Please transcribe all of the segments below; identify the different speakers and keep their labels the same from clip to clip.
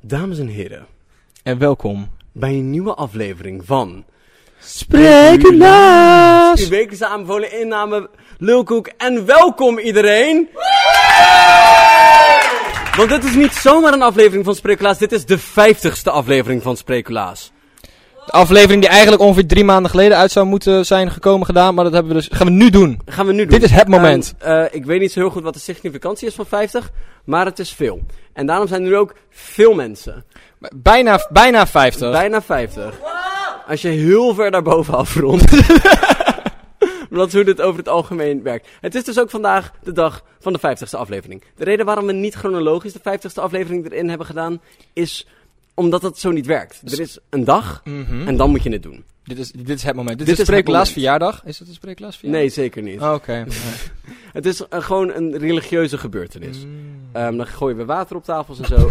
Speaker 1: Dames en heren,
Speaker 2: En welkom.
Speaker 1: bij een nieuwe aflevering van... Uw
Speaker 2: Sprekelaars!
Speaker 1: wekelijkse aanbevolen inname Lulkoek en welkom iedereen! Want dit is niet zomaar een aflevering van Sprekulaas, dit is de vijftigste aflevering van Sprekulaas.
Speaker 2: De aflevering die eigenlijk ongeveer drie maanden geleden uit zou moeten zijn gekomen gedaan, maar dat hebben we dus, gaan we nu doen.
Speaker 1: Gaan we nu doen.
Speaker 2: Dit is het moment.
Speaker 1: En, eh, ik weet niet zo heel goed wat de significantie is van 50, maar het is veel. En daarom zijn er nu ook veel mensen.
Speaker 2: Bijna, bijna 50.
Speaker 1: Bijna 50. Als je heel ver daarboven afrondt. Maar dat is hoe dit over het algemeen werkt. Het is dus ook vandaag de dag van de 50ste aflevering. De reden waarom we niet chronologisch de 50ste aflevering erin hebben gedaan, is omdat dat zo niet werkt. Er is een dag
Speaker 2: Mhm.
Speaker 1: en dan moet je het doen.
Speaker 2: Dit, is, dit is het moment. Dit, is
Speaker 1: Dit is het
Speaker 2: Sprekelaars
Speaker 1: moment.
Speaker 2: verjaardag. Is het een Sprekelaars verjaardag?
Speaker 1: Nee, zeker niet.
Speaker 2: Oh, Oké.
Speaker 1: Het is eh, gewoon een religieuze gebeurtenis.
Speaker 2: Mm.
Speaker 1: Ehm, dan gooien we water op tafels en zo.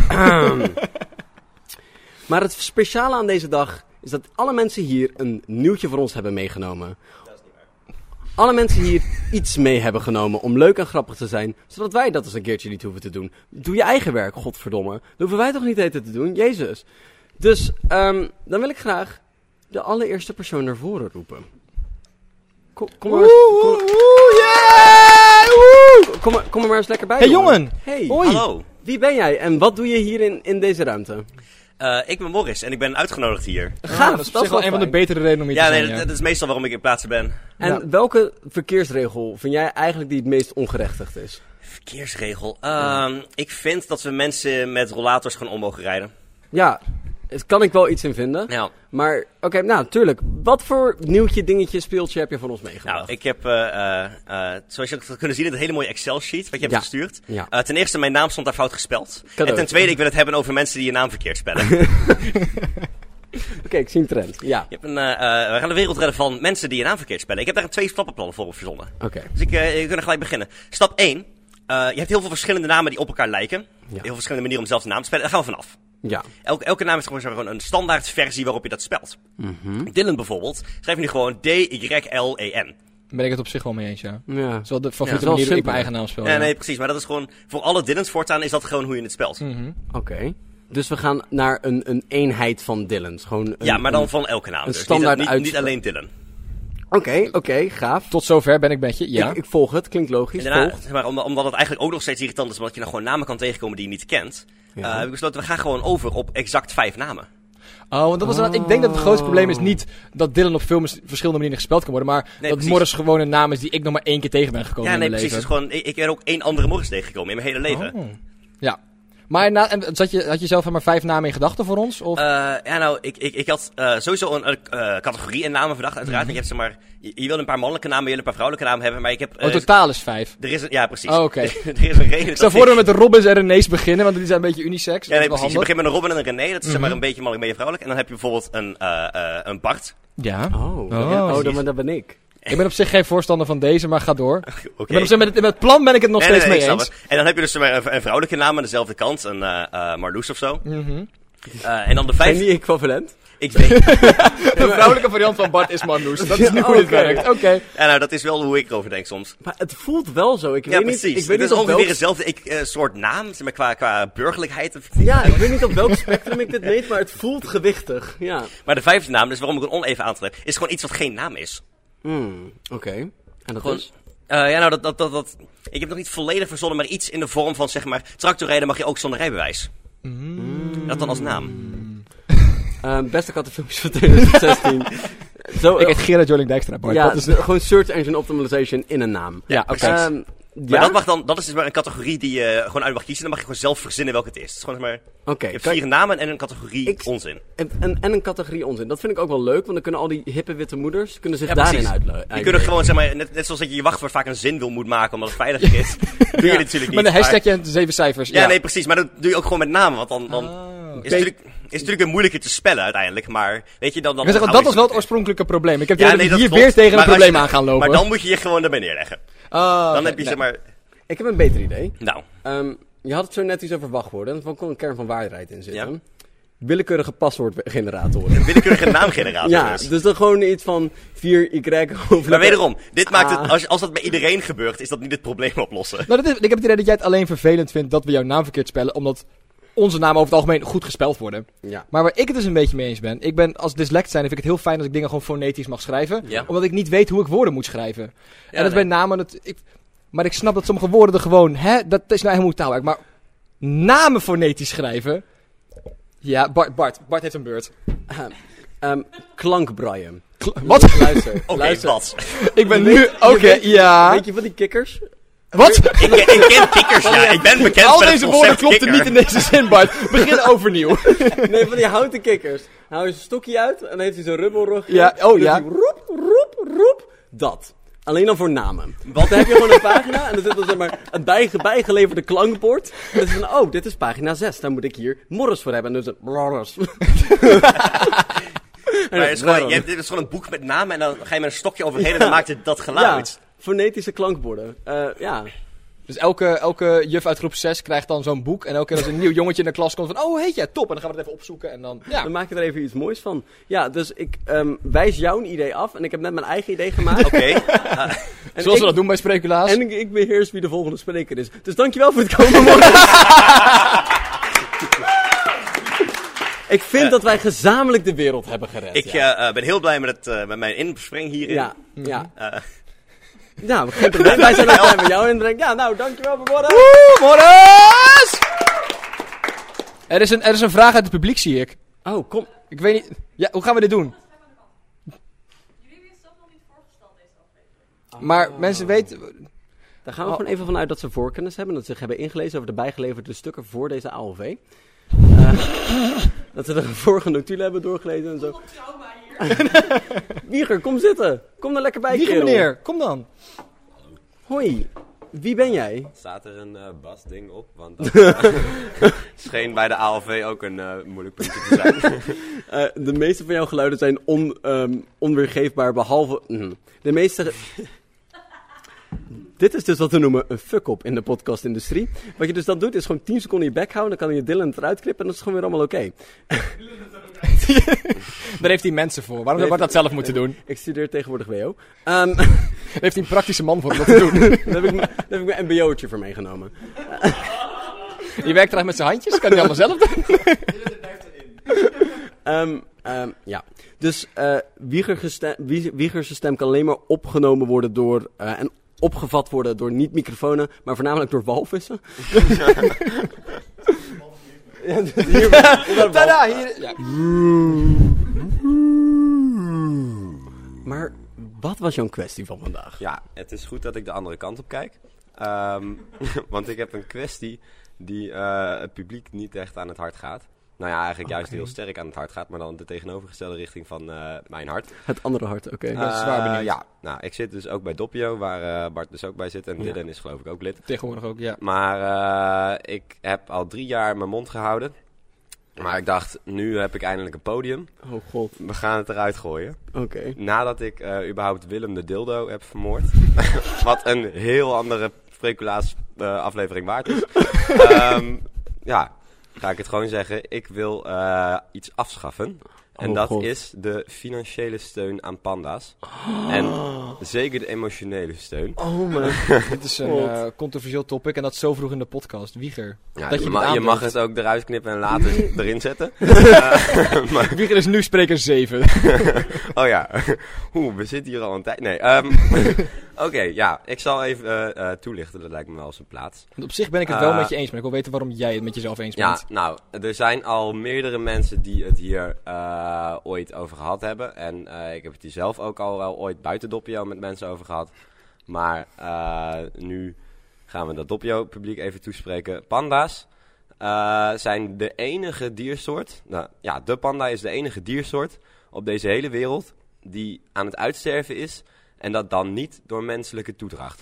Speaker 1: maar het speciale aan deze dag is dat alle mensen hier een nieuwtje voor ons hebben meegenomen. Dat is niet waar. Alle mensen hier iets mee hebben genomen om leuk en grappig te zijn, zodat wij dat eens een keertje niet hoeven te doen. Doe je eigen werk, godverdomme. Dat hoeven wij toch niet eten te doen, Jezus. Dus ehm, dan wil ik graag de allereerste persoon naar voren roepen. Kom, kom, maar,
Speaker 2: Oeh,
Speaker 1: eens,
Speaker 2: oeh,
Speaker 1: kom,
Speaker 2: oeh, yeah! Oeh!
Speaker 1: kom maar, kom er maar eens lekker bij.
Speaker 2: Hey jongen!
Speaker 1: Hey.
Speaker 2: Hoi!
Speaker 3: Hallo,
Speaker 1: Wie ben jij en wat doe je hier in, in deze ruimte?
Speaker 3: Eh, ik ben Morris en ik ben uitgenodigd hier.
Speaker 1: Gaaf,
Speaker 2: Ah, dat is op zich wel een van de
Speaker 1: fijn.
Speaker 2: betere redenen om hier
Speaker 3: Ja,
Speaker 2: te
Speaker 3: nee,
Speaker 2: zijn.
Speaker 3: dat,
Speaker 2: ja.
Speaker 3: dat is meestal waarom ik in plaatsen ben.
Speaker 1: En
Speaker 2: Ja.
Speaker 1: welke verkeersregel vind jij eigenlijk die het meest ongerechtigd is?
Speaker 3: Verkeersregel. Ehm, Ik vind dat we mensen met rollators gewoon om mogen rijden.
Speaker 1: Ja, daar kan ik wel iets in vinden.
Speaker 3: Nou,
Speaker 1: Maar, oké, nou, tuurlijk. Wat voor nieuwtje, dingetje, speeltje heb je van ons meegebracht?
Speaker 3: nou ik heb, eh, eh, eh, zoals je hebt kunnen zien, een hele mooie Excel-sheet wat je hebt
Speaker 1: Ja.
Speaker 3: gestuurd.
Speaker 1: Ja.
Speaker 3: Eh, ten eerste, mijn naam stond daar fout gespeld.
Speaker 1: Cadeau.
Speaker 3: En ten tweede, ik wil het hebben over mensen die je naam verkeerd spellen. je
Speaker 1: Oké, ik zie een trend. Ja,
Speaker 3: hebt een, eh, eh, we gaan de wereld redden van mensen die je naam verkeerd spellen. Ik heb daar een twee-stappenplan voor op verzonnen.
Speaker 1: oké.
Speaker 3: Dus ik, eh we kunnen gelijk beginnen. Stap 1. je hebt heel veel verschillende namen die op elkaar lijken. Heel veel verschillende manieren om zelf de naam te spellen. Daar gaan we vanaf.
Speaker 1: Ja.
Speaker 3: Elke, elke naam heeft gewoon, zo- gewoon een standaard versie waarop je dat spelt.
Speaker 2: Hm?
Speaker 3: Dylan bijvoorbeeld, schrijf nu gewoon D-Y-L-E-N.
Speaker 2: Daar ben ik het op zich wel mee eens, ja. Dat
Speaker 1: ja.
Speaker 2: is wel de favoriete
Speaker 1: Ja, het is wel
Speaker 2: manier waarop ik
Speaker 1: simpel.
Speaker 2: mijn eigen naam spel.
Speaker 3: Ja,
Speaker 2: ja.
Speaker 3: nee, precies. Maar dat is gewoon, voor alle Dylans voortaan is dat gewoon hoe je het
Speaker 1: Hm.
Speaker 3: spelt.
Speaker 2: Mhm.
Speaker 1: Oké. Dus we gaan naar een, een eenheid van Dylans. Gewoon een-
Speaker 3: Ja, maar dan
Speaker 1: een-
Speaker 3: van elke naam.
Speaker 1: een
Speaker 3: dus.
Speaker 1: standaard
Speaker 3: niet, niet, niet
Speaker 1: uitspraak.
Speaker 3: alleen Dylan.
Speaker 1: Oké, oké, gaaf.
Speaker 2: Tot zover ben ik met je, ja.
Speaker 1: Ik, ik volg het, klinkt
Speaker 3: En
Speaker 1: logisch.
Speaker 3: daarna,
Speaker 1: Volg.
Speaker 3: zeg maar, om- omdat het eigenlijk ook nog steeds irritant is, omdat je dan gewoon namen kan tegenkomen die je niet kent, eh, heb ik besloten, we gaan gewoon over op exact vijf namen.
Speaker 2: Oh, want dat was inderdaad- ik denk dat het grootste probleem is niet dat Dylan op veel mis- verschillende manieren gespeld kan worden, maar dat
Speaker 3: precies.
Speaker 2: Morris gewoon een naam is die ik nog maar één keer tegen ben gekomen
Speaker 3: ja, nee,
Speaker 2: in mijn
Speaker 3: precies. Dus
Speaker 2: leven. Hm.
Speaker 3: gewoon, ik, ik ben ook één andere Morris tegengekomen in mijn hele leven.
Speaker 2: Ja. Maar na, en, zat je, had je zelf maar vijf namen in gedachten voor ons? Of?
Speaker 3: Eh, ja, nou, ik, ik, ik had eh, sowieso een eh, eh, categorie in namen verdacht, uiteraard.
Speaker 2: Mhm.
Speaker 3: Want Je, hebt, zeg maar, je, je wil een paar mannelijke namen, je wil een paar vrouwelijke namen hebben, maar ik heb... eh,
Speaker 2: oh, totaal is vijf.
Speaker 3: er is een, ja, precies.
Speaker 2: Oh, oké.
Speaker 3: er is een reden
Speaker 2: Ik stel
Speaker 3: dat
Speaker 2: voor dat we met de Robins en René's beginnen, want die zijn een beetje unisex.
Speaker 3: Ja,
Speaker 2: dat
Speaker 3: nee,
Speaker 2: is
Speaker 3: precies. Je
Speaker 2: wel Mhm.
Speaker 3: begint met een Robin en een René, dat is zeg maar een beetje mannelijk, een beetje vrouwelijk. En dan heb je bijvoorbeeld een, eh, eh, een Bart.
Speaker 2: handig. Ja.
Speaker 1: Oh,
Speaker 2: Oh.
Speaker 1: ja, oh dan, maar dat ben ik.
Speaker 2: Ik ben op zich geen voorstander van deze, maar ga door.
Speaker 3: Oké.
Speaker 2: Ik ben op zich met, het, met het plan ben ik het nog
Speaker 3: Nee, nee,
Speaker 2: steeds
Speaker 3: nee, ik
Speaker 2: mee
Speaker 3: snap
Speaker 2: eens.
Speaker 3: het. En dan heb je dus zeg maar, een, een vrouwelijke naam aan dezelfde kant, een eh eh, Marloes of zo.
Speaker 2: Mhm.
Speaker 3: Eh, en dan de
Speaker 1: Ben
Speaker 3: vijf...
Speaker 1: die equivalent?
Speaker 3: Ik weet...
Speaker 2: De vrouwelijke variant van Bart is Marloes. Dat is nu
Speaker 1: Ja,
Speaker 2: hoe dit
Speaker 1: oké.
Speaker 2: werkt. Oké.
Speaker 3: ja, nou, dat is wel hoe ik erover denk soms.
Speaker 1: Maar het voelt wel zo. Ik
Speaker 3: ja,
Speaker 1: weet
Speaker 3: precies.
Speaker 1: niet, ik weet
Speaker 3: het
Speaker 1: niet
Speaker 3: is
Speaker 1: of
Speaker 3: ongeveer
Speaker 1: welk
Speaker 3: hetzelfde ik, eh, soort naam, zeg maar, qua, qua burgerlijkheid. of-
Speaker 1: Ja, ik weet niet op welk spectrum ik dit meet, maar het voelt gewichtig. Ja.
Speaker 3: Maar de vijfde naam, dus waarom ik een oneven aantrek, is gewoon iets wat geen naam is.
Speaker 1: Hmm, Oké. En dat
Speaker 3: Gewoon, eh, ja, nou, dat, dat, dat, dat- Ik heb nog niet volledig verzonnen, maar iets in de vorm van, zeg maar, tractorrijden mag je ook zonder rijbewijs. Dat dan als naam.
Speaker 1: Eh, beste kattenfilmpjes van 2016. Zo,
Speaker 2: Ik
Speaker 1: eh,
Speaker 2: heet Gerard Joling Dijkstra, Bart.
Speaker 1: ja, dus
Speaker 2: Dat is
Speaker 1: de- gewoon search engine optimization in een naam.
Speaker 2: Ja, oké.
Speaker 1: Ehm,
Speaker 3: Maar
Speaker 1: ja?
Speaker 3: dat, mag dan, dat is dus maar een categorie die je gewoon uit mag kiezen. Dan mag je gewoon zelf verzinnen welke het is. Het is gewoon, zeg maar,
Speaker 1: Oké.
Speaker 3: je hebt
Speaker 1: kan-
Speaker 3: vier namen en een categorie
Speaker 1: Ik-
Speaker 3: onzin.
Speaker 1: en, en, en een categorie onzin. Dat vind ik ook wel leuk, want dan kunnen al die hippe witte moeders kunnen zich
Speaker 3: Ja,
Speaker 1: daarin
Speaker 3: precies.
Speaker 1: uitleven.
Speaker 3: Je kunt er gewoon, zeg maar, net, net zoals dat je je wachtwoord vaak een zin wil moet maken omdat het veilig is. doe je dit natuurlijk niet.
Speaker 2: Met een
Speaker 3: maar-
Speaker 2: hashtagje en zeven cijfers. Ah,
Speaker 3: Ja, nee, precies. Maar dat doe je ook gewoon met namen. Want dan, dan is, het natuurlijk, is het natuurlijk weer moeilijker te spellen uiteindelijk. Nou, Maar weet je, dan... dan
Speaker 2: Ik wil zeggen, dat
Speaker 3: dan hou
Speaker 2: was
Speaker 3: je
Speaker 2: wel het
Speaker 3: het-
Speaker 2: oorspronkelijke probleem. Ik heb het idee dat
Speaker 3: dat
Speaker 2: we hier
Speaker 3: klopt.
Speaker 2: weer tegen een
Speaker 3: Maar als
Speaker 2: probleem
Speaker 3: je-
Speaker 2: aan gaan lopen.
Speaker 3: Maar dan moet je je gewoon erbij neerleggen.
Speaker 2: Ah,
Speaker 3: Dan
Speaker 2: oké,
Speaker 3: heb je,
Speaker 2: nee.
Speaker 3: zeg maar...
Speaker 1: Ik heb een beter idee.
Speaker 3: Nou,
Speaker 1: Ehm, je had het zo net iets over wachtwoorden. Er kon een kern van waarheid in zitten. Willekeurige paswoordgeneratoren.
Speaker 3: een willekeurige naamgenerator
Speaker 1: Ja,
Speaker 3: dus.
Speaker 1: dus dan gewoon iets van 4y hoofdletter.
Speaker 3: Maar wederom, dit maakt
Speaker 1: Ah.
Speaker 3: het, als, als dat bij iedereen gebeurt, is dat niet het probleem oplossen.
Speaker 2: Nou, dat is, ik heb het idee dat jij het alleen vervelend vindt dat we jouw naam verkeerd spellen, omdat onze namen over het algemeen goed gespeld worden.
Speaker 1: Ja.
Speaker 2: Maar waar ik het dus een beetje mee eens ben. Ik ben als dyslect zijn, vind ik het heel fijn dat ik dingen gewoon fonetisch mag schrijven.
Speaker 3: Ja.
Speaker 2: Omdat ik niet weet hoe ik woorden moet schrijven. en dat
Speaker 3: nee.
Speaker 2: bij namen... Dat, ik, maar ik snap dat sommige woorden er gewoon... Hè, dat is nou helemaal taalwerk. Maar namen fonetisch schrijven... Ja, Bart, Bart. Bart heeft een beurt.
Speaker 1: Ehm klankbraien.
Speaker 2: Kla- Wat?
Speaker 1: Luister,
Speaker 3: Oké,
Speaker 1: luister.
Speaker 3: wat?
Speaker 2: ik ben
Speaker 1: Weet-
Speaker 2: nu... Oké,
Speaker 1: weet-
Speaker 2: ja.
Speaker 1: Weet je van die kikkers?
Speaker 2: Wat?
Speaker 3: ik, ik ken kikkers, ja. Ik ben bekend
Speaker 2: Al
Speaker 3: met het
Speaker 2: deze woorden
Speaker 3: concept
Speaker 2: klopten
Speaker 3: kikker.
Speaker 2: niet in deze zin, Bart. Begin overnieuw.
Speaker 1: Nee, van die houten kikkers. Dan hou je zijn stokje uit en dan heeft hij zo'n rubbelrug.
Speaker 2: Ja, oh
Speaker 1: Dan doet
Speaker 2: ja.
Speaker 1: hij Roep, roep, roep. Dat. Alleen dan voor namen. Want dan heb je gewoon een pagina en dan zit er zeg maar een bijge bijgeleverde klankbord. En dan is het van, oh, dit is pagina 6. Dan moet ik hier Morris voor hebben. En dan is het Morris.
Speaker 3: Maar het is gewoon, je hebt, dit is gewoon een boek met namen en dan ga je met een stokje overheen en dan
Speaker 1: Ja.
Speaker 3: maakt het dat
Speaker 1: Ja,
Speaker 3: geluid.
Speaker 1: fonetische klankborden. Eh, ja.
Speaker 2: Dus elke, elke juf uit groep 6 krijgt dan zo'n boek. En elke keer als een nieuw jongetje in de klas komt van... Oh, heet jij? Top. En dan gaan we het even opzoeken. En dan... Ja.
Speaker 1: Dan maak je er even iets moois van. Ja, dus ik ehm, wijs jouw idee af. En ik heb net mijn eigen idee gemaakt.
Speaker 3: Oké.
Speaker 1: en
Speaker 2: Zoals
Speaker 1: ik-
Speaker 2: we dat doen bij Spreekulaas.
Speaker 1: En ik, ik beheers wie de volgende spreker is. Dus dankjewel voor het komen, Morris. ik vind dat wij gezamenlijk de wereld hebben gered.
Speaker 3: Ik
Speaker 1: ja.
Speaker 3: eh, eh, ben heel blij met, het, eh, met mijn inspring hierin.
Speaker 1: ja, ja.
Speaker 3: Eh,
Speaker 1: Nou, geen probleem. Wij zijn ook blij met jou inbreng. Ja, nou, dankjewel voor Morris.
Speaker 2: Oeh, Morris! Er is, een, er is een vraag uit het publiek, zie ik.
Speaker 1: Oh, kom.
Speaker 2: Ik weet niet... Ja, hoe gaan we dit doen?
Speaker 4: Jullie hebben jezelf nog niet voorgesteld deze aflevering.
Speaker 2: Maar mensen weten...
Speaker 1: Daar gaan we
Speaker 2: Oh.
Speaker 1: gewoon even vanuit dat ze voorkennis hebben. Dat ze zich hebben ingelezen over de bijgeleverde stukken voor deze AOV. Eh, dat ze de vorige notulen hebben doorgelezen en zo.
Speaker 4: Wat trauma hier.
Speaker 1: Wieger, kom zitten. Kom er lekker bij,
Speaker 2: Lieve
Speaker 1: kerel.
Speaker 2: meneer, kom dan.
Speaker 1: Hoi, wie ben jij?
Speaker 5: Staat er een eh Bas-ding op? Want eh,
Speaker 3: scheen bij de ALV ook een eh, moeilijk puntje te zijn.
Speaker 1: Eh, de meeste van jouw geluiden zijn on, ehm, onweergeefbaar, behalve... Mhm. de meeste... Dit is dus wat we noemen een fuck-up in de podcastindustrie. Wat je dus dan doet, is gewoon 10 seconden je bek houden, dan kan je Dylan eruit knippen en dat is gewoon weer allemaal oké.
Speaker 2: Daar heeft hij mensen voor. Waarom zou Bart dat zelf moeten doen?
Speaker 1: Ik studeer tegenwoordig WO. Ehm,
Speaker 2: Daar heeft hij een praktische man voor om dat te doen.
Speaker 1: daar, heb ik, mijn- daar heb ik mijn mbo'tje voor meegenomen.
Speaker 2: Die werkt trouwens met zijn handjes. Kan hij allemaal zelf doen?
Speaker 1: Ehm, ehm, ja. Dus eh Wiegerge ste- Wie- Wiegerse stem kan alleen maar opgenomen worden door... eh, en opgevat worden door niet-microfonen, maar voornamelijk door walvissen. ja, dus hier, onder de wal-
Speaker 2: Tada! Hier... Ja.
Speaker 1: maar wat was jouw kwestie van vandaag?
Speaker 5: ja, het is goed dat ik de andere kant op kijk. Ehm, want ik heb een kwestie die eh, het publiek niet echt aan het hart gaat. Nou ja, eigenlijk juist heel sterk aan het hart gaat, maar dan de tegenovergestelde richting van eh, mijn hart.
Speaker 1: Het andere hart, oké.
Speaker 2: ben zwaar
Speaker 5: Eh,
Speaker 2: benieuwd.
Speaker 5: Ja, nou, ik zit dus ook bij Doppio, waar eh, Bart dus ook bij zit. En
Speaker 1: Ja.
Speaker 5: Dylan is geloof ik ook lid.
Speaker 2: Tegenwoordig ook, ja.
Speaker 5: Maar eh, ik heb al drie jaar mijn mond gehouden. Maar ik dacht, nu heb ik eindelijk een podium.
Speaker 1: Oh god,
Speaker 5: We gaan het eruit gooien.
Speaker 1: oké.
Speaker 5: Nadat ik eh, überhaupt Willem de Dildo heb vermoord. wat een heel andere speculaas eh, aflevering waard is. Ehm, ja, ga ik het gewoon zeggen. Ik wil eh, iets afschaffen. En
Speaker 1: Oh,
Speaker 5: dat
Speaker 1: God.
Speaker 5: is de financiële steun aan panda's. En zeker de emotionele steun.
Speaker 1: Oh man.
Speaker 2: Dit is een
Speaker 1: God.
Speaker 2: eh, controversieel topic en dat zo vroeg in de podcast. Wieger.
Speaker 5: Ja,
Speaker 2: dat
Speaker 5: je,
Speaker 2: je,
Speaker 5: ma-
Speaker 2: dit
Speaker 5: je mag
Speaker 2: aandurft.
Speaker 5: het ook eruit knippen en later erin zetten. Eh, maar
Speaker 2: Wieger is nu spreker 7.
Speaker 5: Oh ja, Oeh, we zitten hier al een tijd. Nee, ehm, oké, ja, ik zal even eh, eh, toelichten, dat lijkt me wel zijn plaats.
Speaker 2: Want op zich ben ik het wel
Speaker 5: Eh,
Speaker 2: met je eens, maar ik wil weten waarom jij het met jezelf eens
Speaker 5: Ja,
Speaker 2: bent.
Speaker 5: nou, er zijn al meerdere mensen die het hier eh, ooit over gehad hebben. En eh, ik heb het hier zelf ook al wel ooit buiten Doppio met mensen over gehad. Maar eh, nu gaan we dat Doppio-publiek even toespreken. Panda's eh, zijn de enige diersoort... Nou, ja, de panda is de enige diersoort op deze hele wereld die aan het uitsterven is... En dat dan niet door menselijke toedracht.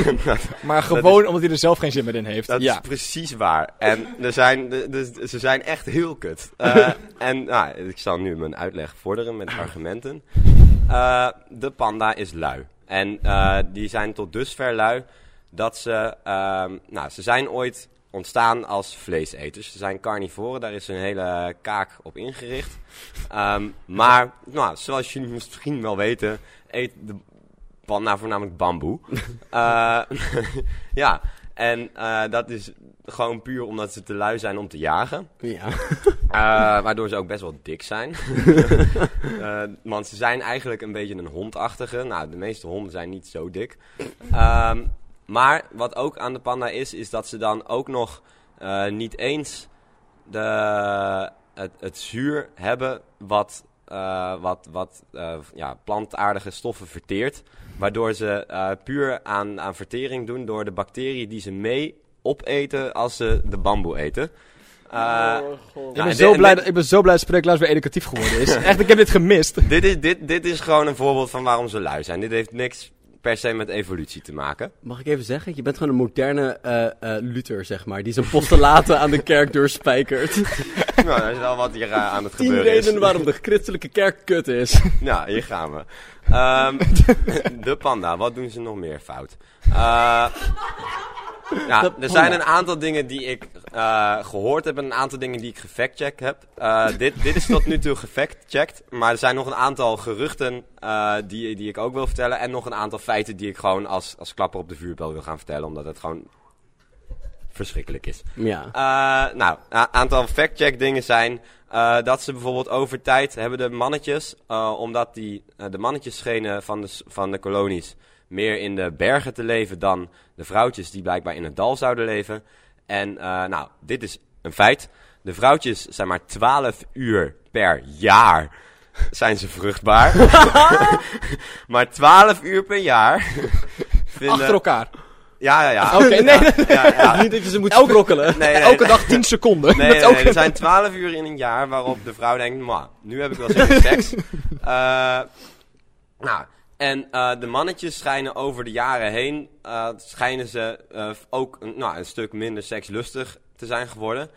Speaker 2: Maar gewoon omdat hij er zelf geen zin meer in heeft.
Speaker 5: Dat
Speaker 2: ja.
Speaker 5: is precies waar. En er zijn, de- de- ze zijn echt heel kut. Eh, en nou, ik zal nu mijn uitleg vorderen met argumenten. Eh, de panda is lui. En eh, die zijn tot dusver lui dat ze... ehm, nou, ze zijn ooit ontstaan als vleeseters. Ze zijn carnivoren, daar is hun hele kaak op ingericht. Ehm, maar, nou, zoals jullie misschien wel weten, nou, eet de panda voornamelijk bamboe. Eh, ja, En eh, dat is gewoon puur omdat ze te lui zijn om te jagen.
Speaker 1: Ja.
Speaker 5: Eh, waardoor ze ook best wel dik zijn. Eh, want ze zijn eigenlijk een beetje een hondachtige. Nou, de meeste honden zijn niet zo dik. Ehm, maar wat ook aan de panda is, is dat ze dan ook nog eh, niet eens de, het, het zuur hebben wat, eh, wat, wat eh, ja, plantaardige stoffen verteert. Waardoor ze eh, puur aan, aan vertering doen door de bacteriën die ze mee opeten als ze de bamboe eten. Eh,
Speaker 2: Oh, Ik
Speaker 5: Ja,
Speaker 2: ben,
Speaker 5: en
Speaker 2: zo
Speaker 5: dit- en
Speaker 2: blij,
Speaker 5: dit-
Speaker 2: dat- ik ben zo blij dat Spreeklaas weer educatief geworden is. Echt, ik heb dit gemist.
Speaker 5: Dit is, dit, dit is gewoon een voorbeeld van waarom ze lui zijn. Dit heeft niks per se met evolutie te maken.
Speaker 1: Mag ik even zeggen? Je bent gewoon een moderne eh, eh, Luther, zeg maar. Die zijn postulaten aan de kerk doorspijkert.
Speaker 5: nou, dat is wel wat hier eh, aan het
Speaker 1: Tien
Speaker 5: gebeuren is.
Speaker 1: redenen waarom de christelijke kerk kut is.
Speaker 5: Nou, hier gaan we. Ehm, de panda, wat doen ze nog meer fout? Eh, ja, er zijn een aantal dingen die ik eh, gehoord heb en een aantal dingen die ik gefactcheckt heb. Eh, dit, dit is tot nu toe gefactcheckt, maar er zijn nog een aantal geruchten eh, die, die ik ook wil vertellen. En nog een aantal feiten die ik gewoon als, als klapper op de vuurbel wil gaan vertellen, omdat het gewoon verschrikkelijk is.
Speaker 1: Ja.
Speaker 5: Eh, nou, een aantal fact-check dingen zijn eh, dat ze bijvoorbeeld over tijd hebben de mannetjes, eh, omdat die, eh, de mannetjes schenen van de, s- van de kolonies meer in de bergen te leven dan de vrouwtjes die blijkbaar in het dal zouden leven. En eh, nou, dit is een feit. De vrouwtjes zijn maar 12 uur per jaar zijn ze vruchtbaar. maar 12 uur per jaar. vinden-
Speaker 2: Achter elkaar.
Speaker 5: Ja, ja, ja.
Speaker 2: Oké, nee.
Speaker 5: ja, ja.
Speaker 1: Niet dat je ze moet sprokkelen.
Speaker 5: Nee, nee,
Speaker 2: Elke dag 10 seconden.
Speaker 5: Nee,
Speaker 2: Met
Speaker 5: nee,
Speaker 2: elke-
Speaker 5: nee, er zijn 12 uur in een jaar waarop de vrouw denkt, "Mwah, nu heb ik wel zin in seks. Eh, nou, en eh, de mannetjes schijnen over de jaren heen, eh, schijnen ze eh, ook een, nou, een stuk minder sekslustig te zijn geworden.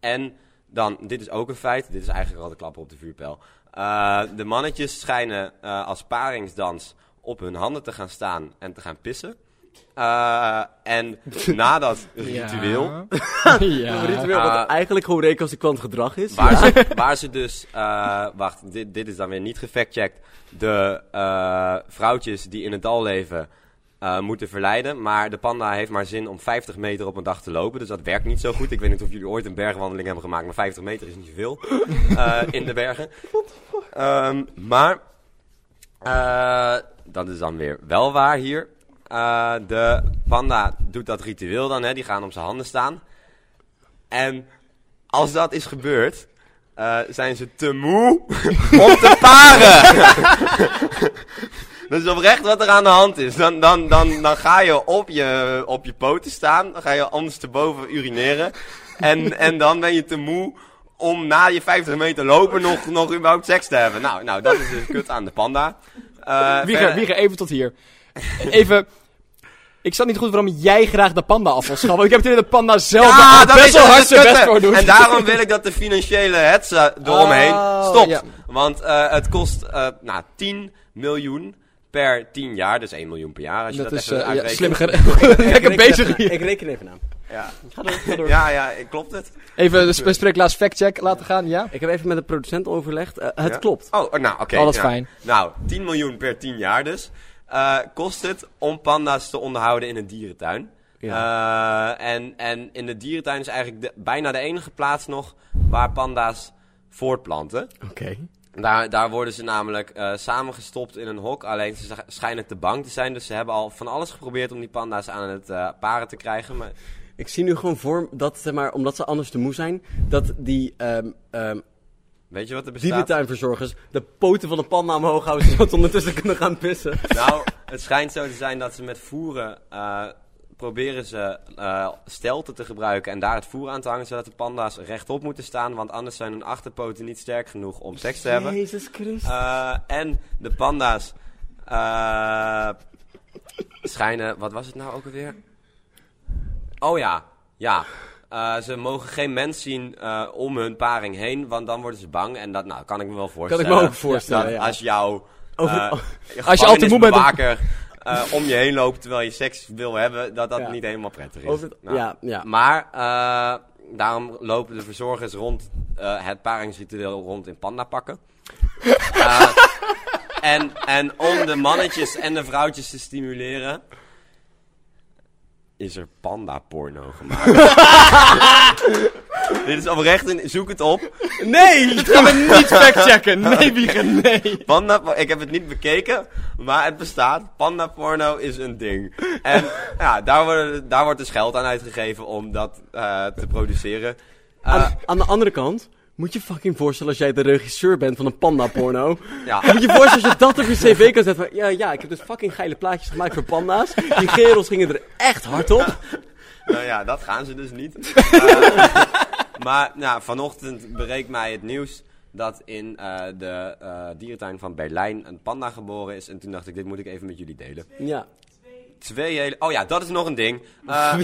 Speaker 5: En dan, dit is ook een feit, dit is eigenlijk al de klap op de vuurpijl. Eh, de mannetjes schijnen eh, als paringsdans op hun handen te gaan staan en te gaan pissen. Eh, en na dat ritueel
Speaker 1: Een
Speaker 2: ja.
Speaker 1: ritueel wat
Speaker 5: Ah.
Speaker 1: eigenlijk hoe recalcitrant gedrag is.
Speaker 5: Waar, ze, waar ze dus, eh, wacht, dit, dit is dan weer niet gefactcheckt, de eh, vrouwtjes die in het dal leven eh, moeten verleiden. Maar de panda heeft maar zin om 50 meter op een dag te lopen, dus dat werkt niet zo goed. Ik weet niet of jullie ooit een bergwandeling hebben gemaakt, maar 50 meter is niet veel eh, in de bergen. Ehm, maar, eh, dat is dan weer wel waar hier. Eh, de panda doet dat ritueel dan, hè, die gaan op zijn handen staan. En als dat is gebeurd, eh, zijn ze te moe om te paren. dat is oprecht wat er aan de hand is. Dan, dan, dan, dan ga je op, je op je poten staan, dan ga je ondersteboven urineren. En, en dan ben je te moe om na je 50 meter lopen nog, nog überhaupt seks te hebben. Nou, nou dat is dus kut aan de panda. Eh,
Speaker 2: Wieger,
Speaker 5: verder-
Speaker 2: Wieger, even tot hier. Even... Ik snap niet goed waarom jij graag de panda af wil schaffen. Want ik heb het idee dat de panda zelf
Speaker 5: Ja,
Speaker 2: daar
Speaker 5: dat
Speaker 2: best
Speaker 5: is
Speaker 2: wel
Speaker 5: het
Speaker 2: hard zijn
Speaker 5: kutte.
Speaker 2: best voor doet.
Speaker 5: En daarom wil ik dat de financiële hetze eromheen
Speaker 2: Oh,
Speaker 5: stopt.
Speaker 2: ja.
Speaker 5: Want eh, het kost eh, nou, 10 miljoen per 10 jaar. Dus 1 miljoen per jaar als je
Speaker 2: Dat
Speaker 5: dat,
Speaker 2: is
Speaker 5: even
Speaker 2: eh, ja,
Speaker 5: uitrekent.
Speaker 2: slim geregeld. Lekker bezig hier.
Speaker 1: Ik reken even aan.
Speaker 5: Ja.
Speaker 1: Ga door, ga door.
Speaker 5: Ja, ja, ik- klopt het?
Speaker 2: Even de sp- Spreeklaas factcheck laten gaan, ja?
Speaker 1: Ik heb even met de producent overlegd. Eh, het
Speaker 5: Ja?
Speaker 1: klopt.
Speaker 5: Oh, oh, nou, oké.
Speaker 2: Alles
Speaker 5: nou,
Speaker 2: fijn.
Speaker 5: Nou, 10 miljoen per 10 jaar dus. Eh, kost het om panda's te onderhouden in een dierentuin. Eh, en, en in de dierentuin is eigenlijk de, bijna de enige plaats nog waar panda's voortplanten.
Speaker 1: Oké.
Speaker 5: Daar, daar worden ze namelijk eh samengestopt in een hok. Alleen ze sch- schijnen te bang te zijn. Dus ze hebben al van alles geprobeerd om die panda's aan het eh, paren te krijgen. Maar
Speaker 1: Ik zie nu gewoon voor dat, zeg maar, omdat ze anders te moe zijn, dat die ehm ehm
Speaker 5: weet je wat er bestaat?
Speaker 1: dierentuinverzorgers de poten van de panda omhoog houden, zodat ze ondertussen kunnen gaan pissen.
Speaker 5: Nou, het schijnt zo te zijn dat ze met voeren eh, proberen ze eh, stelten te gebruiken en daar het voer aan te hangen. Zodat de panda's rechtop moeten staan. Want anders zijn hun achterpoten niet sterk genoeg om seks te hebben.
Speaker 1: Jezus Christus.
Speaker 5: Eh, en de panda's eh, schijnen. Wat was het nou ook alweer? Oh ja, ja. Eh, ze mogen geen mens zien eh, om hun paring heen, want dan worden ze bang. En dat nou, kan ik me wel
Speaker 1: Kan
Speaker 5: voorstellen.
Speaker 1: ik me ook voorstellen,
Speaker 5: Dat
Speaker 1: ja.
Speaker 5: Als jouw
Speaker 1: Over-
Speaker 5: eh,
Speaker 2: Als je al te moe bent om-
Speaker 5: gevangenisbewaker, eh, om je heen loopt terwijl je seks wil hebben, dat dat
Speaker 1: Ja.
Speaker 5: niet helemaal prettig is.
Speaker 1: Over het-
Speaker 5: Nou.
Speaker 1: ja, ja.
Speaker 5: Maar eh, daarom lopen de verzorgers rond eh, het paringsritueel rond in pandapakken. Eh, en, en om de mannetjes en de vrouwtjes te stimuleren. is er panda porno gemaakt. Dit is oprecht, een- zoek het op.
Speaker 2: Nee! Dat gaan we niet factchecken. Nee, Wiegen, nee.
Speaker 5: Panda, po- ik heb het niet bekeken, maar het bestaat. Panda porno is een ding. En ja, daar, worden, daar wordt dus geld aan uitgegeven om dat eh, te produceren. Eh,
Speaker 1: Aan, aan de andere kant, moet je fucking voorstellen als jij de regisseur bent van een panda-porno.
Speaker 5: ja.
Speaker 1: Moet je je voorstellen als je dat op je cv kan zetten? van, Ja, ja, ik heb dus fucking geile plaatjes gemaakt voor panda's. Die gerels gingen er echt hard op.
Speaker 5: Nou ja, dat gaan ze dus niet. Eh, maar nou, vanochtend bereikt mij het nieuws dat in eh, de eh, dierentuin van Berlijn een panda geboren is. En toen dacht ik, dit moet ik even met jullie delen.
Speaker 1: Ja.
Speaker 5: Twee hele... Oh ja, dat is nog een ding. Eh,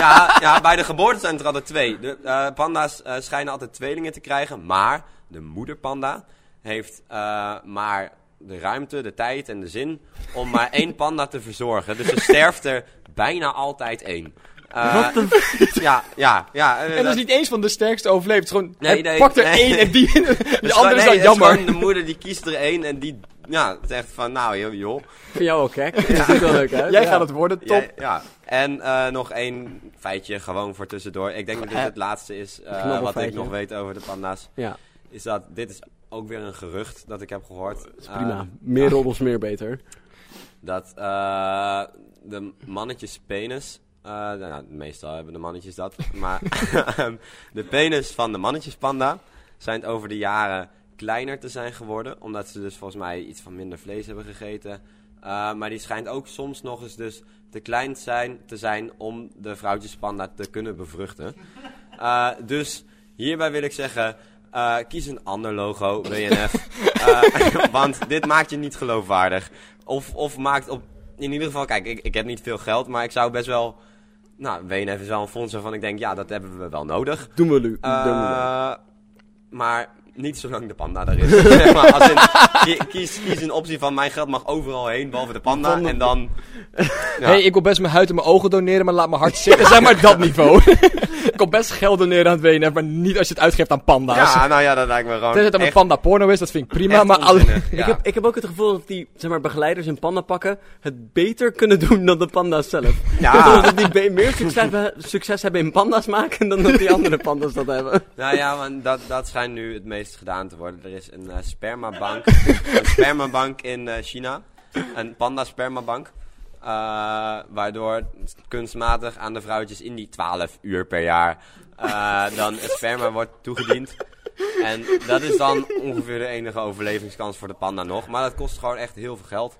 Speaker 5: ja, ja, bij de geboorte zijn het er altijd twee. De eh, panda's eh, schijnen altijd tweelingen te krijgen. Maar de moederpanda heeft eh, maar de ruimte, de tijd en de zin om maar één panda te verzorgen. Dus er sterft er bijna altijd één. Eh, ja, ja, ja.
Speaker 2: En
Speaker 5: eh,
Speaker 2: dus dat is niet eens van de sterkste overleeft. Het is gewoon,
Speaker 5: Nee,
Speaker 2: hij
Speaker 5: nee,
Speaker 2: pakt er
Speaker 5: nee.
Speaker 2: één en die...
Speaker 5: dus
Speaker 2: De andere is
Speaker 5: gewoon-
Speaker 2: dan
Speaker 5: nee, het
Speaker 2: jammer.
Speaker 5: gewoon de moeder die kiest er één en die ja, zegt van nou joh, joh.
Speaker 1: Voor jou ook gek. Dat ziet er wel leuk uit.
Speaker 2: Jij
Speaker 1: Ja.
Speaker 2: gaat het worden, top.
Speaker 5: Ja, ja. En eh, nog één feitje, gewoon voor tussendoor. Ik denk dat dit het laatste is eh,
Speaker 1: knabbel
Speaker 5: wat ik
Speaker 1: feitje.
Speaker 5: nog weet over de panda's.
Speaker 1: Ja,
Speaker 5: Is dat dit is ook weer een gerucht dat ik heb gehoord.
Speaker 1: prima.
Speaker 5: Eh,
Speaker 1: meer roddels, meer beter.
Speaker 5: dat eh, de mannetjes penis. eh, nou, nou, meestal hebben de mannetjes dat. Maar ehm, de penis van de mannetjespanda zijn over de jaren kleiner te zijn geworden. Omdat ze dus volgens mij iets van minder vlees hebben gegeten. Eh, maar die schijnt ook soms nog eens dus te klein zijn, te zijn om de vrouwtjespanda te kunnen bevruchten. Eh, dus hierbij wil ik zeggen, eh, kies een ander logo, WNF. Eh, want dit maakt je niet geloofwaardig. Of, of maakt op... In ieder geval, kijk, ik, ik heb niet veel geld, maar ik zou best wel... Nou, WNF is wel een fonds waarvan ik denk, ja, dat hebben we wel nodig.
Speaker 1: Doen we nu.
Speaker 5: Eh,
Speaker 1: Doen we nu.
Speaker 5: maar niet zolang de panda er is. Zeg maar, als in, ki- kies, kies een optie van mijn geld mag overal heen, behalve de panda. En dan... Ja.
Speaker 2: Hey, ik wil best mijn huid en mijn ogen doneren, maar laat mijn hart zitten. Zeg maar dat niveau. ik wil best geld doneren aan het WNF, maar niet als je het uitgeeft aan panda's.
Speaker 5: Ja, nou ja, dat lijkt me gewoon
Speaker 2: Tenzij het aan
Speaker 5: echt-
Speaker 2: een panda porno is, dat vind ik prima.
Speaker 5: echt
Speaker 2: Maar alle...
Speaker 5: onzinnig, ja.
Speaker 1: Ik, heb, ik heb ook het gevoel dat die zeg maar, begeleiders in panda pakken het beter kunnen doen dan de panda's zelf.
Speaker 5: Ja.
Speaker 1: Ik geloof dat die be- meer succes hebben, succes hebben in panda's maken dan dat die andere panda's dat hebben.
Speaker 5: Nou ja, want dat, dat schijnt nu het meest gedaan te worden. Er is een eh, spermabank. een spermabank in eh, China. Een panda spermabank. Eh, waardoor kunstmatig aan de vrouwtjes in die 12 uur per jaar eh, dan het sperma wordt toegediend. En dat is dan ongeveer de enige overlevingskans voor de panda nog. Maar dat kost gewoon echt heel veel geld.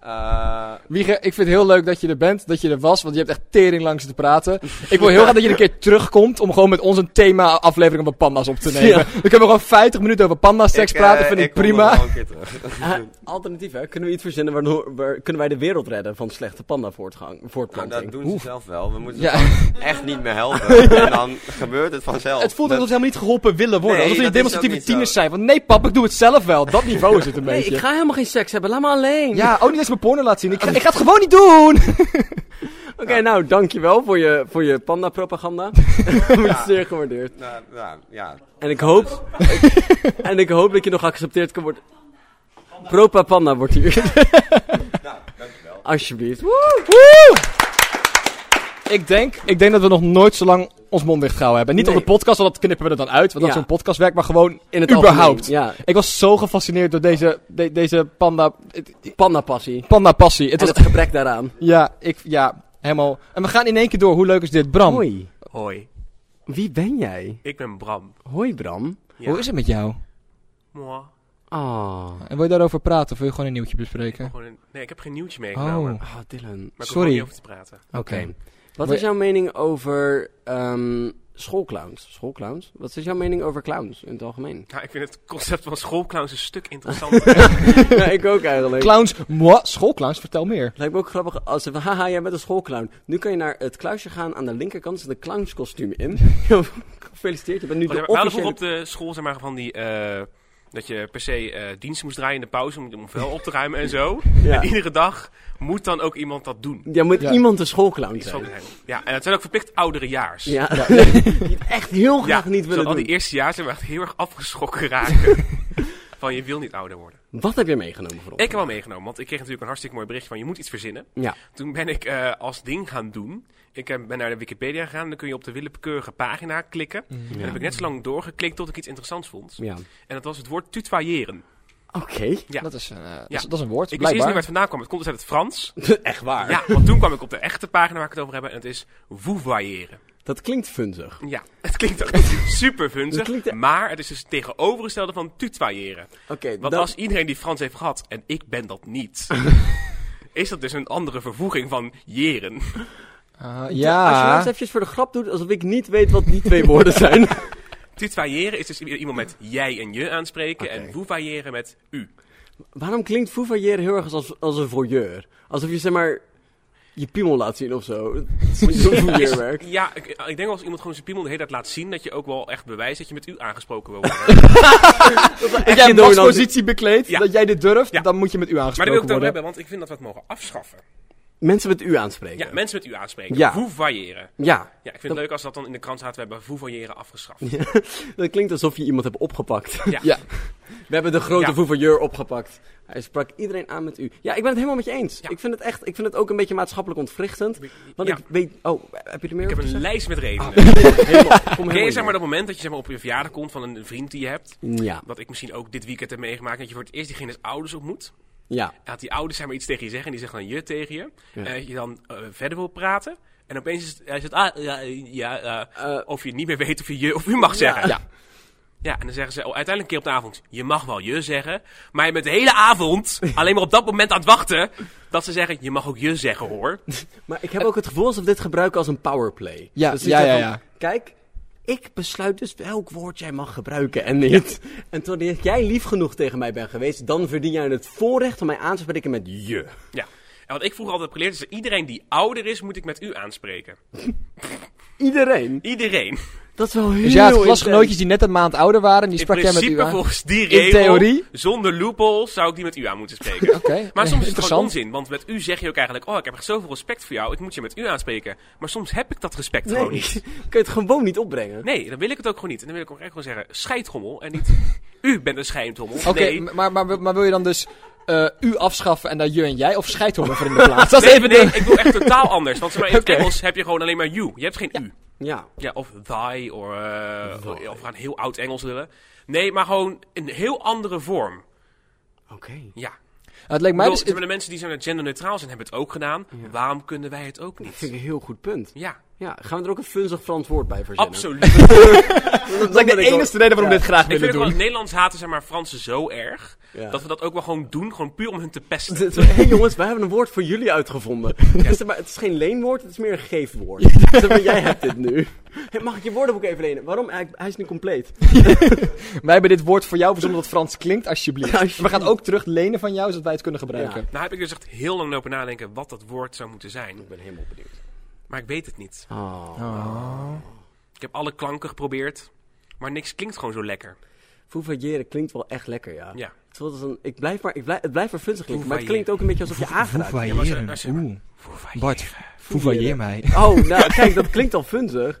Speaker 5: Eh,
Speaker 2: Wiege, ik vind het heel leuk dat je er bent, dat je er was, want je hebt echt tering langs te praten. Ik wil heel graag dat je een keer terugkomt om gewoon met ons een thema-aflevering over panda's op te nemen.
Speaker 1: Ja.
Speaker 2: Dan kunnen we gewoon 50 minuten over panda's-seks
Speaker 5: ik,
Speaker 2: praten,
Speaker 5: eh,
Speaker 2: vind ik,
Speaker 5: kom nog
Speaker 2: prima.
Speaker 5: wel een keer terug.
Speaker 1: Eh, alternatief, hè? Kunnen we iets verzinnen waardoor waar- kunnen wij de wereld redden van slechte panda
Speaker 5: Nou,
Speaker 1: voortplanting?
Speaker 5: dat doen ze zelf wel. We moeten ze
Speaker 2: Ja.
Speaker 5: gewoon echt niet meer helpen. En dan gebeurt het vanzelf.
Speaker 2: Het voelt
Speaker 5: Dat-
Speaker 2: alsof ze helemaal niet geholpen willen worden.
Speaker 5: Nee,
Speaker 2: alsof ze
Speaker 5: dat is
Speaker 2: demonstratieve
Speaker 5: ook niet
Speaker 2: tieners
Speaker 5: zo.
Speaker 2: zijn. Want nee, pap, ik doe het zelf wel. Dat niveau is het een
Speaker 1: Nee,
Speaker 2: beetje.
Speaker 1: ik ga helemaal geen seks hebben. Laat me alleen.
Speaker 2: Ja, ook niet eens mijn porno laten zien. Ik ga, ik ga het gewoon niet doen!
Speaker 1: Oké, nou, dankjewel voor je, voor je panda-propaganda. Wordt zeer gewaardeerd.
Speaker 5: Nou, ja, ja.
Speaker 1: En ik hoop... en ik hoop dat je nog geaccepteerd kan worden. Propa panda wordt hier.
Speaker 5: Nou, dankjewel.
Speaker 1: Alsjeblieft.
Speaker 2: Woe! Ik denk, ik denk dat we nog nooit zo lang ons mond dicht gehouden hebben. Niet
Speaker 1: Nee.
Speaker 2: op de podcast, want dat knippen we er dan uit. Want dat
Speaker 1: Ja.
Speaker 2: is zo'n podcast werkt, maar gewoon
Speaker 1: In het
Speaker 2: überhaupt.
Speaker 1: algemeen,
Speaker 2: Ik was zo gefascineerd door deze, de- deze panda, het-
Speaker 1: ja. Panda-passie.
Speaker 2: panda passie. Het
Speaker 1: En
Speaker 2: was,
Speaker 1: het gebrek daaraan.
Speaker 2: ja, ik, ja, helemaal. En we gaan in één keer door. Hoe leuk is dit? Bram,
Speaker 1: Hoi.
Speaker 6: Hoi,
Speaker 1: Wie ben jij?
Speaker 6: ik ben Bram.
Speaker 1: Hoi, Bram.
Speaker 6: Ja.
Speaker 2: hoe is het met jou?
Speaker 6: Mwah.
Speaker 1: Ah,
Speaker 2: En wil je daarover praten of wil je gewoon een nieuwtje bespreken?
Speaker 6: Gewoon een- Oh, Nee, ik heb geen nieuwtje meegenomen.
Speaker 2: Oh.
Speaker 6: Maar
Speaker 1: Ah, Dylan.
Speaker 6: ik hoef
Speaker 2: Sorry.
Speaker 6: er niet over te praten.
Speaker 1: Oké.
Speaker 2: Oké.
Speaker 1: Wat
Speaker 2: Maar-
Speaker 1: is jouw mening over ehm, schoolclowns? Schoolclowns? Wat is jouw mening over clowns in het algemeen?
Speaker 6: Nou, ik vind het concept van schoolclowns een stuk interessanter.
Speaker 1: ja, ik ook eigenlijk.
Speaker 2: Clowns, moi, schoolclowns, vertel meer.
Speaker 1: Lijkt me ook grappig als ze van, haha, jij bent een schoolclown. Nu kan je naar het kluisje gaan, aan de linkerkant zit een clownskostuum in. Gefeliciteerd, je bent nu
Speaker 6: Maar
Speaker 1: de
Speaker 6: we hadden vroeger
Speaker 1: officiële...
Speaker 6: op de school zeg maar, van die... eh, dat je per se eh, diensten moest draaien in de pauze om om vuil op te ruimen en zo.
Speaker 1: Ja.
Speaker 6: En iedere dag moet dan ook iemand dat doen.
Speaker 1: Ja, moet
Speaker 2: Ja.
Speaker 1: iemand een schoolclown
Speaker 6: Iets van
Speaker 1: zijn.
Speaker 6: hen. Ja, en dat zijn ook verplicht ouderejaars.
Speaker 1: Ja, die het echt heel
Speaker 6: Ja,
Speaker 1: graag niet
Speaker 6: zodat
Speaker 1: willen
Speaker 6: al
Speaker 1: doen.
Speaker 6: die eerste jaar zijn we echt heel erg afgeschrokken raken. van je wil niet ouder worden.
Speaker 1: Wat heb je meegenomen voor ons?
Speaker 6: Ik heb wel meegenomen, want ik kreeg natuurlijk een hartstikke mooi berichtje van je moet iets verzinnen.
Speaker 1: Ja.
Speaker 6: Toen ben ik eh, als ding gaan doen. ik heb- ben naar de Wikipedia gegaan en dan kun je op de willekeurige pagina klikken.
Speaker 2: Mhm.
Speaker 6: En dan heb ik net zo lang doorgeklikt tot ik iets interessants vond.
Speaker 1: Ja.
Speaker 6: En dat was het woord tutoyeren.
Speaker 1: Oké.
Speaker 6: Ja.
Speaker 2: Dat, is een, eh, dat, is, dat is een
Speaker 6: Ik wist eerst
Speaker 2: woord,
Speaker 6: niet
Speaker 2: blijkbaar.
Speaker 6: waar het vandaan kwam. Het komt dus uit het Frans.
Speaker 1: Echt waar.
Speaker 6: Ja, want toen kwam ik op de echte pagina waar ik het over heb. En het is vouvoyeren.
Speaker 1: Dat klinkt funzig.
Speaker 6: Ja, het klinkt echt super
Speaker 1: Het
Speaker 6: funzig.
Speaker 1: klinkt e-
Speaker 6: Maar het is dus het tegenovergestelde van tutoyeren.
Speaker 1: Oké,
Speaker 6: Want
Speaker 1: dat-
Speaker 6: als iedereen die Frans heeft gehad, en ik ben dat niet... Is dat dus een andere vervoeging van jeren?
Speaker 2: Ah,
Speaker 1: Als je nou
Speaker 2: ja.
Speaker 1: eens eventjes voor de grap doet, alsof ik niet weet wat die twee woorden zijn.
Speaker 6: Tutoyeren is dus i- iemand met jij en je aanspreken en vouvoyeren met u.
Speaker 1: Waarom klinkt foefailleren heel erg als, als een voyeur? Alsof je zeg maar je piemel laat zien of zo. Dat is niet Zo'n voyeurwerk.
Speaker 6: Ja, ik, ik denk wel als iemand gewoon zijn piemel de hele tijd laat zien, dat je ook wel echt bewijst dat je met u aangesproken wil worden.
Speaker 2: Dat jij een
Speaker 1: dominant-
Speaker 2: machtspositie bekleedt,
Speaker 6: Ja.
Speaker 2: dat jij dit durft,
Speaker 6: Ja.
Speaker 2: dan moet je met u
Speaker 6: maar dat wil ik
Speaker 2: aangesproken
Speaker 6: dan
Speaker 2: worden.
Speaker 6: hebben, want ik vind dat we het mogen afschaffen.
Speaker 1: Mensen met u aanspreken.
Speaker 6: Ja, mensen met u aanspreken.
Speaker 1: Ja.
Speaker 6: Vouvoyeren.
Speaker 1: Ja,
Speaker 6: Ja, ik vind het leuk als dat dan in de krant staat, we hebben vouvoyeren afgeschaft. Ja.
Speaker 1: dat klinkt alsof je iemand hebt opgepakt.
Speaker 6: Ja.
Speaker 2: Ja.
Speaker 1: We hebben de grote
Speaker 6: Ja.
Speaker 1: voefailleur opgepakt. Hij sprak iedereen aan met u. Ja, ik ben het helemaal met je eens.
Speaker 6: Ja.
Speaker 1: Ik vind het echt, ik vind het ook een beetje maatschappelijk ontwrichtend. Want
Speaker 6: Ja.
Speaker 1: ik weet, oh, heb je er meer
Speaker 6: Ik heb
Speaker 1: over
Speaker 6: een
Speaker 1: te
Speaker 6: lijst met redenen.
Speaker 1: zeggen? Helemaal, Ah, kom
Speaker 6: Ken
Speaker 1: helemaal
Speaker 6: je zeg maar
Speaker 1: in.
Speaker 6: dat moment dat je zeg maar, op je verjaardag komt van een vriend die je hebt?
Speaker 1: Ja,
Speaker 6: Wat ik misschien ook dit weekend heb meegemaakt. Dat je voor het eerst diegene's ouders ontmoet.
Speaker 1: ja.
Speaker 6: En dat die ouders zeg maar, iets tegen je zeggen. En die zeggen dan je tegen je.
Speaker 1: Ja.
Speaker 6: En dat je dan eh, verder wil praten. En opeens is het, hij zegt, ah, ja, ja, eh,
Speaker 1: Eh.
Speaker 6: of je niet meer weet of je je of u mag zeggen.
Speaker 2: ja.
Speaker 6: Ja, en dan zeggen ze oh, uiteindelijk een keer op de avond, je mag wel je zeggen. Maar je bent de hele avond alleen maar op dat moment aan het wachten. Dat ze zeggen, je mag ook je zeggen hoor.
Speaker 1: Maar ik heb ook het gevoel alsof we dit gebruiken als een powerplay.
Speaker 2: Ja,
Speaker 1: Dus ik
Speaker 2: ja,
Speaker 1: zeg
Speaker 2: ja,
Speaker 1: van,
Speaker 2: ja.
Speaker 1: Kijk, ik besluit dus welk woord jij mag gebruiken en niet. En totdat jij lief genoeg tegen mij bent geweest, dan verdien jij het voorrecht om mij aan te spreken met je.
Speaker 6: Ja. En wat ik vroeger altijd heb geleerd is, dat iedereen die ouder is, moet ik met u aanspreken.
Speaker 1: Iedereen.
Speaker 6: Iedereen.
Speaker 1: Dat is wel heel
Speaker 2: Dus ja, het
Speaker 1: intens.
Speaker 2: klasgenootjes die net een maand ouder waren, die
Speaker 6: In
Speaker 2: sprak jij met u
Speaker 6: principe
Speaker 2: aan. Oké.
Speaker 6: volgens die
Speaker 2: In
Speaker 6: regel,
Speaker 2: theorie?
Speaker 6: zonder loophole, zou ik die met u aan moeten spreken. Maar soms is het gewoon
Speaker 2: interessant.
Speaker 6: onzin, want met u zeg je ook eigenlijk... oh, ik heb echt zoveel respect voor jou, ik moet je met u aanspreken. Maar soms heb ik dat respect
Speaker 1: Nee,
Speaker 6: gewoon niet.
Speaker 1: kun je het gewoon niet opbrengen.
Speaker 6: Nee, dan wil ik het ook gewoon niet. En dan wil ik ook echt gewoon zeggen, scheidhommel en niet... u bent een scheidhommel.
Speaker 2: Oké,
Speaker 6: nee,
Speaker 2: m- maar, maar, maar wil je dan dus eh, u afschaffen en dan je en jij? Of scheidhonger voor in de plaats? Dat is
Speaker 6: nee,
Speaker 2: even
Speaker 6: nee,
Speaker 2: de-
Speaker 6: ik wil echt totaal anders. Want zeg maar, in
Speaker 2: Oké.
Speaker 6: het Engels heb je gewoon alleen maar you. Je hebt geen u.
Speaker 1: Ja.
Speaker 6: Ja, of thy, or, eh, of we gaan heel oud Engels willen. Nee, maar gewoon een heel andere vorm.
Speaker 1: Oké.
Speaker 6: Ja.
Speaker 2: Nou, het lijkt mij
Speaker 6: Maar
Speaker 2: dus...
Speaker 6: de mensen die zo naar genderneutraal zijn, hebben het ook gedaan. Waarom kunnen wij het ook
Speaker 1: Dat vind
Speaker 6: niet?
Speaker 1: ik een heel goed punt.
Speaker 6: Ja,
Speaker 1: Ja, gaan we er ook een funzig Frans woord bij verzinnen?
Speaker 6: absoluut.
Speaker 1: Dat
Speaker 2: Dat is de enige reden waarom we dit graag
Speaker 6: Ik vind
Speaker 2: willen
Speaker 6: ook wel,
Speaker 2: doen.
Speaker 6: Nederlands haten zeg maar Fransen zo erg,
Speaker 1: Ja.
Speaker 6: dat we dat ook wel gewoon doen, gewoon puur om hun te pesten.
Speaker 1: Hé hey jongens, wij hebben een woord voor jullie uitgevonden. Dus, maar het is geen leenwoord, het is meer een geefwoord. Zeg maar, jij hebt dit nu. Hey, mag ik je woordenboek even lenen? Waarom? Hij, hij is nu compleet.
Speaker 2: Wij hebben dit woord voor jou verzonnen dat Frans klinkt, alsjeblieft.
Speaker 1: Alsjeblieft.
Speaker 2: We gaan ook terug lenen van jou, zodat wij het kunnen gebruiken.
Speaker 6: Nou heb ik dus echt heel lang over nadenken wat dat woord zou moeten zijn,
Speaker 1: Ik ben helemaal benieuwd.
Speaker 6: maar ik weet het niet.
Speaker 1: Oh.
Speaker 6: Ik heb alle klanken geprobeerd, maar niks klinkt gewoon zo lekker.
Speaker 1: Fouvageren klinkt wel echt lekker, ja.
Speaker 6: Ja.
Speaker 1: Het, is wel als een, ik blijf maar, ik blijf, het blijft maar funzig klinken, maar het
Speaker 6: Fouvageren.
Speaker 1: klinkt ook een beetje alsof je aangeraakt wordt.
Speaker 6: maar ze- maar ze-
Speaker 2: Oeh,
Speaker 6: Foevailleren.
Speaker 2: foevailleer mij.
Speaker 1: Oh, nou kijk, dat klinkt al funzig.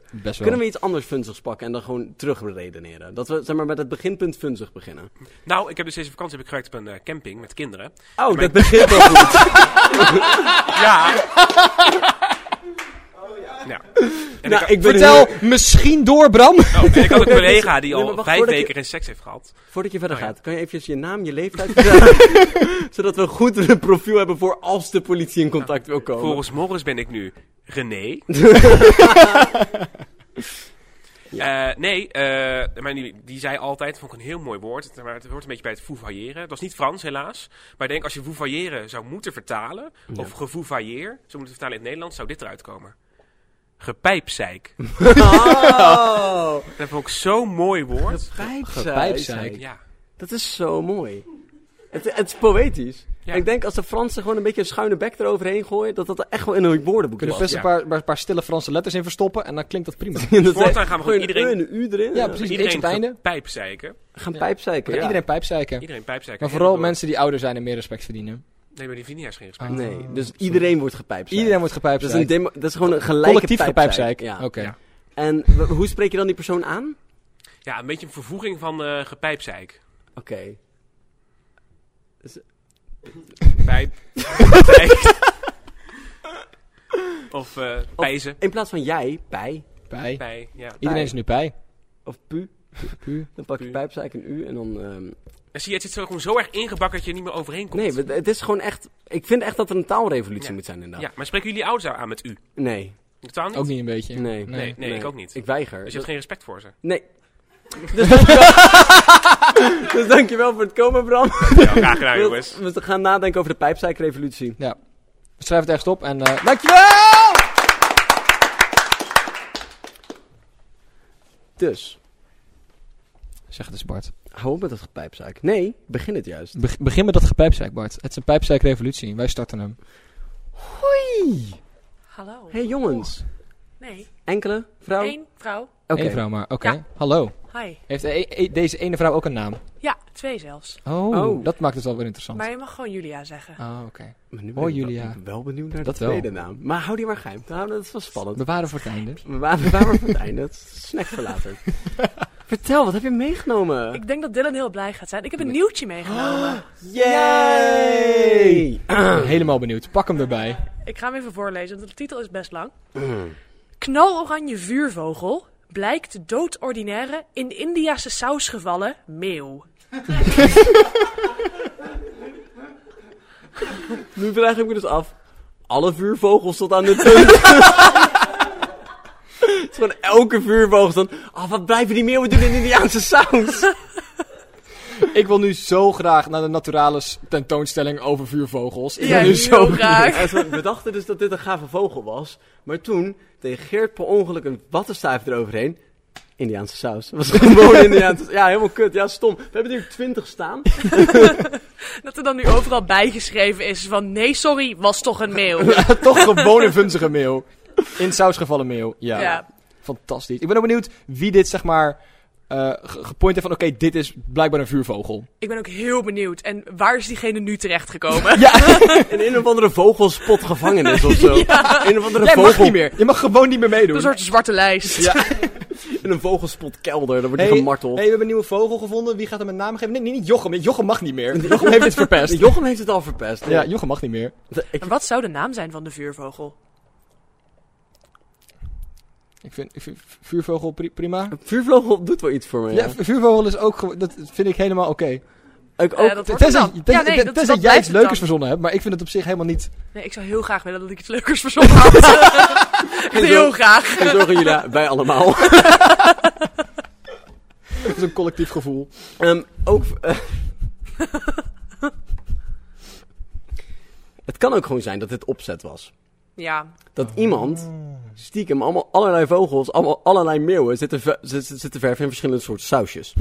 Speaker 2: Best wel.
Speaker 1: Kunnen we iets anders funzigs pakken en dan gewoon terugredeneren? Dat we zeg maar, met het beginpunt funzig beginnen.
Speaker 6: Nou, ik heb dus deze vakantie heb ik gewerkt op een eh, camping met kinderen.
Speaker 1: Oh,
Speaker 6: mijn-
Speaker 1: dat begint wel goed.
Speaker 6: Ja. ja. En
Speaker 1: Oh, nou,
Speaker 6: ik,
Speaker 1: ik ben
Speaker 2: Vertel
Speaker 1: heel-
Speaker 2: misschien door, Bram.
Speaker 6: oh, en ik had een collega die
Speaker 1: Nee, maar
Speaker 6: al
Speaker 1: wacht,
Speaker 6: vijf
Speaker 1: voordat je-
Speaker 6: weken geen seks heeft gehad.
Speaker 1: Voordat je verder
Speaker 6: Oh ja.
Speaker 1: gaat, kan je eventjes je naam, je leeftijd vertellen? Zodat we een goed een profiel hebben voor als de politie in contact wil komen.
Speaker 6: Volgens Morris ben ik nu René. Eh, nee, eh, maar die, die zei altijd, vond ik een heel mooi woord, het- maar het hoort een beetje bij het fouvailleren. Het was niet Frans helaas, maar ik denk als je fouvailleren zou moeten vertalen, of gefouvailleer, zou moeten vertalen in het Nederlands, zou dit eruit komen. Gepijpzeik.
Speaker 1: Oh,
Speaker 6: Dat vond ik zo'n mooi woord.
Speaker 2: Gepijpzeik.
Speaker 6: Ja.
Speaker 1: Dat is zo mooi. Het, het is poëtisch.
Speaker 6: Ja.
Speaker 1: En ik denk als de Fransen gewoon een beetje een schuine bek eroverheen gooien, dat dat er echt wel in hun woordenboek
Speaker 2: Kunnen
Speaker 1: is.
Speaker 2: we best
Speaker 6: Ja.
Speaker 2: een paar, paar, paar stille Franse letters in verstoppen en dan klinkt dat prima.
Speaker 6: Voortaan gaan we gewoon
Speaker 1: Gooi een
Speaker 6: iedereen,
Speaker 1: E en een U
Speaker 2: Ja,
Speaker 1: erin. Ja,
Speaker 2: precies. Eentje op het einde.
Speaker 6: iedereen pijpzeiken.
Speaker 1: Gaan pijpzeiken.
Speaker 2: Kan
Speaker 1: Ja.
Speaker 2: Iedereen pijpzeiken.
Speaker 6: Iedereen pijpzeiken.
Speaker 2: Maar vooral
Speaker 6: En door-
Speaker 2: mensen die ouder zijn en meer respect verdienen. Ah,
Speaker 6: Nee, maar die vinden juist geen respect.
Speaker 1: Nee, dus iedereen wordt gepijpzeikt.
Speaker 2: Iedereen wordt gepijpzeikt.
Speaker 1: dat is, een demo- dat is gewoon een gelijke
Speaker 2: Collectief gepijpzeik.
Speaker 1: pijpzeik. Ja.
Speaker 2: Oké.
Speaker 6: Ja.
Speaker 1: En w- hoe spreek je dan die persoon aan?
Speaker 6: Ja, een beetje een vervoeging van eh gepijpzeik.
Speaker 1: Oké.
Speaker 6: Pijp. Of eh pijzen.
Speaker 1: In plaats van jij, pij,
Speaker 2: Pij.
Speaker 6: Bij, ja.
Speaker 2: Iedereen is nu pij.
Speaker 1: of pu,
Speaker 2: Puur.
Speaker 1: dan pak je
Speaker 6: Pu.
Speaker 1: pijpzeik en u en dan... ehm,
Speaker 6: En zie je, het zit zo, gewoon zo erg ingebakken dat je er niet meer overheen komt.
Speaker 1: nee, we- het is gewoon echt... Ik vind echt dat er een taalrevolutie
Speaker 6: Ja.
Speaker 1: moet zijn inderdaad.
Speaker 6: Ja, maar spreken jullie ouders aan met u?
Speaker 1: Nee,
Speaker 6: Totaal niet?
Speaker 2: Ook niet een beetje.
Speaker 1: nee.
Speaker 6: Nee, nee, ik ook niet.
Speaker 1: Ik weiger.
Speaker 6: Dus je hebt geen respect voor ze.
Speaker 1: Nee. Dus dankjewel. dus dankjewel voor het komen, Bram.
Speaker 6: Ja, graag gedaan, jongens.
Speaker 1: We gaan nadenken over de pijpzeikrevolutie.
Speaker 2: Ja. Schrijf het ergens op en eh dankjewel!
Speaker 1: Dus,
Speaker 2: Zeg het eens Bart.
Speaker 1: hou op met dat gepijpzeik. Nee, begin het juist.
Speaker 2: Beg- begin met dat gepijpzeik Bart. Het is een pijpzeikrevolutie. Wij starten hem.
Speaker 7: Hallo.
Speaker 1: hey, jongens.
Speaker 7: Nee,
Speaker 1: Enkele vrouw?
Speaker 7: één vrouw.
Speaker 1: Oké.
Speaker 2: Eén vrouw maar. Oké.
Speaker 7: Ja.
Speaker 2: Hallo.
Speaker 7: Hi.
Speaker 2: Heeft e- e- deze ene vrouw ook een naam?
Speaker 7: Ja, twee zelfs.
Speaker 2: Oh,
Speaker 1: Oh.
Speaker 2: dat maakt het wel weer interessant.
Speaker 7: Maar je mag gewoon Julia zeggen.
Speaker 2: Oh, oké.
Speaker 1: Maar nu ben
Speaker 2: Hoi,
Speaker 1: ik wel-
Speaker 2: Julia.
Speaker 1: Ik ben wel benieuwd naar
Speaker 2: Dat
Speaker 1: de
Speaker 2: wel.
Speaker 1: tweede naam. Maar hou die maar geheim. Nou, dat is wel spannend.
Speaker 2: Bewaren voor het einde.
Speaker 1: We waren we waren voor het einde. Dat is een snack voor later. Vertel, wat heb je meegenomen?
Speaker 7: Ik denk dat Dylan heel blij gaat zijn. Ik heb een nieuwtje meegenomen.
Speaker 1: Oh, Yay!
Speaker 2: Helemaal benieuwd. Pak hem erbij.
Speaker 7: Ik ga hem even voorlezen, want de titel is best lang. Knaloranje vuurvogel blijkt doodordinaire in Indiase saus gevallen meeuw.
Speaker 1: Nu vraag ik me dus af. Alle vuurvogels tot aan de punt. Het is gewoon elke vuurvogel dan. Ah, wat blijven die meeuwen doen in Indiaanse saus?
Speaker 2: Ik wil nu zo graag naar de Naturalis tentoonstelling over vuurvogels. Ik
Speaker 7: Ja,
Speaker 2: ben nu zo
Speaker 7: heel
Speaker 2: benieuwd.
Speaker 7: graag.
Speaker 1: En zo- we dachten dus dat dit een gave vogel was. Maar toen reageert per ongeluk een wattenstaaf eroverheen. Indiaanse saus. Dat was gewoon Indiaanse saus. Ja, helemaal kut. Ja, stom. We hebben hier twintig staan.
Speaker 7: Dat er dan nu overal bijgeschreven is van nee, sorry, was toch een meeuw. Ja.
Speaker 2: Toch gewoon een vunzige meeuw. In saus gevallen meeuw. Ja. Fantastisch. Ik ben ook benieuwd wie dit, zeg maar, eh, ge- gepoint heeft van... Oké, dit is blijkbaar een vuurvogel.
Speaker 7: Ik ben ook heel benieuwd. En waar is diegene nu terechtgekomen?
Speaker 1: In een of andere vogelspot gevangenis of zo. In een of andere
Speaker 2: Jij mag
Speaker 1: vogel,
Speaker 2: niet meer. Je mag gewoon niet meer meedoen.
Speaker 7: Een soort zwarte lijst.
Speaker 2: Ja.
Speaker 1: In een vogelspot kelder. Dan wordt
Speaker 2: Hey,
Speaker 1: die gemarteld.
Speaker 2: hey, we hebben een nieuwe vogel gevonden. Wie gaat hem een naam geven? Nee, nee, niet Jochem. Jochem mag niet meer. Jochem heeft dit verpest.
Speaker 1: Jochem heeft het al verpest.
Speaker 2: Ja, Jochem mag niet meer.
Speaker 1: Ik-
Speaker 7: En wat zou de naam zijn van de vuurvogel?
Speaker 2: Ik vind, ik vind vuurvogel pri- prima.
Speaker 1: Vuurvogel doet wel iets voor me.
Speaker 2: Ja,
Speaker 1: Ja.
Speaker 2: vu- vuurvogel is ook... gewoon- Dat vind ik helemaal oké.
Speaker 1: Ik
Speaker 7: Eh,
Speaker 1: ook.
Speaker 7: dat wordt
Speaker 2: Tenzij
Speaker 7: het dan.
Speaker 2: tenzij-
Speaker 7: Ja, nee, dat-
Speaker 2: tenzij
Speaker 7: dat
Speaker 2: jij
Speaker 7: blijft
Speaker 2: iets
Speaker 7: het
Speaker 2: leukers
Speaker 7: dan.
Speaker 2: verzonnen hebt, maar ik vind het op zich helemaal niet...
Speaker 7: Nee, ik zou heel graag willen dat ik iets leukers verzonnen had. Echt heel graag.
Speaker 1: En zorgen jullie daar- wij allemaal.
Speaker 2: Het is een collectief gevoel.
Speaker 1: Ehm, ook. eh, het kan ook gewoon zijn dat dit opzet was.
Speaker 7: Ja,
Speaker 1: Dat iemand stiekem allemaal allerlei vogels, allemaal allerlei meeuwen zitten, ver- zit- zit- zitten verven in verschillende soorten sausjes.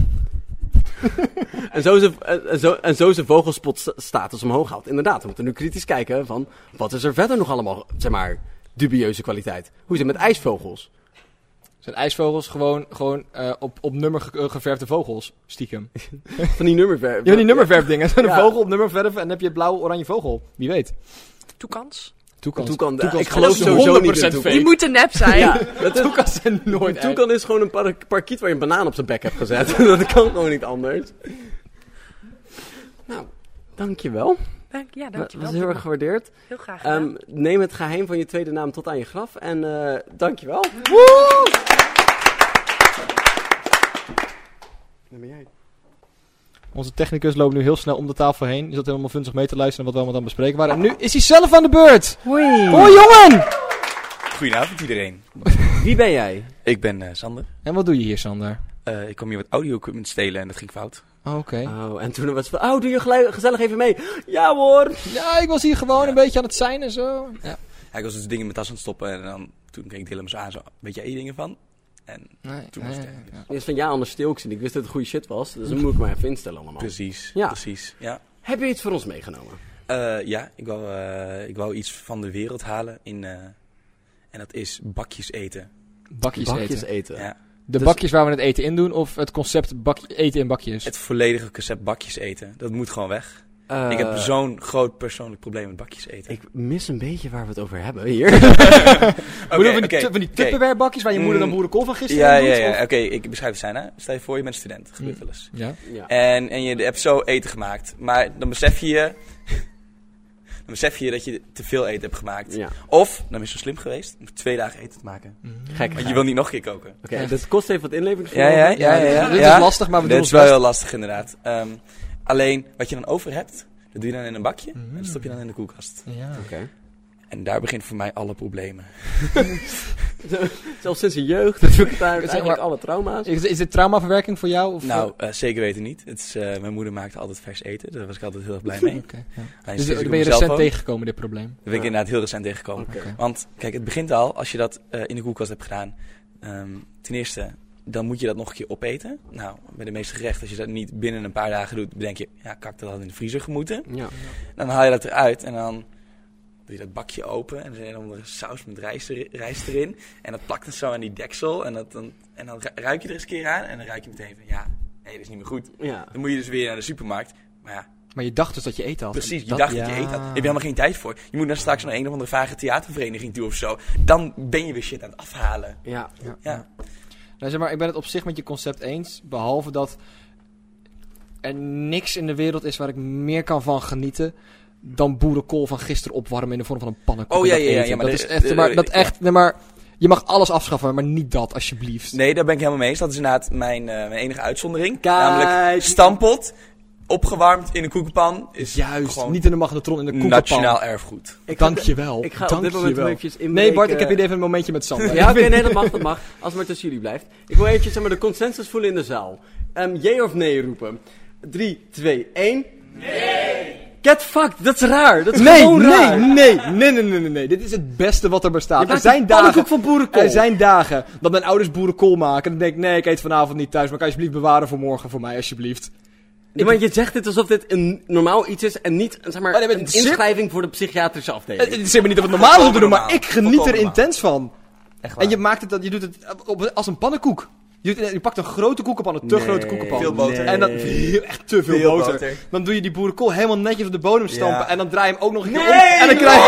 Speaker 1: en, zo ze, en, en zo, en zo zijn vogelspotstatus omhoog houdt. Inderdaad, we moeten nu kritisch kijken van wat is er verder nog allemaal, zeg maar, dubieuze kwaliteit. Hoe zit het met ijsvogels?
Speaker 2: Zijn ijsvogels gewoon, gewoon eh, op, op nummer ge- eh, geverfde vogels? Stiekem. Je
Speaker 1: Van die nummerver.
Speaker 2: hebt die nummerverfdingen. Zo'n
Speaker 1: Eh, Ja.
Speaker 2: vogel op nummer verven en dan heb je blauw-oranje vogel. Wie weet.
Speaker 7: toekans.
Speaker 2: Toekans.
Speaker 1: Toekan,
Speaker 2: Toekans.
Speaker 1: ik geloof
Speaker 2: Dat is
Speaker 1: sowieso niet in
Speaker 2: 100%
Speaker 1: toekan.
Speaker 7: Die
Speaker 2: fake.
Speaker 7: moet een nep zijn.
Speaker 1: Ja, dat is,
Speaker 2: Toekans zijn nooit echt.
Speaker 1: Toekan is gewoon een par parkiet waar je een banaan op zijn bek hebt gezet. dat kan gewoon niet anders. Nou, dankjewel.
Speaker 7: Dank, ja,
Speaker 1: Dat
Speaker 7: dankjewel.
Speaker 1: was heel erg gewaardeerd.
Speaker 7: Heel graag gedaan.
Speaker 1: Ehm, neem het geheim van je tweede naam tot aan je graf. En eh dankjewel.
Speaker 2: Onze technicus loopt nu heel snel om de tafel heen. Die zat helemaal vunzig mee te luisteren wat we allemaal aan het bespreken waren. En nu is hij zelf aan de beurt.
Speaker 1: Hoi.
Speaker 2: Oh jongen!
Speaker 8: Goedenavond iedereen.
Speaker 1: Wie ben jij?
Speaker 8: Ik ben eh, Sander.
Speaker 2: En wat doe je hier, Sander?
Speaker 8: Eh, ik kwam hier wat audio equipment stelen en dat ging fout.
Speaker 2: Oh, Oké.
Speaker 1: Oh, en toen was het van, oh, doe je gelu- gezellig even mee. Ja hoor.
Speaker 2: Ja, ik was hier gewoon een beetje aan het zijn en zo.
Speaker 8: Ja, ik was dus dingen in mijn tas aan het stoppen en dan, toen keek Dylan me zo aan, zo, weet jij hier dingen van? En
Speaker 2: Nee,
Speaker 8: toen was het... eh,
Speaker 1: Eerst van, ja, anders stil ik ze niet. Ik wist dat het goede shit was. Dus dan moet ik maar even instellen allemaal.
Speaker 8: Precies,
Speaker 1: Ja.
Speaker 8: precies, ja.
Speaker 1: Heb je iets voor ons meegenomen?
Speaker 8: Eh, ja, ik wou, eh, ik wou iets van de wereld halen in, eh, en dat is bakjes eten.
Speaker 2: Bakjes,
Speaker 1: Bakjes
Speaker 2: eten.
Speaker 1: eten.
Speaker 8: Ja.
Speaker 2: De
Speaker 1: Dus-
Speaker 2: bakjes waar we het eten in doen of het concept bak eten in bakjes?
Speaker 8: Het volledige concept bakjes eten, dat moet gewoon weg.
Speaker 1: Eh,
Speaker 8: ik heb zo'n groot persoonlijk probleem met bakjes eten.
Speaker 1: Ik mis een beetje waar we het over hebben hier.
Speaker 8: Oké,
Speaker 2: Bedoel, van die,
Speaker 8: oké,
Speaker 2: tu- van die
Speaker 8: oké.
Speaker 2: Tupperware bakjes waar je moeder dan
Speaker 8: Mm.
Speaker 2: boerenkool van gisteren
Speaker 8: Ja,
Speaker 2: in
Speaker 8: ja,
Speaker 2: doet,
Speaker 8: ja.
Speaker 2: of- Hmm.
Speaker 8: Oké, ik beschrijf het zijn, hè. Stel je voor, je bent student. Dat gebeurt wel eens.
Speaker 2: Ja.
Speaker 1: ja.
Speaker 8: En, en je hebt zo eten gemaakt. Maar dan besef je je Dan besef je dat je te veel eten hebt gemaakt.
Speaker 1: Ja,
Speaker 8: Of, dan is je slim geweest, om twee dagen eten te maken.
Speaker 2: Hmm.
Speaker 1: gek.
Speaker 8: Want je wil niet nog een keer koken.
Speaker 1: Oké, dat kost even wat
Speaker 8: Ja,
Speaker 1: inleveringsvermogen.
Speaker 8: ja, ja. ja, ja.
Speaker 2: Dit
Speaker 8: Ja.
Speaker 2: is lastig, maar we doen
Speaker 8: Dit
Speaker 2: ons
Speaker 8: is wel
Speaker 2: best.
Speaker 8: heel lastig inderdaad. Ehm, alleen, wat je dan over hebt, dat doe je dan in een bakje. En dat stop je dan in de koelkast.
Speaker 2: Mhm. Ja.
Speaker 1: Oké.
Speaker 8: En daar begint voor mij alle problemen.
Speaker 1: Zelfs sinds je jeugd, dat ik daar
Speaker 2: Zeg
Speaker 1: eigenlijk
Speaker 2: maar-
Speaker 1: alle trauma's.
Speaker 2: Is, is dit traumaverwerking voor jou? Of
Speaker 8: Nou, eh, zeker weten niet. Het is, eh, mijn moeder maakte altijd vers eten. Daar was ik altijd heel erg blij mee.
Speaker 2: Oké, ja.
Speaker 8: Alleen
Speaker 2: Dus
Speaker 8: sinds ik
Speaker 2: ben je
Speaker 8: op mezelf
Speaker 2: recent
Speaker 8: woon,
Speaker 2: tegengekomen, dit probleem?
Speaker 8: Dat ben ik inderdaad heel recent tegengekomen.
Speaker 2: Oké.
Speaker 8: Want kijk, het begint al als je dat eh, in de koelkast hebt gedaan. Ehm, ten eerste, dan moet je dat nog een keer opeten. Nou, bij de meeste gerechten, als je dat niet binnen een paar dagen doet, bedenk je, ja, kak, dat had in de vriezer gemoeten.
Speaker 1: Ja.
Speaker 8: Dan haal je dat eruit en dan doe je dat bakje open en er is een of andere saus met rijst, er- rijst erin. En dat plakt het zo aan die deksel en, dat, dan, en dan ru- ruik je er eens een keer aan en dan ruik je meteen van, ja, nee, dat is niet meer goed.
Speaker 1: Ja.
Speaker 8: Dan moet je dus weer naar de supermarkt. Maar ja,
Speaker 2: Maar je dacht dus dat je eten had.
Speaker 8: Precies, je
Speaker 2: Dat-
Speaker 8: dacht dat
Speaker 2: ja.
Speaker 8: je eet had. Daar heb je helemaal geen tijd voor. Je moet dan straks naar een of andere vage theatervereniging toe of zo. Dan ben je weer shit aan het afhalen.
Speaker 1: Ja.
Speaker 8: Ja.
Speaker 2: Nou, zeg maar, ik ben het op zich met je concept eens. Behalve dat er niks in de wereld is waar ik meer kan van genieten. dan boerenkool van gisteren opwarmen in de vorm van een pannenkoek.
Speaker 8: Oh,
Speaker 2: en
Speaker 8: ja,
Speaker 2: dat
Speaker 8: ja, ja,
Speaker 2: eten.
Speaker 8: ja, maar
Speaker 2: dat
Speaker 8: de-
Speaker 2: is echt.
Speaker 8: de-
Speaker 2: maar, dat
Speaker 8: ja.
Speaker 2: echt nee, maar je mag alles afschaffen, maar niet dat, alsjeblieft.
Speaker 8: Nee, daar ben ik helemaal mee eens. Dat is inderdaad mijn, eh, mijn enige uitzondering.
Speaker 1: Kijk.
Speaker 8: Namelijk stampot, opgewarmd in een koekenpan. Is
Speaker 2: Juist,
Speaker 8: gewoon
Speaker 2: niet in de magnetron in de koekenpan.
Speaker 8: nationaal erfgoed.
Speaker 1: Ik ga-
Speaker 2: Dankjewel.
Speaker 1: Ik ga op dit moment
Speaker 2: Dankjewel.
Speaker 1: wel eventjes inbreken.
Speaker 2: Nee, Bart, ik heb hier even een momentje met Sander.
Speaker 1: Ja, oké, nee, dat mag, dat mag. Als het maar tussen jullie blijft. Ik wil eventjes zeg maar, de consensus voelen in de zaal. Ehm jee of nee roepen. 3, 2, 1. Nee! Get fucked, dat is raar. Dat is
Speaker 2: Nee,
Speaker 1: gewoon
Speaker 2: nee,
Speaker 1: raar.
Speaker 2: nee, nee, nee, nee, nee, nee. Dit is het beste wat er bestaat. Er
Speaker 1: maakt
Speaker 2: zijn
Speaker 1: een pannenkoek
Speaker 2: dagen.
Speaker 1: van boerenkool.
Speaker 2: Er zijn dagen dat mijn ouders boerenkool maken. En dan denk ik, nee, ik eet vanavond niet thuis. Maar kan je alsjeblieft bewaren voor morgen voor mij, alsjeblieft.
Speaker 1: Ja, maar je zegt dit alsof dit een normaal iets is en niet zeg maar,
Speaker 2: Oh, nee, maar
Speaker 1: een
Speaker 2: het zit-
Speaker 1: inschrijving voor de psychiatrische
Speaker 2: Het
Speaker 1: afdeling.
Speaker 2: het is helemaal niet dat het normaal is om te doen, maar
Speaker 8: normaal.
Speaker 2: ik geniet
Speaker 8: Volkomen
Speaker 2: er
Speaker 8: normaal.
Speaker 2: intens van.
Speaker 8: Echt
Speaker 2: En je maakt het, dat- je doet het op- als een pannenkoek. Je, doet- je pakt een grote koekenpan, een te grote koekenpan.
Speaker 8: veel boter.
Speaker 2: En dan echt te veel,
Speaker 8: Veel
Speaker 2: boter.
Speaker 8: boter.
Speaker 2: Dan doe je die boerenkool helemaal netjes op de bodem stampen.
Speaker 8: Ja.
Speaker 2: En dan draai je hem ook nog een keer om. En dan krijg je.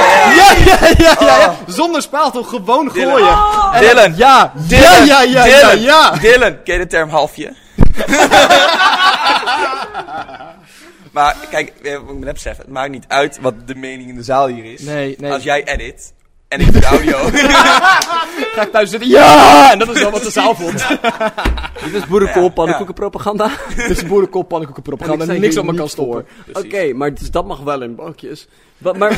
Speaker 2: Ja, ja, ja, ja, ja. Zonder spatel gewoon
Speaker 8: Oh. Dylan.
Speaker 2: gooien. En dan-
Speaker 8: Dylan.
Speaker 2: Ja, ja, ja, ja, ja,
Speaker 8: Dylan,
Speaker 2: ja.
Speaker 8: Dylan, ken je de term halfje? maar kijk, eh, ik moet net beseffen, het maakt niet uit wat de mening in de zaal hier is.
Speaker 2: Nee, nee.
Speaker 8: Als jij edit en ik doe de audio.
Speaker 2: Ga ik thuis zitten. Ja! En dat is dan wat de zaal vond.
Speaker 1: Dit is boerenkool, pannenkoekenpropaganda.
Speaker 2: Dit is boerenkool, pannenkoeken, propaganda.
Speaker 1: En ik zei
Speaker 2: Niks
Speaker 1: hier
Speaker 2: op me
Speaker 1: niet
Speaker 2: kan stoppen.
Speaker 1: Oké, maar dus dat mag wel in bakjes. Wat, maar,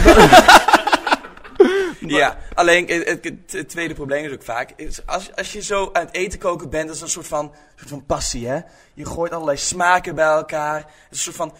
Speaker 8: Ja, alleen het, het- het- het tweede probleem is ook vaak. is Als, als je zo aan het eten koken bent, dat is een soort van, soort van passie, hè? Je gooit allerlei smaken bij elkaar. Het is een soort van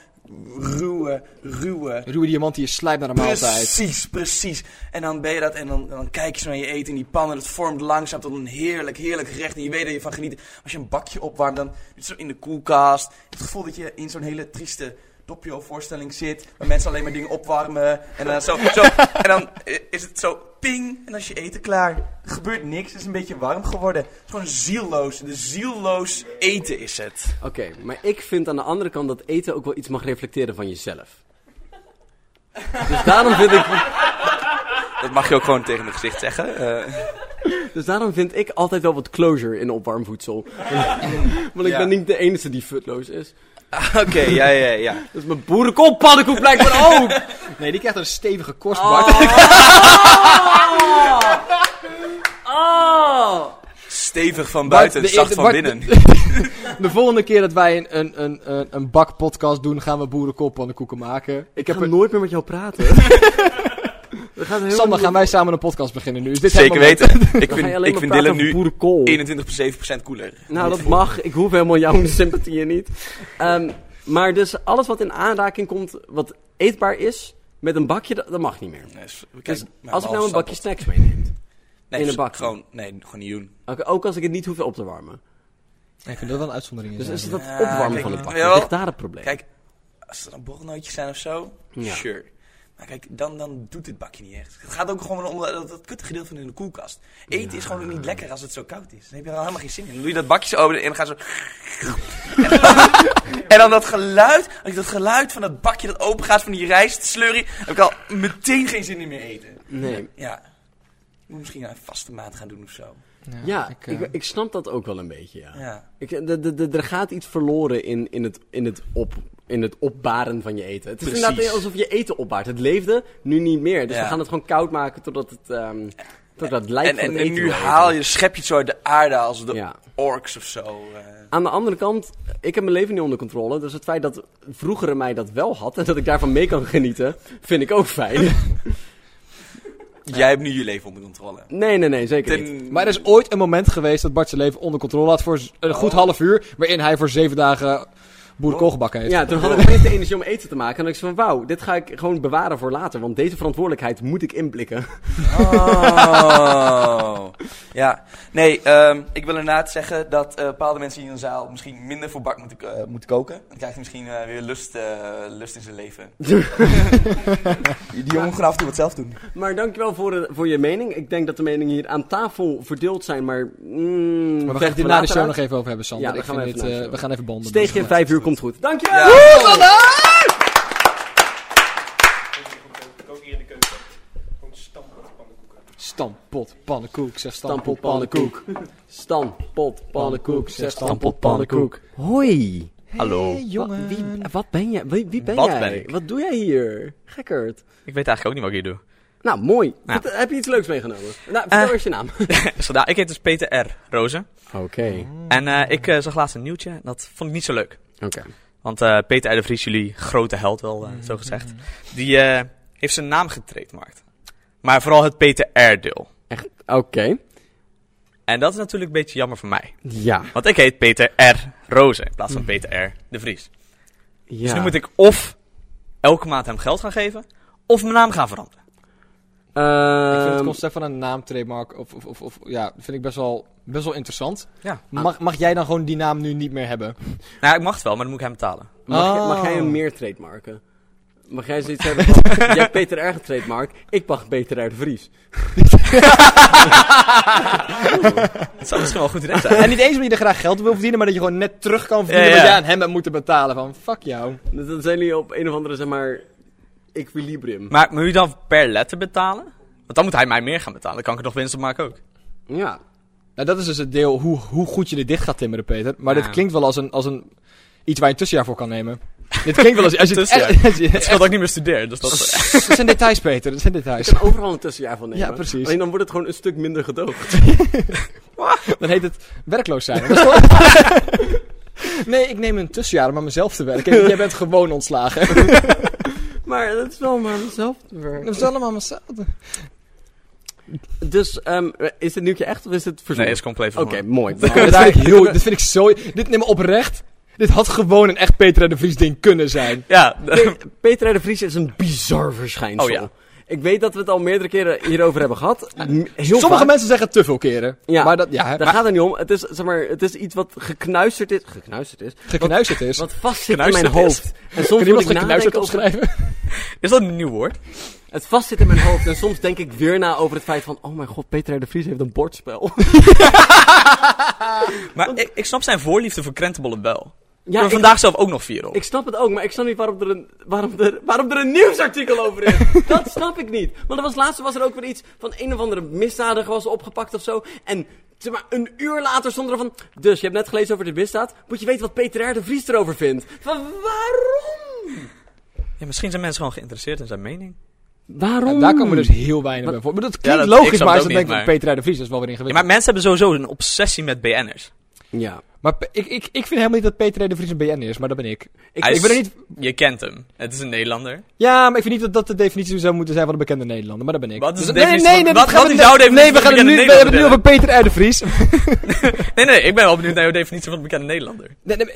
Speaker 8: ruwe, ruwe.
Speaker 2: Ruwe diamant die je slijpt naar de maaltijd.
Speaker 8: Precies, precies. En dan ben je dat en dan, dan kijk je zo naar je eten in die pan en het vormt langzaam tot een heerlijk, heerlijk gerecht. En je weet dat je van geniet. Als je een bakje opwarmt, dan doet het zo in de koelkast. Het gevoel dat je in zo'n hele trieste dopio-voorstelling zit. Waar mensen alleen maar dingen opwarmen. En dan, zo, zo, en dan eh, is het zo ping. En dan is je eten klaar. Er gebeurt niks. Het is een beetje warm geworden. Het is gewoon zielloos. De zielloos eten is het.
Speaker 1: Oké, maar ik vind aan de andere kant dat eten ook wel iets mag reflecteren van jezelf. Dus daarom vind ik,
Speaker 8: Dat mag je ook gewoon tegen mijn gezicht zeggen.
Speaker 1: dus daarom vind ik altijd wel wat closure in opwarmvoedsel. Want ik
Speaker 8: Ja.
Speaker 1: ben niet de enige die futloos is.
Speaker 8: Oké, ja, ja, ja.
Speaker 1: Dus mijn boerenkool pannenkoek blijkbaar ook.
Speaker 2: Nee, die krijgt een stevige kost, Bart.
Speaker 1: Oh!
Speaker 8: Stevig van
Speaker 2: Bart,
Speaker 8: buiten,
Speaker 2: de
Speaker 8: zacht
Speaker 2: eerste-
Speaker 8: van
Speaker 2: Bart,
Speaker 8: binnen.
Speaker 2: De volgende keer dat wij een, een, een, een, een bakpodcast doen, gaan we boerenkooppannenkoeken maken.
Speaker 1: Ik heb nooit meer met jou praten. We gaan heel
Speaker 2: Sander, gaan wij samen een podcast beginnen nu? Is dit
Speaker 8: Zeker
Speaker 2: het moment?
Speaker 8: weten. Ik
Speaker 1: Dan ga je
Speaker 8: vind,
Speaker 1: alleen
Speaker 8: ik
Speaker 1: maar
Speaker 8: vind
Speaker 1: praten
Speaker 8: Dylan
Speaker 1: over
Speaker 8: nu
Speaker 1: boerenkool.
Speaker 8: 21,7% koeler.
Speaker 1: Nou, dat mag. Ik hoef helemaal jouw sympathieën niet. Ehm, maar dus alles wat in aanraking komt, wat eetbaar is, met een bakje, dat, dat mag niet meer.
Speaker 8: Dus, we
Speaker 1: Dus
Speaker 8: kijken naar
Speaker 1: als ik nou een bakje
Speaker 8: halve
Speaker 1: snacks meeneem,
Speaker 8: stappel.
Speaker 1: in
Speaker 8: nee,
Speaker 1: een
Speaker 8: dus
Speaker 1: bak.
Speaker 8: Gewoon, nee, gewoon niet doen.
Speaker 1: ook- ook als ik het niet hoef op te warmen.
Speaker 2: Ik vind dat wel een uitzondering.
Speaker 1: Dus
Speaker 2: is
Speaker 1: is het dat
Speaker 2: eigenlijk.
Speaker 8: Ja,
Speaker 1: opwarmen
Speaker 8: kijk,
Speaker 1: van het bakje,
Speaker 8: jawel.
Speaker 1: ligt daar het probleem?
Speaker 8: Kijk, als er dan borrelnootjes zijn of zo,
Speaker 1: Ja.
Speaker 8: sure. Maar kijk, dan, dan doet het bakje niet echt. Het gaat ook gewoon om dat, dat kutte gedeelte van in de koelkast. Eten is gewoon ook niet lekker als het zo koud is. Dan heb je er helemaal geen zin in. Dan doe je dat bakje zo open en dan gaat zo... en, dan, en dan dat geluid, als je dat geluid van dat bakje dat open gaat van die rijst, sleur je, heb ik al meteen geen zin in meer eten.
Speaker 1: nee.
Speaker 8: Ja. Ik moet misschien een vaste maat gaan doen of zo.
Speaker 1: Ja,
Speaker 2: ik,
Speaker 1: ik,
Speaker 2: eh,
Speaker 1: ik, snap dat ook wel een beetje, ja. eh,
Speaker 8: Ja.
Speaker 1: Ik, de, de, de- er gaat iets verloren in, in, het, in het op, in het opbaren van je eten. Het is
Speaker 3: Precies.
Speaker 1: inderdaad alsof je eten opbaart. Het leefde, nu niet meer. Dus
Speaker 8: Ja.
Speaker 1: we gaan het gewoon koud maken totdat het, ehm totdat het lijkt
Speaker 8: En,
Speaker 1: van het
Speaker 8: en, en
Speaker 1: eten
Speaker 8: nu
Speaker 1: wil eten.
Speaker 8: haal je, schep je het zo uit de aarde als de
Speaker 1: Ja.
Speaker 8: orks of zo. eh.
Speaker 1: Aan de andere kant, ik heb mijn leven niet onder controle. Dus het feit dat vroegere mij dat wel had en dat ik daarvan mee kan genieten, vind ik ook fijn.
Speaker 8: Jij hebt nu je leven onder controle.
Speaker 1: Nee, nee, nee, zeker niet.
Speaker 8: Ten-
Speaker 2: Maar er is ooit een moment geweest dat Bart zijn leven onder controle had voor z- een
Speaker 1: Oh.
Speaker 2: goed half uur, waarin hij voor zeven dagen boerenkool gebakken heeft.
Speaker 1: Ja, toen had ik opeens de energie om eten te maken. En ik zei van, wauw, dit ga ik gewoon bewaren voor later. Want deze verantwoordelijkheid moet ik inblikken.
Speaker 8: Oh. ja. Nee, ehm, ik wil inderdaad zeggen dat eh, bepaalde mensen hier in de zaal misschien minder voor bak moeten, k- eh, moeten koken. Dan krijgt hij misschien eh, weer lust, eh, lust in zijn leven. Die jongen moet gewoon af en toe wat zelf doen.
Speaker 1: Maar dankjewel voor, eh, voor je mening. Ik denk dat de meningen hier aan tafel verdeeld zijn, maar... Mm,
Speaker 2: Maar we gaan het
Speaker 1: vechten
Speaker 2: hier
Speaker 1: we
Speaker 2: na de
Speaker 1: later
Speaker 2: show
Speaker 1: uit.
Speaker 2: nog even over hebben, Sander.
Speaker 1: Ja, daar
Speaker 2: ik
Speaker 1: gaan
Speaker 2: vind
Speaker 1: we
Speaker 2: dit,
Speaker 1: even naar
Speaker 2: eh,
Speaker 1: de
Speaker 2: we gaan even banden.
Speaker 1: Steegje in
Speaker 2: maken.
Speaker 1: vijf uur komt goed. Dankjewel!
Speaker 8: Ja.
Speaker 6: Ik ook hier in de keuken. Gewoon stampen pannenkoeken.
Speaker 2: Stampot, pannenkoek, zeg
Speaker 1: Stampot
Speaker 2: stampot, pannenkoek.
Speaker 1: pannenkoek. Stampot pannenkoek.
Speaker 2: Zeg
Speaker 1: Zeg
Speaker 2: stampot,
Speaker 1: stampot pannenkoek. Hoi.
Speaker 2: Hallo.
Speaker 1: Wa- wie, wat ben jij? Wie, wie ben
Speaker 9: Wat
Speaker 1: jij?
Speaker 9: ben ik?
Speaker 1: Wat doe jij hier? Gekkerd.
Speaker 9: Ik weet eigenlijk ook niet wat ik hier doe.
Speaker 1: Nou, mooi.
Speaker 9: Nou.
Speaker 1: Wat- heb je iets leuks meegenomen? Nou, vertel
Speaker 9: Eh.
Speaker 1: eens je naam.
Speaker 9: Zo, nou, ik heet dus Peter R. Rozen.
Speaker 1: Oké.
Speaker 9: En eh, ik eh, zag laatst een nieuwtje. en Dat vond ik niet zo leuk.
Speaker 1: Oké.
Speaker 9: Want eh, Peter R. de Vries, jullie grote held wel, eh, zo gezegd.
Speaker 8: Mm.
Speaker 9: Die eh, heeft zijn naam getrademarkt. Maar vooral het Peter R-deel.
Speaker 1: Oké.
Speaker 9: En dat is natuurlijk een beetje jammer voor mij.
Speaker 1: Ja. Mm.
Speaker 9: Want ik heet Peter R. Rozen in plaats van Peter R. de Vries.
Speaker 1: ja.
Speaker 9: Dus nu moet ik of elke maand hem geld gaan geven, of mijn naam gaan veranderen.
Speaker 2: Ik vind het
Speaker 1: Ehm,
Speaker 2: concept van een naamtrademark, of, of, of, of- ja, vind ik best wel, best wel interessant.
Speaker 9: Ja.
Speaker 2: Mag, mag jij dan gewoon die naam nu niet meer hebben?
Speaker 9: Nou, ja, ik mag het wel, maar dan moet ik hem betalen.
Speaker 1: Mag, jij-
Speaker 2: Oh.
Speaker 1: mag jij hem meer trademarken? Mag jij zoiets hebben van, jij hebt Peter R getrademark, ik mag Peter R de Vries.
Speaker 9: Dat zou misschien wel een goed idee zijn.
Speaker 2: En niet eens omdat je er graag geld wil verdienen, maar dat je gewoon net terug kan verdienen
Speaker 9: Ja,
Speaker 2: wat
Speaker 9: ja.
Speaker 2: jij aan hem hebt moeten betalen. Van, fuck jou.
Speaker 1: Dus dan zijn jullie op een of andere, zeg maar, equilibrium.
Speaker 9: Maar moet je dan per letter betalen? Want dan moet hij mij meer gaan betalen. Dan kan ik er nog winst op maken ook.
Speaker 1: Ja.
Speaker 2: Nou, dat is dus het deel hoe, hoe goed je dit dicht gaat timmeren, Peter. Maar
Speaker 9: Ja.
Speaker 2: dit klinkt wel als een, als een iets waar je een tussenjaar voor kan nemen. dit klinkt wel als... als je het
Speaker 9: Tussenjaar.
Speaker 2: echt- als je het
Speaker 9: Het
Speaker 2: echt-
Speaker 9: scheelt dat ik niet meer studeer, dus dat is...
Speaker 2: Het zijn details, Peter. Het zijn details.
Speaker 1: Je kan overal een tussenjaar van nemen.
Speaker 2: Ja, precies.
Speaker 1: Alleen dan wordt het gewoon een stuk minder gedoogd.
Speaker 2: Dan heet het werkloos zijn. Dat is gewoon- nee, ik neem een tussenjaar om aan mezelf te werken. En jij bent gewoon ontslagen.
Speaker 1: maar dat is wel maar mezelf.
Speaker 2: Dat is allemaal mezelf.
Speaker 1: Dus, ehm, is dit nieuwtje echt of is het
Speaker 9: Nee,
Speaker 1: verzonnen?
Speaker 9: is compleet
Speaker 1: Oké,
Speaker 9: verzonnen.
Speaker 1: mooi.
Speaker 2: dit, vind ik heel, dit vind ik zo... Dit neem me oprecht. Dit had gewoon een echt Peter en de Vries ding kunnen zijn.
Speaker 9: Ja,
Speaker 1: Pe- Peter R. de Vries is een bizar verschijnsel.
Speaker 9: Oh, ja.
Speaker 1: Ik weet dat we het al meerdere keren hierover hebben gehad. M- Heel
Speaker 2: Sommige
Speaker 1: vaak.
Speaker 2: mensen zeggen te veel keren.
Speaker 1: Ja.
Speaker 2: Maar dat... Ja, hè,
Speaker 1: Daar gaat het niet om. Het is, zeg maar, het is iets wat geknuisterd is. Geknuisterd is?
Speaker 2: geknuisterd is.
Speaker 1: Wat vast zit in
Speaker 9: Geknuisterd
Speaker 1: mijn hoofd. En soms
Speaker 2: Kun
Speaker 1: moet
Speaker 2: je
Speaker 1: ik
Speaker 2: geknuisterd
Speaker 1: nadenken over...
Speaker 2: opschrijven?
Speaker 9: is dat een nieuw woord?
Speaker 1: Het vast zit in mijn hoofd. En soms denk ik weer na over het feit van... Oh mijn god, Peter R. de Vries heeft een bordspel.
Speaker 9: Maar ik, ik snap zijn voorliefde voor krentenbollen wel.
Speaker 1: ja,
Speaker 9: ik
Speaker 1: ik,
Speaker 9: ben vandaag zelf ook nog vier op.
Speaker 1: ik snap het ook. Maar ik snap niet waarom er een, waarom er, waarom er een nieuwsartikel over is. Dat snap ik niet. Want er was laatst was er ook weer iets van... Een of andere misdadiger was opgepakt of zo. En... Zeg maar, een uur later stond er van... Dus, je hebt net gelezen over de misdaad. Moet je weten wat Peter R. de Vries erover vindt. Van, waarom?
Speaker 9: Ja, misschien zijn mensen gewoon geïnteresseerd in zijn mening.
Speaker 1: Waarom?
Speaker 2: Ja, daar komen dus heel weinig bij voor. Maar dat klinkt
Speaker 9: dat- ik
Speaker 2: logisch,
Speaker 9: snap
Speaker 2: maar
Speaker 9: het
Speaker 2: als
Speaker 9: ook
Speaker 2: dan denk ik,
Speaker 9: niet, maar-
Speaker 2: Peter R. de Vries dat is wel weer
Speaker 9: Ja,
Speaker 2: ingewikkeld.
Speaker 9: maar mensen hebben sowieso een obsessie met BN'ers.
Speaker 1: Ja.
Speaker 2: maar Pe- ik, ik, ik vind helemaal niet dat Peter R. de Vries een BN is, maar dat ben ik.
Speaker 1: Ik,
Speaker 9: Hij
Speaker 2: ik ben er
Speaker 9: is-
Speaker 2: niet...
Speaker 9: Je kent hem. Het is een Nederlander.
Speaker 2: Ja, maar ik vind niet dat dat de definitie zou moeten zijn van een bekende Nederlander, maar dat ben ik.
Speaker 9: Wat is de
Speaker 2: nee, nee,
Speaker 9: definitie
Speaker 2: nee, nee,
Speaker 9: van- wat-
Speaker 2: dat gaan
Speaker 9: wat
Speaker 2: we-
Speaker 9: is jouw
Speaker 2: nee,
Speaker 9: definitie
Speaker 2: we, gaan
Speaker 9: van
Speaker 2: het nu,
Speaker 9: bekende
Speaker 2: we hebben het nu over
Speaker 9: Nederlander?
Speaker 2: Peter R. de Vries.
Speaker 9: Nee, nee, ik ben wel benieuwd naar jouw definitie van een bekende Nederlander.
Speaker 2: Nee, nee, maar-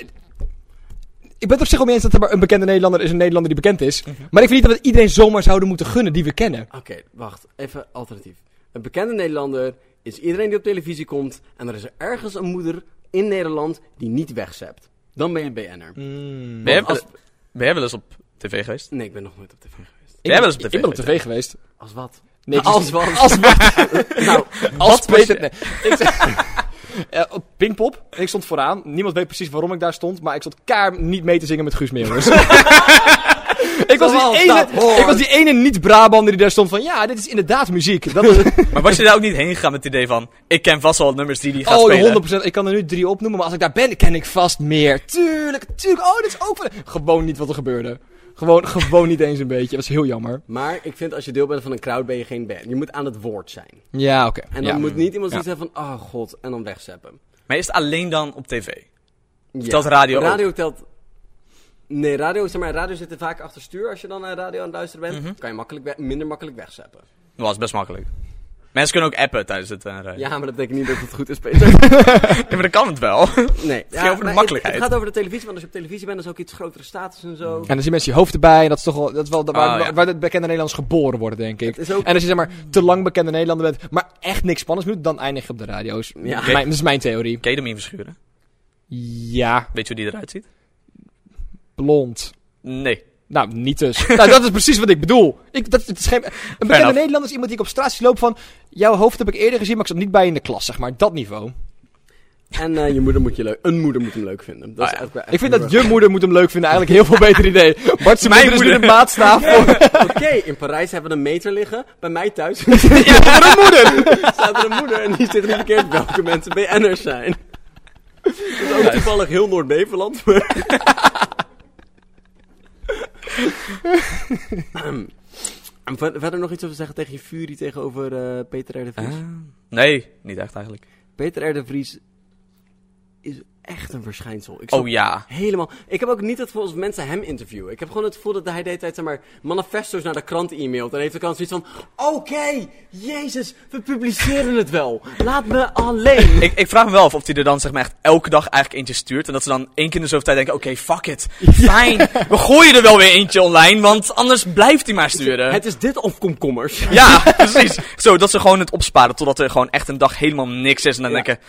Speaker 2: ik ben het op zich wel mee eens dat er maar een bekende Nederlander is een Nederlander die bekend is.
Speaker 9: Mhm.
Speaker 2: Maar ik vind niet dat we iedereen zomaar zouden moeten gunnen die we kennen.
Speaker 1: Oké, wacht. Even alternatief. Een bekende Nederlander is iedereen die op televisie komt. En er is er ergens een moeder in Nederland die niet wegzept. Dan ben je een BN'er.
Speaker 9: Mm. Ben jij,
Speaker 1: Want als-
Speaker 9: ben jij wel eens op tv geweest?
Speaker 1: Nee, ik ben nog nooit op tv geweest.
Speaker 9: Ben jij wel eens op tv
Speaker 2: Ik ben op tv geweest.
Speaker 1: Als wat?
Speaker 2: Nee,
Speaker 1: Nou, als
Speaker 2: ik-
Speaker 1: wat?
Speaker 2: Als wat?
Speaker 1: nou,
Speaker 2: Als
Speaker 9: was
Speaker 2: Peter... Nee. Ik Eh, op Pinkpop. En ik stond vooraan. Niemand weet precies waarom ik daar stond. Maar ik stond kaar niet mee te zingen met Guus Meeuwis. ik, was die
Speaker 1: Zoals dat
Speaker 2: ene,
Speaker 1: hoort.
Speaker 2: ik was die ene niet-Brabander die daar stond van... Ja, dit is inderdaad muziek. Dat is het.
Speaker 9: Maar was je daar ook niet heen gegaan met het idee van... Ik ken vast wel nummers die die gaat
Speaker 2: oh,
Speaker 9: spelen.
Speaker 2: de 100%. Ik kan er nu drie opnoemen, maar als ik daar ben, ken ik vast meer. Tuurlijk, tuurlijk. Oh, dit is ook... van- Gewoon niet wat er gebeurde. Gewoon, gewoon niet eens een beetje. Dat is heel jammer.
Speaker 1: Maar ik vind als je deel bent van een crowd ben je geen band. Je moet aan het woord zijn.
Speaker 2: Ja, oké.
Speaker 1: En
Speaker 2: Ja.
Speaker 1: dan moet niet iemand
Speaker 2: Ja.
Speaker 1: die zeggen van, oh god, en dan wegzeppen.
Speaker 9: Maar is het alleen dan op tv?
Speaker 1: Ja.
Speaker 9: Telt radio ook?
Speaker 1: Radio telt... Nee, radio, zeg maar, radio zit er vaak achter stuur als je dan naar radio aan het luisteren bent.
Speaker 9: Mhm.
Speaker 1: Kan je makkelijk we- minder makkelijk wegzeppen.
Speaker 9: Dat was best makkelijk. Mensen kunnen ook appen tijdens het eh, rijden.
Speaker 1: Ja, maar dat betekent niet dat het goed is, Peter.
Speaker 9: Ja, maar dat kan het wel.
Speaker 1: Nee.
Speaker 9: over de
Speaker 1: maar het-
Speaker 9: makkelijkheid.
Speaker 1: Het, gaat over de televisie, want als je op televisie bent, dan is ook iets grotere status en zo.
Speaker 2: En dan zien mensen je hoofd erbij. En dat is toch wel, dat is wel waar,
Speaker 9: Oh, ja.
Speaker 2: waar, waar de bekende Nederlanders geboren worden, denk ik.
Speaker 1: Ah, Het is ook...
Speaker 2: En als je zeg maar te lang bekende Nederlander bent, maar echt niks spannends moet, dan eindig je op de radio's.
Speaker 1: Ja.
Speaker 2: Mijn- dat is mijn theorie.
Speaker 9: Ken je hem in verschuren?
Speaker 2: Ja,
Speaker 9: Weet je hoe die eruit ziet?
Speaker 2: blond.
Speaker 9: Nee.
Speaker 2: Nou, niet dus. nou, dat is precies wat ik bedoel. Ik, dat, het is geen, een bekende
Speaker 9: enough.
Speaker 2: Nederlander is iemand die ik op straat zie lopen van... Jouw hoofd heb ik eerder gezien, maar ik zat niet bij je in de klas, zeg maar. Dat niveau.
Speaker 1: En eh, je moeder moet je leuk... Een moeder moet hem leuk vinden. Dat is
Speaker 9: Ah, ja.
Speaker 1: eigenlijk wel
Speaker 2: Ik
Speaker 1: echt
Speaker 2: vind
Speaker 1: heel
Speaker 2: dat je moeder moet hem leuk vinden eigenlijk een heel veel beter idee. Bart dus zijn
Speaker 9: Mijn
Speaker 2: moeder is nu
Speaker 9: moeder.
Speaker 2: de maatstaaf voor...
Speaker 1: erg- Oké, in Parijs hebben we een meter liggen. Bij mij thuis staat er
Speaker 2: een moeder!
Speaker 1: een moeder en die zit er verkeerd welke mensen BN'ers zijn. Dat is ook toevallig heel Noord-Beverland. maar- Ehm, en ver- verder nog iets over zeggen tegen je Fury tegenover eh, Peter R. de Vries?
Speaker 9: Ah, nee, niet echt eigenlijk.
Speaker 1: Peter R. de Vries is echt een verschijnsel. Ik snap
Speaker 9: Oh ja.
Speaker 1: Helemaal. Ik heb ook niet het gevoel dat mensen hem interviewen. Ik heb gewoon het gevoel dat hij de hele tijd zeg maar, manifestos naar de krant e-mailt. En heeft de kans zoiets van: Oké, Jezus, we publiceren het wel. Laat me alleen.
Speaker 9: Ik, ik vraag me wel af of hij er dan zeg maar echt elke dag eigenlijk eentje stuurt. En dat ze dan één keer in de zoveel tijd denken, oké, fuck it. Fijn, we gooien er wel weer eentje online, want anders blijft hij maar sturen.
Speaker 1: Het is dit of komkommers.
Speaker 9: Ja, precies. Zo, dat ze gewoon het opsparen totdat er gewoon echt een dag helemaal niks is. En dan
Speaker 1: Ja.
Speaker 9: denken,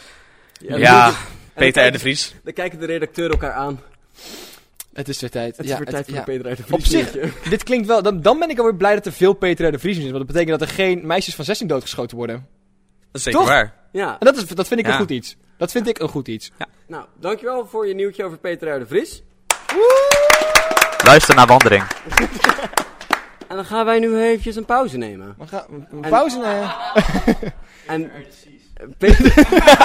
Speaker 1: Ja,
Speaker 9: ja,
Speaker 1: dan-
Speaker 9: Peter R. de Vries.
Speaker 1: Dan kijken de redacteuren elkaar aan.
Speaker 2: Het is weer tijd.
Speaker 1: Het
Speaker 2: ja,
Speaker 1: is weer tijd voor
Speaker 2: ja.
Speaker 1: een Peter R. de Vries.
Speaker 2: Op zich,
Speaker 1: liedje.
Speaker 2: dit klinkt wel... Dan, dan ben ik alweer blij dat er veel Peter R. de Vries is. Want dat betekent dat er geen meisjes van 16 doodgeschoten worden.
Speaker 9: Dat is zeker
Speaker 2: Toch?
Speaker 9: waar.
Speaker 1: Ja,
Speaker 2: En dat, is, dat vind ik
Speaker 9: Ja.
Speaker 2: een goed iets. Dat vind ik een goed iets.
Speaker 1: nou, dankjewel voor je nieuwtje over Peter R. de Vries.
Speaker 9: Luister naar Wandering.
Speaker 1: En dan gaan wij nu eventjes een pauze nemen.
Speaker 2: We gaan een pauze nemen.
Speaker 1: En. Peter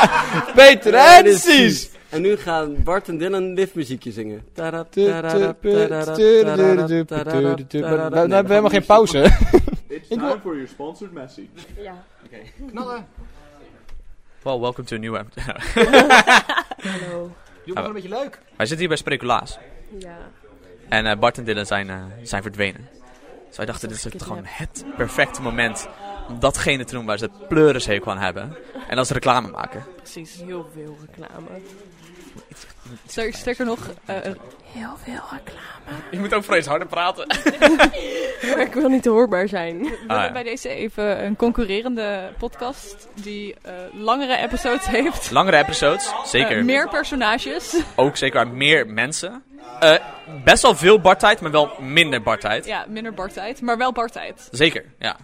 Speaker 2: Peter
Speaker 1: Ja,
Speaker 2: en
Speaker 1: dit is
Speaker 2: Cies.
Speaker 1: vies. En nu gaan Bart en Dylan liftmuziekje zingen. Tada,
Speaker 2: Tu- tu-
Speaker 1: tada,
Speaker 2: pu-
Speaker 1: tada,
Speaker 2: tu-
Speaker 1: tada,
Speaker 2: tu- tu-
Speaker 1: tada,
Speaker 2: tu-
Speaker 1: tada,
Speaker 2: tu-
Speaker 1: tada,
Speaker 2: tu- tu-
Speaker 1: tada,
Speaker 2: Maar dan
Speaker 1: tada.
Speaker 2: Nou, hebben we helemaal geen pauze. Ik wil-
Speaker 4: Ja.
Speaker 9: Well, welcome to a new app.
Speaker 4: Hallo.
Speaker 2: Doe maar een beetje leuk.
Speaker 9: Wij zitten hier bij Spreculaas.
Speaker 4: Ja.
Speaker 9: En eh, Bart en Dylan zijn, eh, zijn verdwenen. Dus wij dachten, dit is het gewoon het perfecte moment om datgene te doen waar ze het pleurishekel aan hebben. En dat is reclame maken.
Speaker 4: Precies, heel veel reclame. Ster- Sterker nog, eh, er- heel veel reclame.
Speaker 9: Je moet ook vrees harder praten.
Speaker 4: Maar ik wil niet te hoorbaar zijn.
Speaker 10: We
Speaker 9: Ah,
Speaker 10: hebben
Speaker 9: ja.
Speaker 10: bij deze even een concurrerende podcast die eh, langere episodes heeft.
Speaker 9: Langere episodes, zeker.
Speaker 10: Eh, meer personages.
Speaker 9: Ook zeker aan meer mensen. Eh, best wel veel bartijd, maar wel minder bartijd.
Speaker 10: ja, minder bartijd, maar wel bartijd.
Speaker 9: Zeker, ja.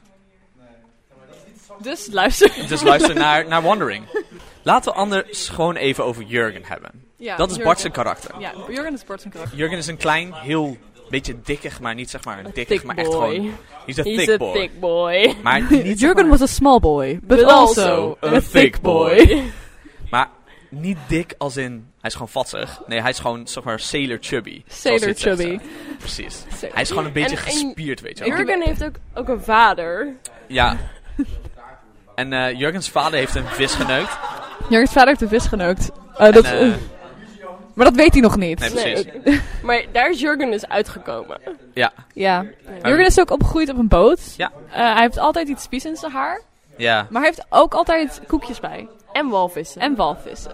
Speaker 10: Dus luister.
Speaker 9: Dus luister naar, naar Wandering. Laten we anders gewoon even over Jurgen hebben.
Speaker 10: Ja,
Speaker 9: dat is
Speaker 10: Jurgen.
Speaker 9: Bart zijn karakter.
Speaker 10: Ja, Jurgen is Bart zijn karakter.
Speaker 9: Jurgen is een klein, heel beetje dikkig, maar niet zeg maar een dikkig,
Speaker 4: thick
Speaker 9: maar echt
Speaker 4: boy.
Speaker 9: gewoon... He's a
Speaker 4: He's
Speaker 9: thick
Speaker 4: a
Speaker 9: boy.
Speaker 4: thick boy.
Speaker 9: Maar niet,
Speaker 10: Jurgen was a small boy, but,
Speaker 9: also a thick boy. maar niet dik als in... Hij is gewoon vatzig. Nee, hij is gewoon zeg maar sailor chubby. zoals
Speaker 10: Sailor
Speaker 9: ze het
Speaker 10: chubby.
Speaker 9: zeggen. Precies. Hij is gewoon een beetje
Speaker 4: En- en-
Speaker 9: gespierd, weet je wel.
Speaker 4: Jurgen heeft ook, ook een vader.
Speaker 9: Ja. En eh, Jurgens vader heeft een vis geneukt.
Speaker 10: Jurgen's vader heeft de vis geneukt. Eh, dat,
Speaker 9: En, eh,
Speaker 10: maar dat weet hij nog niet.
Speaker 9: nee,
Speaker 4: Nee,
Speaker 9: precies.
Speaker 4: Maar daar is Jurgen dus uitgekomen.
Speaker 9: Ja.
Speaker 10: Ja. Jurgen is ook opgegroeid op een boot.
Speaker 9: Ja.
Speaker 10: Eh, hij heeft altijd iets vies in zijn haar,
Speaker 9: Ja.
Speaker 10: maar hij heeft ook altijd koekjes bij.
Speaker 4: En walvissen.
Speaker 10: En walvissen.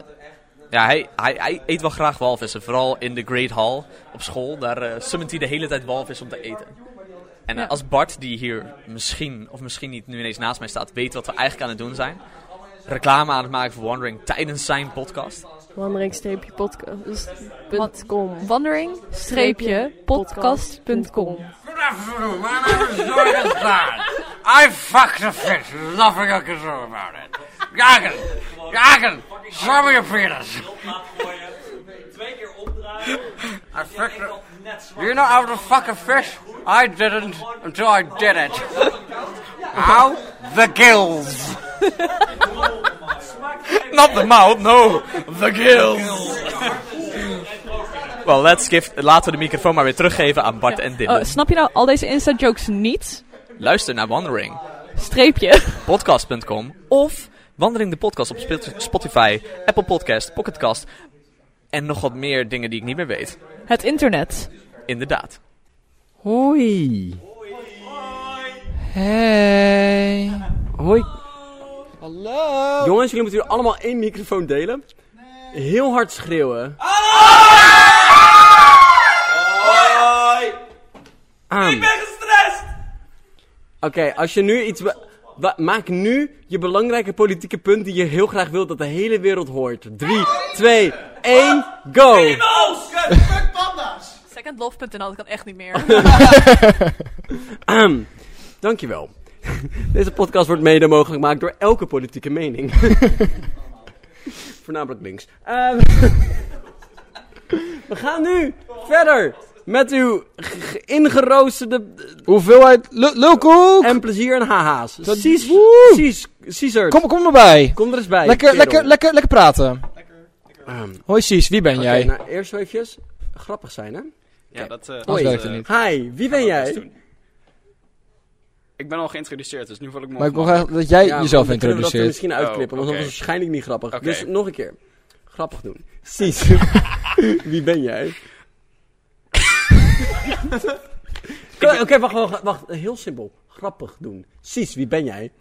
Speaker 9: Ja, hij, hij, hij eet wel graag walvissen. Vooral in de Great Hall op school. Daar eh summit hij de hele tijd walvis om te eten. En eh,
Speaker 10: Ja.
Speaker 9: als Bart, die hier misschien of misschien niet nu ineens naast mij staat, weet wat we eigenlijk aan het doen zijn. Reclame aan het maken voor Wandering tijdens zijn podcast.
Speaker 4: Wandering-podcast.com.
Speaker 10: Wandering-podcast.com
Speaker 11: My name is Jurgen Stein. I fucked a fish. There's nothing I can do about it. Jurgen, Jurgen, show me your penis. I fucked a- You know how to fuck a fish? I didn't until I did it. How? The gills.
Speaker 9: Not the mouth, no. The gills. Well, let's give, laten we de microfoon maar weer teruggeven aan Bart en Dylan.
Speaker 10: Oh, snap je nou al deze Insta-jokes niet?
Speaker 9: Luister naar Wandering.
Speaker 10: Streepje.
Speaker 9: Podcast.com of Wandering de Podcast op Sp- Spotify, Apple Podcast, Pocketcast en nog wat meer dingen die ik niet meer weet.
Speaker 10: Het internet.
Speaker 9: Inderdaad.
Speaker 1: Hoi.
Speaker 2: Hey.
Speaker 1: Hoi.
Speaker 2: Hallo.
Speaker 1: Jongens, jullie moeten jullie allemaal één microfoon delen. Heel hard schreeuwen.
Speaker 11: Hoi!
Speaker 1: Aan.
Speaker 11: gestrest!
Speaker 1: Oké, als je nu iets... be- wa- Maak nu je belangrijke politieke punt die je heel graag wilt dat de hele wereld hoort. 3, 2, 1, go!
Speaker 10: Fuck panda's! Secondlove.nl, dat kan echt niet meer.
Speaker 1: Ahem. Dankjewel. Deze podcast wordt mede mogelijk gemaakt door elke politieke mening. Voornamelijk links. Ehm, we gaan nu verder met uw ge- ge- ingeroosterde... eh,
Speaker 2: Hoeveelheid lulkoek!
Speaker 1: En plezier en haha's.
Speaker 2: Dat-
Speaker 1: Precies,
Speaker 2: Woe!
Speaker 1: precies, Caesar.
Speaker 2: Kom, kom erbij.
Speaker 1: Kom er eens bij.
Speaker 2: Lekker,
Speaker 1: kerel.
Speaker 2: lekker, lekker, lekker praten.
Speaker 1: Ehm,
Speaker 2: Hoi Cies, wie ben
Speaker 1: Oké,
Speaker 2: jij?
Speaker 1: nou, eerst even grappig zijn, hè?
Speaker 12: Ja, dat... eh,
Speaker 2: Anders werkt het
Speaker 12: eh,
Speaker 2: niet.
Speaker 1: Hi, wie ben
Speaker 12: best
Speaker 1: jij?
Speaker 12: doen. Ik ben al geïntroduceerd, dus nu voel ik me
Speaker 2: Maar ik wil graag
Speaker 12: ongemakkelijk.
Speaker 2: dat jij
Speaker 1: Ja,
Speaker 2: jezelf
Speaker 1: dan kunnen we dat er
Speaker 2: introduceert.
Speaker 1: misschien uitknippen, want
Speaker 12: Oh,
Speaker 1: dat was
Speaker 12: oké.
Speaker 1: waarschijnlijk niet grappig.
Speaker 12: Oké.
Speaker 1: Dus nog een keer. Grappig doen. Precies. Wie ben jij? Oké, oké, wacht, wacht, wacht. Heel simpel. Grappig doen. Cies, wie ben jij?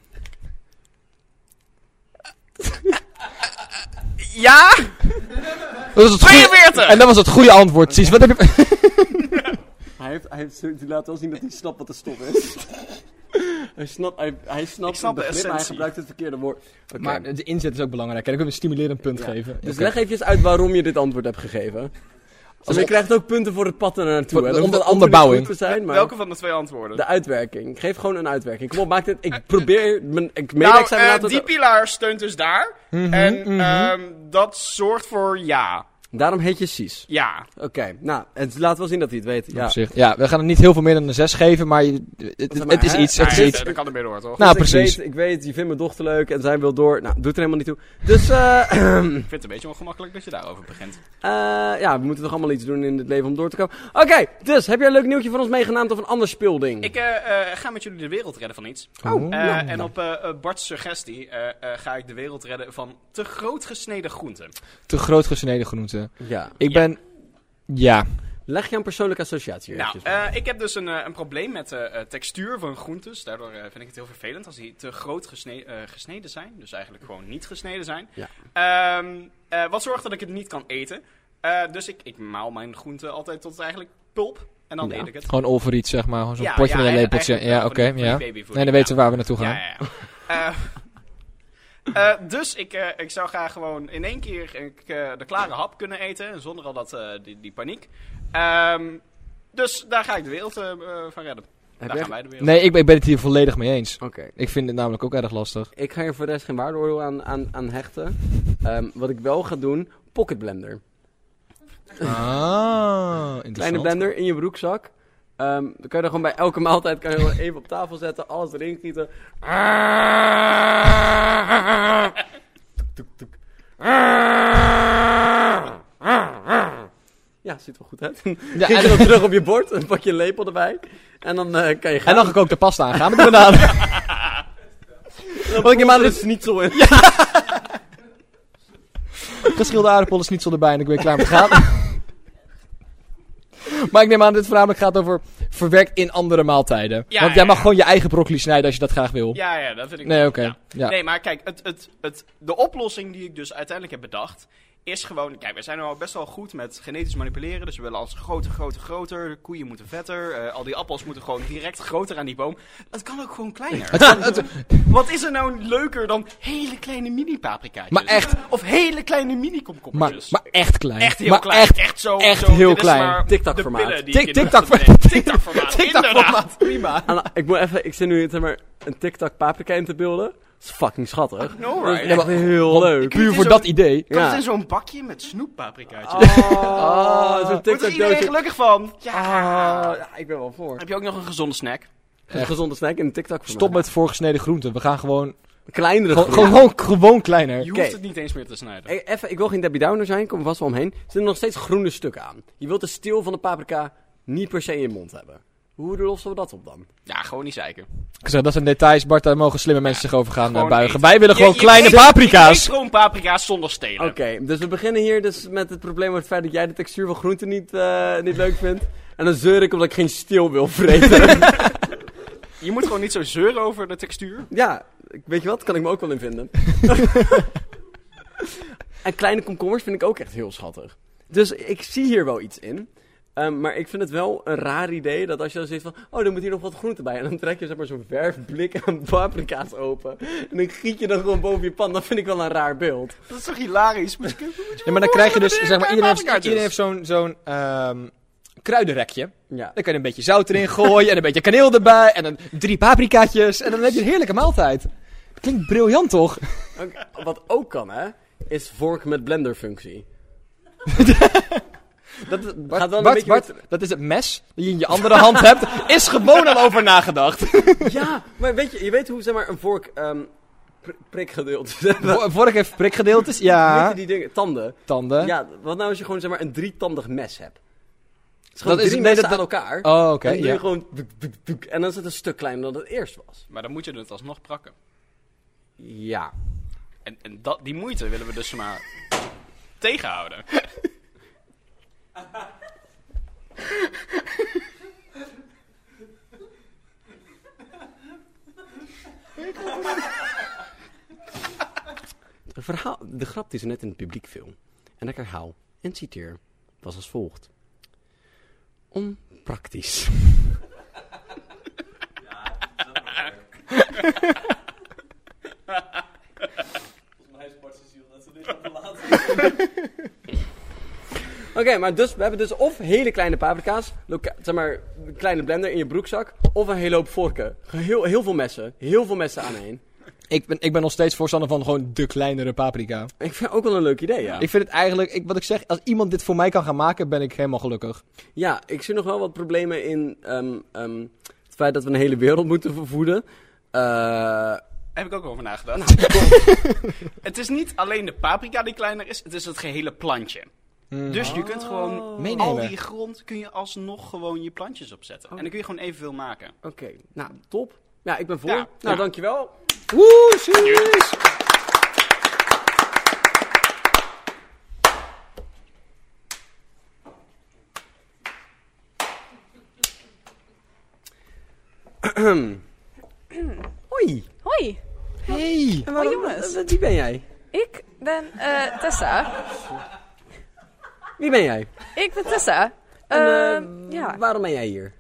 Speaker 9: Ja?
Speaker 2: Dat was het goede-
Speaker 9: 42!
Speaker 2: En dat was het goede antwoord, Cies. Wat heb je...
Speaker 1: Hij, heeft, hij, heeft, hij laat wel zien dat hij snapt wat de stof is. hij snapt, hij, hij snapt
Speaker 12: Ik snap de
Speaker 1: het begrip, maar hij
Speaker 12: essentie.
Speaker 1: gebruikt het verkeerde woord. Oké.
Speaker 2: Maar de inzet is ook belangrijk. En ik wil een stimulerend punt geven.
Speaker 1: Dus
Speaker 2: Oké.
Speaker 1: leg even uit waarom je dit antwoord hebt gegeven. Dus je krijgt ook punten voor het pad er naartoe.
Speaker 2: Voor- de
Speaker 1: hè. Dan hoeft
Speaker 2: onder-
Speaker 1: het antwoord niet
Speaker 2: onderbouwing.
Speaker 1: goed te zijn, maar
Speaker 12: Welke van de twee antwoorden?
Speaker 1: de uitwerking. Geef gewoon een uitwerking. Kom op, maak dit. Ik probeer mijn ik
Speaker 12: nou,
Speaker 1: mede-examinator
Speaker 12: eh, die
Speaker 1: te-
Speaker 12: pilaar steunt dus daar.
Speaker 2: Mhm,
Speaker 12: en
Speaker 2: mhm.
Speaker 12: ehm, dat zorgt voor ja.
Speaker 1: Daarom heet je Cies.
Speaker 12: Ja.
Speaker 1: Oké, nou, het laat wel zien dat hij het weet. Ja.
Speaker 2: Op zich. Ja, we gaan er niet heel veel meer dan een 6 geven, maar je- het,
Speaker 1: Zeg maar,
Speaker 2: het is
Speaker 1: hè?
Speaker 2: iets.
Speaker 12: Nou,
Speaker 2: Het is
Speaker 12: ja,
Speaker 2: iets.
Speaker 12: Dat kan er meer door, toch?
Speaker 2: Nou,
Speaker 1: Dus
Speaker 2: precies.
Speaker 1: Ik weet, ik weet, je vindt mijn dochter leuk en zij wil door. Nou, doet er helemaal niet toe. Dus, eh
Speaker 12: Ik vind het een beetje ongemakkelijk dat je daarover begint.
Speaker 1: eh, ja, we moeten toch allemaal iets doen in het leven om door te komen. Oké, dus, heb jij een leuk nieuwtje voor ons meegenaamd of een ander speelding?
Speaker 12: Ik eh, eh, ga met jullie de wereld redden van iets.
Speaker 2: Oh,
Speaker 12: Eh, en op eh, eh, Bart's suggestie eh, eh, ga ik de wereld redden van te groot gesneden groenten.
Speaker 2: Te groot gesneden groenten.
Speaker 1: Ja.
Speaker 2: Ik
Speaker 12: Ja.
Speaker 2: ben... Ja.
Speaker 1: Leg je een persoonlijke associatie
Speaker 12: Nou,
Speaker 1: eventjes.
Speaker 12: eh, ik heb dus een, eh, een probleem met de textuur van groentes. Daardoor eh, vind ik het heel vervelend als die te groot gesne- eh, gesneden zijn. Dus eigenlijk gewoon niet gesneden zijn.
Speaker 1: Ja.
Speaker 12: Ehm, eh, wat zorgt dat ik het niet kan eten. Eh, dus ik, ik maal mijn groenten altijd tot eigenlijk pulp. En dan
Speaker 1: Ja.
Speaker 12: eet ik het.
Speaker 2: Gewoon overeat, zeg maar. Gewoon zo'n
Speaker 12: Ja,
Speaker 2: potje
Speaker 12: ja,
Speaker 2: met een
Speaker 12: eigenlijk-
Speaker 2: lepeltje.
Speaker 12: eigenlijk
Speaker 2: Ja,
Speaker 12: wel
Speaker 2: oké.
Speaker 12: van die- van
Speaker 2: ja.
Speaker 12: die babyvoeding,
Speaker 2: Nee, dan
Speaker 12: ja.
Speaker 2: weten we waar we naartoe gaan.
Speaker 12: Ja, ja, ja. Eh, eh, dus ik, eh, ik zou graag gewoon in één keer eh, ik, eh, de klare hap kunnen eten. Zonder al dat, eh, die, die paniek. Ehm, dus daar ga ik de wereld eh, eh, van redden.
Speaker 1: heb
Speaker 12: daar
Speaker 1: jij...
Speaker 12: gaan wij de wereld
Speaker 2: Nee, ik, ik ben het hier volledig mee eens.
Speaker 1: Oké.
Speaker 2: Ik vind het namelijk ook erg lastig.
Speaker 1: Ik ga hier voor de rest geen waardeoordeel aan, aan, aan hechten. Ehm, wat ik wel ga doen, pocket blender.
Speaker 2: Ah,
Speaker 1: Kleine
Speaker 2: interessant.
Speaker 1: blender in je broekzak. Ehm, dan kan je er gewoon bij elke maaltijd kan je gewoon even op tafel zetten, alles erin gieten. Toek, toek. Ja, ziet er wel goed uit.
Speaker 2: Ja,
Speaker 1: Giet je
Speaker 2: en,
Speaker 1: dan terug op je bord, dan pak je een lepel erbij. En dan eh, kan je gaan.
Speaker 2: en dan gekookte pasta aan. Gaan met de bananen.
Speaker 1: Want ik neem aan dat het niet zo in. Ja.
Speaker 2: Geschilde aardappelen, schnitzel erbij en ik ben klaar met gaan. maar ik neem aan dat dit voornamelijk gaat over verwerkt in andere maaltijden.
Speaker 12: Ja,
Speaker 2: Want jij
Speaker 12: ja,
Speaker 2: mag
Speaker 12: ja.
Speaker 2: gewoon je eigen broccoli snijden als je dat graag wil.
Speaker 12: Ja, ja, dat vind ik
Speaker 2: Nee,
Speaker 12: wel.
Speaker 2: oké.
Speaker 12: Ja.
Speaker 2: Ja.
Speaker 12: Nee, maar kijk, het, het, het, de oplossing die ik dus uiteindelijk heb bedacht. Is gewoon, kijk, we zijn al best wel goed met genetisch manipuleren. Dus we willen als groter, groter, groter. De koeien moeten vetter. eh, al die appels moeten gewoon direct groter aan die boom. Het kan ook gewoon kleiner. Wat is er nou leuker dan hele kleine mini paprikaatjes?
Speaker 2: Maar echt.
Speaker 12: Of hele kleine mini
Speaker 2: Maar,
Speaker 12: komkommertjes.
Speaker 2: maar echt klein.
Speaker 12: echt heel
Speaker 2: maar
Speaker 12: klein.
Speaker 2: Echt,
Speaker 12: echt zo.
Speaker 2: echt
Speaker 12: zo,
Speaker 2: heel
Speaker 12: dit is
Speaker 2: klein.
Speaker 12: maar
Speaker 1: Tic-tac
Speaker 12: de
Speaker 1: formaat.
Speaker 12: pillen die
Speaker 2: Tik-
Speaker 12: ik in de
Speaker 2: tic-tac
Speaker 12: ochtend
Speaker 2: formaat.
Speaker 12: neem. Tic-tac formaat.
Speaker 2: Tic-tac
Speaker 12: inderdaad.
Speaker 2: formaat, prima.
Speaker 1: ik moet even, ik zit nu zeg maar een TikTok paprika in te beelden. Dat is fucking schattig.
Speaker 12: know,
Speaker 1: Dat is
Speaker 12: right?
Speaker 1: echt heel leuk.
Speaker 12: Kan het in zo'n- Kan
Speaker 1: Ja.
Speaker 12: het in zo'n bakje met snoeppaprikaatjes?
Speaker 1: Oh, zo'n
Speaker 12: Wordt
Speaker 1: tic-tac-doosje.
Speaker 12: er iedereen gelukkig van? Ah, Ja.
Speaker 1: ik ben wel voor.
Speaker 12: Heb je ook nog een gezonde snack?
Speaker 1: Een gesonde snack en een TikTok voor
Speaker 2: Stop met voorgesneden groenten. We gaan gewoon...
Speaker 1: Kleinere
Speaker 2: Gewoon,
Speaker 1: groenten.
Speaker 2: gewoon, gewoon kleiner.
Speaker 12: Je
Speaker 1: Oké.
Speaker 12: hoeft het niet eens meer te snijden.
Speaker 1: Hey, even, ik wil geen Debbie Downer zijn, ik kom er vast wel omheen. Er zitten nog steeds groene stukken aan. Je wilt de steel van de paprika niet per se in je mond hebben. Hoe lossen we dat op dan?
Speaker 12: Ja, gewoon niet zeiken.
Speaker 2: Ik zeg, dat zijn details, Bart. Daar mogen slimme mensen zich over gaan eh,
Speaker 12: Gewoon
Speaker 2: buigen.
Speaker 12: eten.
Speaker 2: Wij willen
Speaker 12: Je-
Speaker 2: gewoon
Speaker 12: je
Speaker 2: kleine
Speaker 12: eet- je eet
Speaker 2: paprika's.
Speaker 12: gewoon paprika's zonder stelen.
Speaker 1: Oké, dus we beginnen hier dus met het probleem met het feit dat jij de textuur van groenten niet, eh, niet leuk vindt. En dan zeur ik omdat ik geen steel wil vreten.
Speaker 12: Je moet gewoon niet zo zeuren over de textuur.
Speaker 1: ja, ik- weet je wat? Kan ik me ook wel in vinden. en kleine komkommers vind ik ook echt heel schattig. Dus ik zie hier wel iets in. Ehm, maar ik vind het wel een raar idee dat als je dan zegt van... Oh, dan moet hier nog wat groente bij. En dan trek je zeg maar zo'n verfblik aan paprika's open. En dan giet je dat gewoon boven je pan. Dat vind ik wel een raar beeld.
Speaker 12: Dat is toch hilarisch? Moet ik even-
Speaker 2: Ja, maar dan krijg je dus,
Speaker 12: Met
Speaker 2: zeg maar, iedereen heeft,
Speaker 12: paprikaatjes.
Speaker 2: iedereen heeft zo'n zo'n
Speaker 10: dus.
Speaker 2: ehm, kruidenrekje.
Speaker 1: Ja.
Speaker 2: Dan kan je een beetje zout erin gooien en een beetje kaneel erbij en dan drie paprikaatjes. En dan heb je een heerlijke maaltijd. Klinkt briljant, toch?
Speaker 1: Ook- wat ook kan, hè, is vork met blenderfunctie. dat gaat wel
Speaker 2: Bart,
Speaker 1: een
Speaker 2: Bart,
Speaker 1: beetje...
Speaker 2: Bart, dat is het mes dat je in je andere hand hebt. Is gewoon al over nagedacht.
Speaker 1: met- Ja, maar weet je, je weet hoe zeg maar, een vork ehm pr- prikgedeeld is.
Speaker 2: Vor- Vorige heeft prikgedeeltes,
Speaker 1: Hoe
Speaker 2: ja.
Speaker 1: heet die dingen? Tanden.
Speaker 2: Tanden.
Speaker 1: Ja, wat nou als je gewoon zeg maar, een drietandig mes hebt? Het is
Speaker 2: Dat
Speaker 1: gewoon
Speaker 2: is-
Speaker 1: drie
Speaker 2: nee,
Speaker 1: messen
Speaker 2: dat-
Speaker 1: aan elkaar.
Speaker 2: Oh, oké,
Speaker 1: En dan doe je
Speaker 2: ja.
Speaker 1: gewoon doek, doek, doek, en dan is het een stuk kleiner dan het eerst was.
Speaker 12: Maar dan moet je het alsnog prakken.
Speaker 1: Ja.
Speaker 12: En, en dat, die moeite willen we dus maar tegenhouden.
Speaker 1: Het verhaal, de grap die ze net in het publiek viel, en ik herhaal en citeer, was als volgt. Onpraktisch. Oké, maar dus, we hebben dus of hele kleine paprika's, loka- zeg maar, een kleine blender in je broekzak, of een hele hoop vorken. Heel, heel veel messen, heel veel messen aanheen.
Speaker 2: Ik ben, ik ben nog steeds voorstander van gewoon de kleinere paprika.
Speaker 1: Ik vind ook wel een leuk idee, ja.
Speaker 2: Ik vind het eigenlijk, ik, wat ik zeg, als iemand dit voor mij kan gaan maken, ben ik helemaal gelukkig.
Speaker 1: Ja, ik zie nog wel wat problemen in ehm, ehm, het feit dat we een hele wereld moeten vervoeden. Eh,
Speaker 12: Heb ik ook over nagedacht. het is niet alleen de paprika die kleiner is, het is het gehele plantje.
Speaker 1: Mm.
Speaker 12: Dus je kunt
Speaker 1: Oh.
Speaker 12: gewoon
Speaker 2: Meenemen.
Speaker 12: al die grond kun je alsnog gewoon je plantjes opzetten. En dan kun je gewoon evenveel maken.
Speaker 1: Oké, nou, top. Ja, ik ben voor.
Speaker 12: Ja.
Speaker 1: nou,
Speaker 12: Ja.
Speaker 1: dankjewel.
Speaker 2: Woe, zie-
Speaker 1: Hoi.
Speaker 10: Hoi,
Speaker 2: Hey. Oh,
Speaker 1: En waarom-
Speaker 10: jongens.
Speaker 1: eh, Wie ben jij?
Speaker 10: ik ben eh, Tessa.
Speaker 1: Wie ben jij?
Speaker 10: Ik ben Tessa.
Speaker 1: En, eh,
Speaker 10: Ehm, ja,
Speaker 1: Waarom ben jij hier?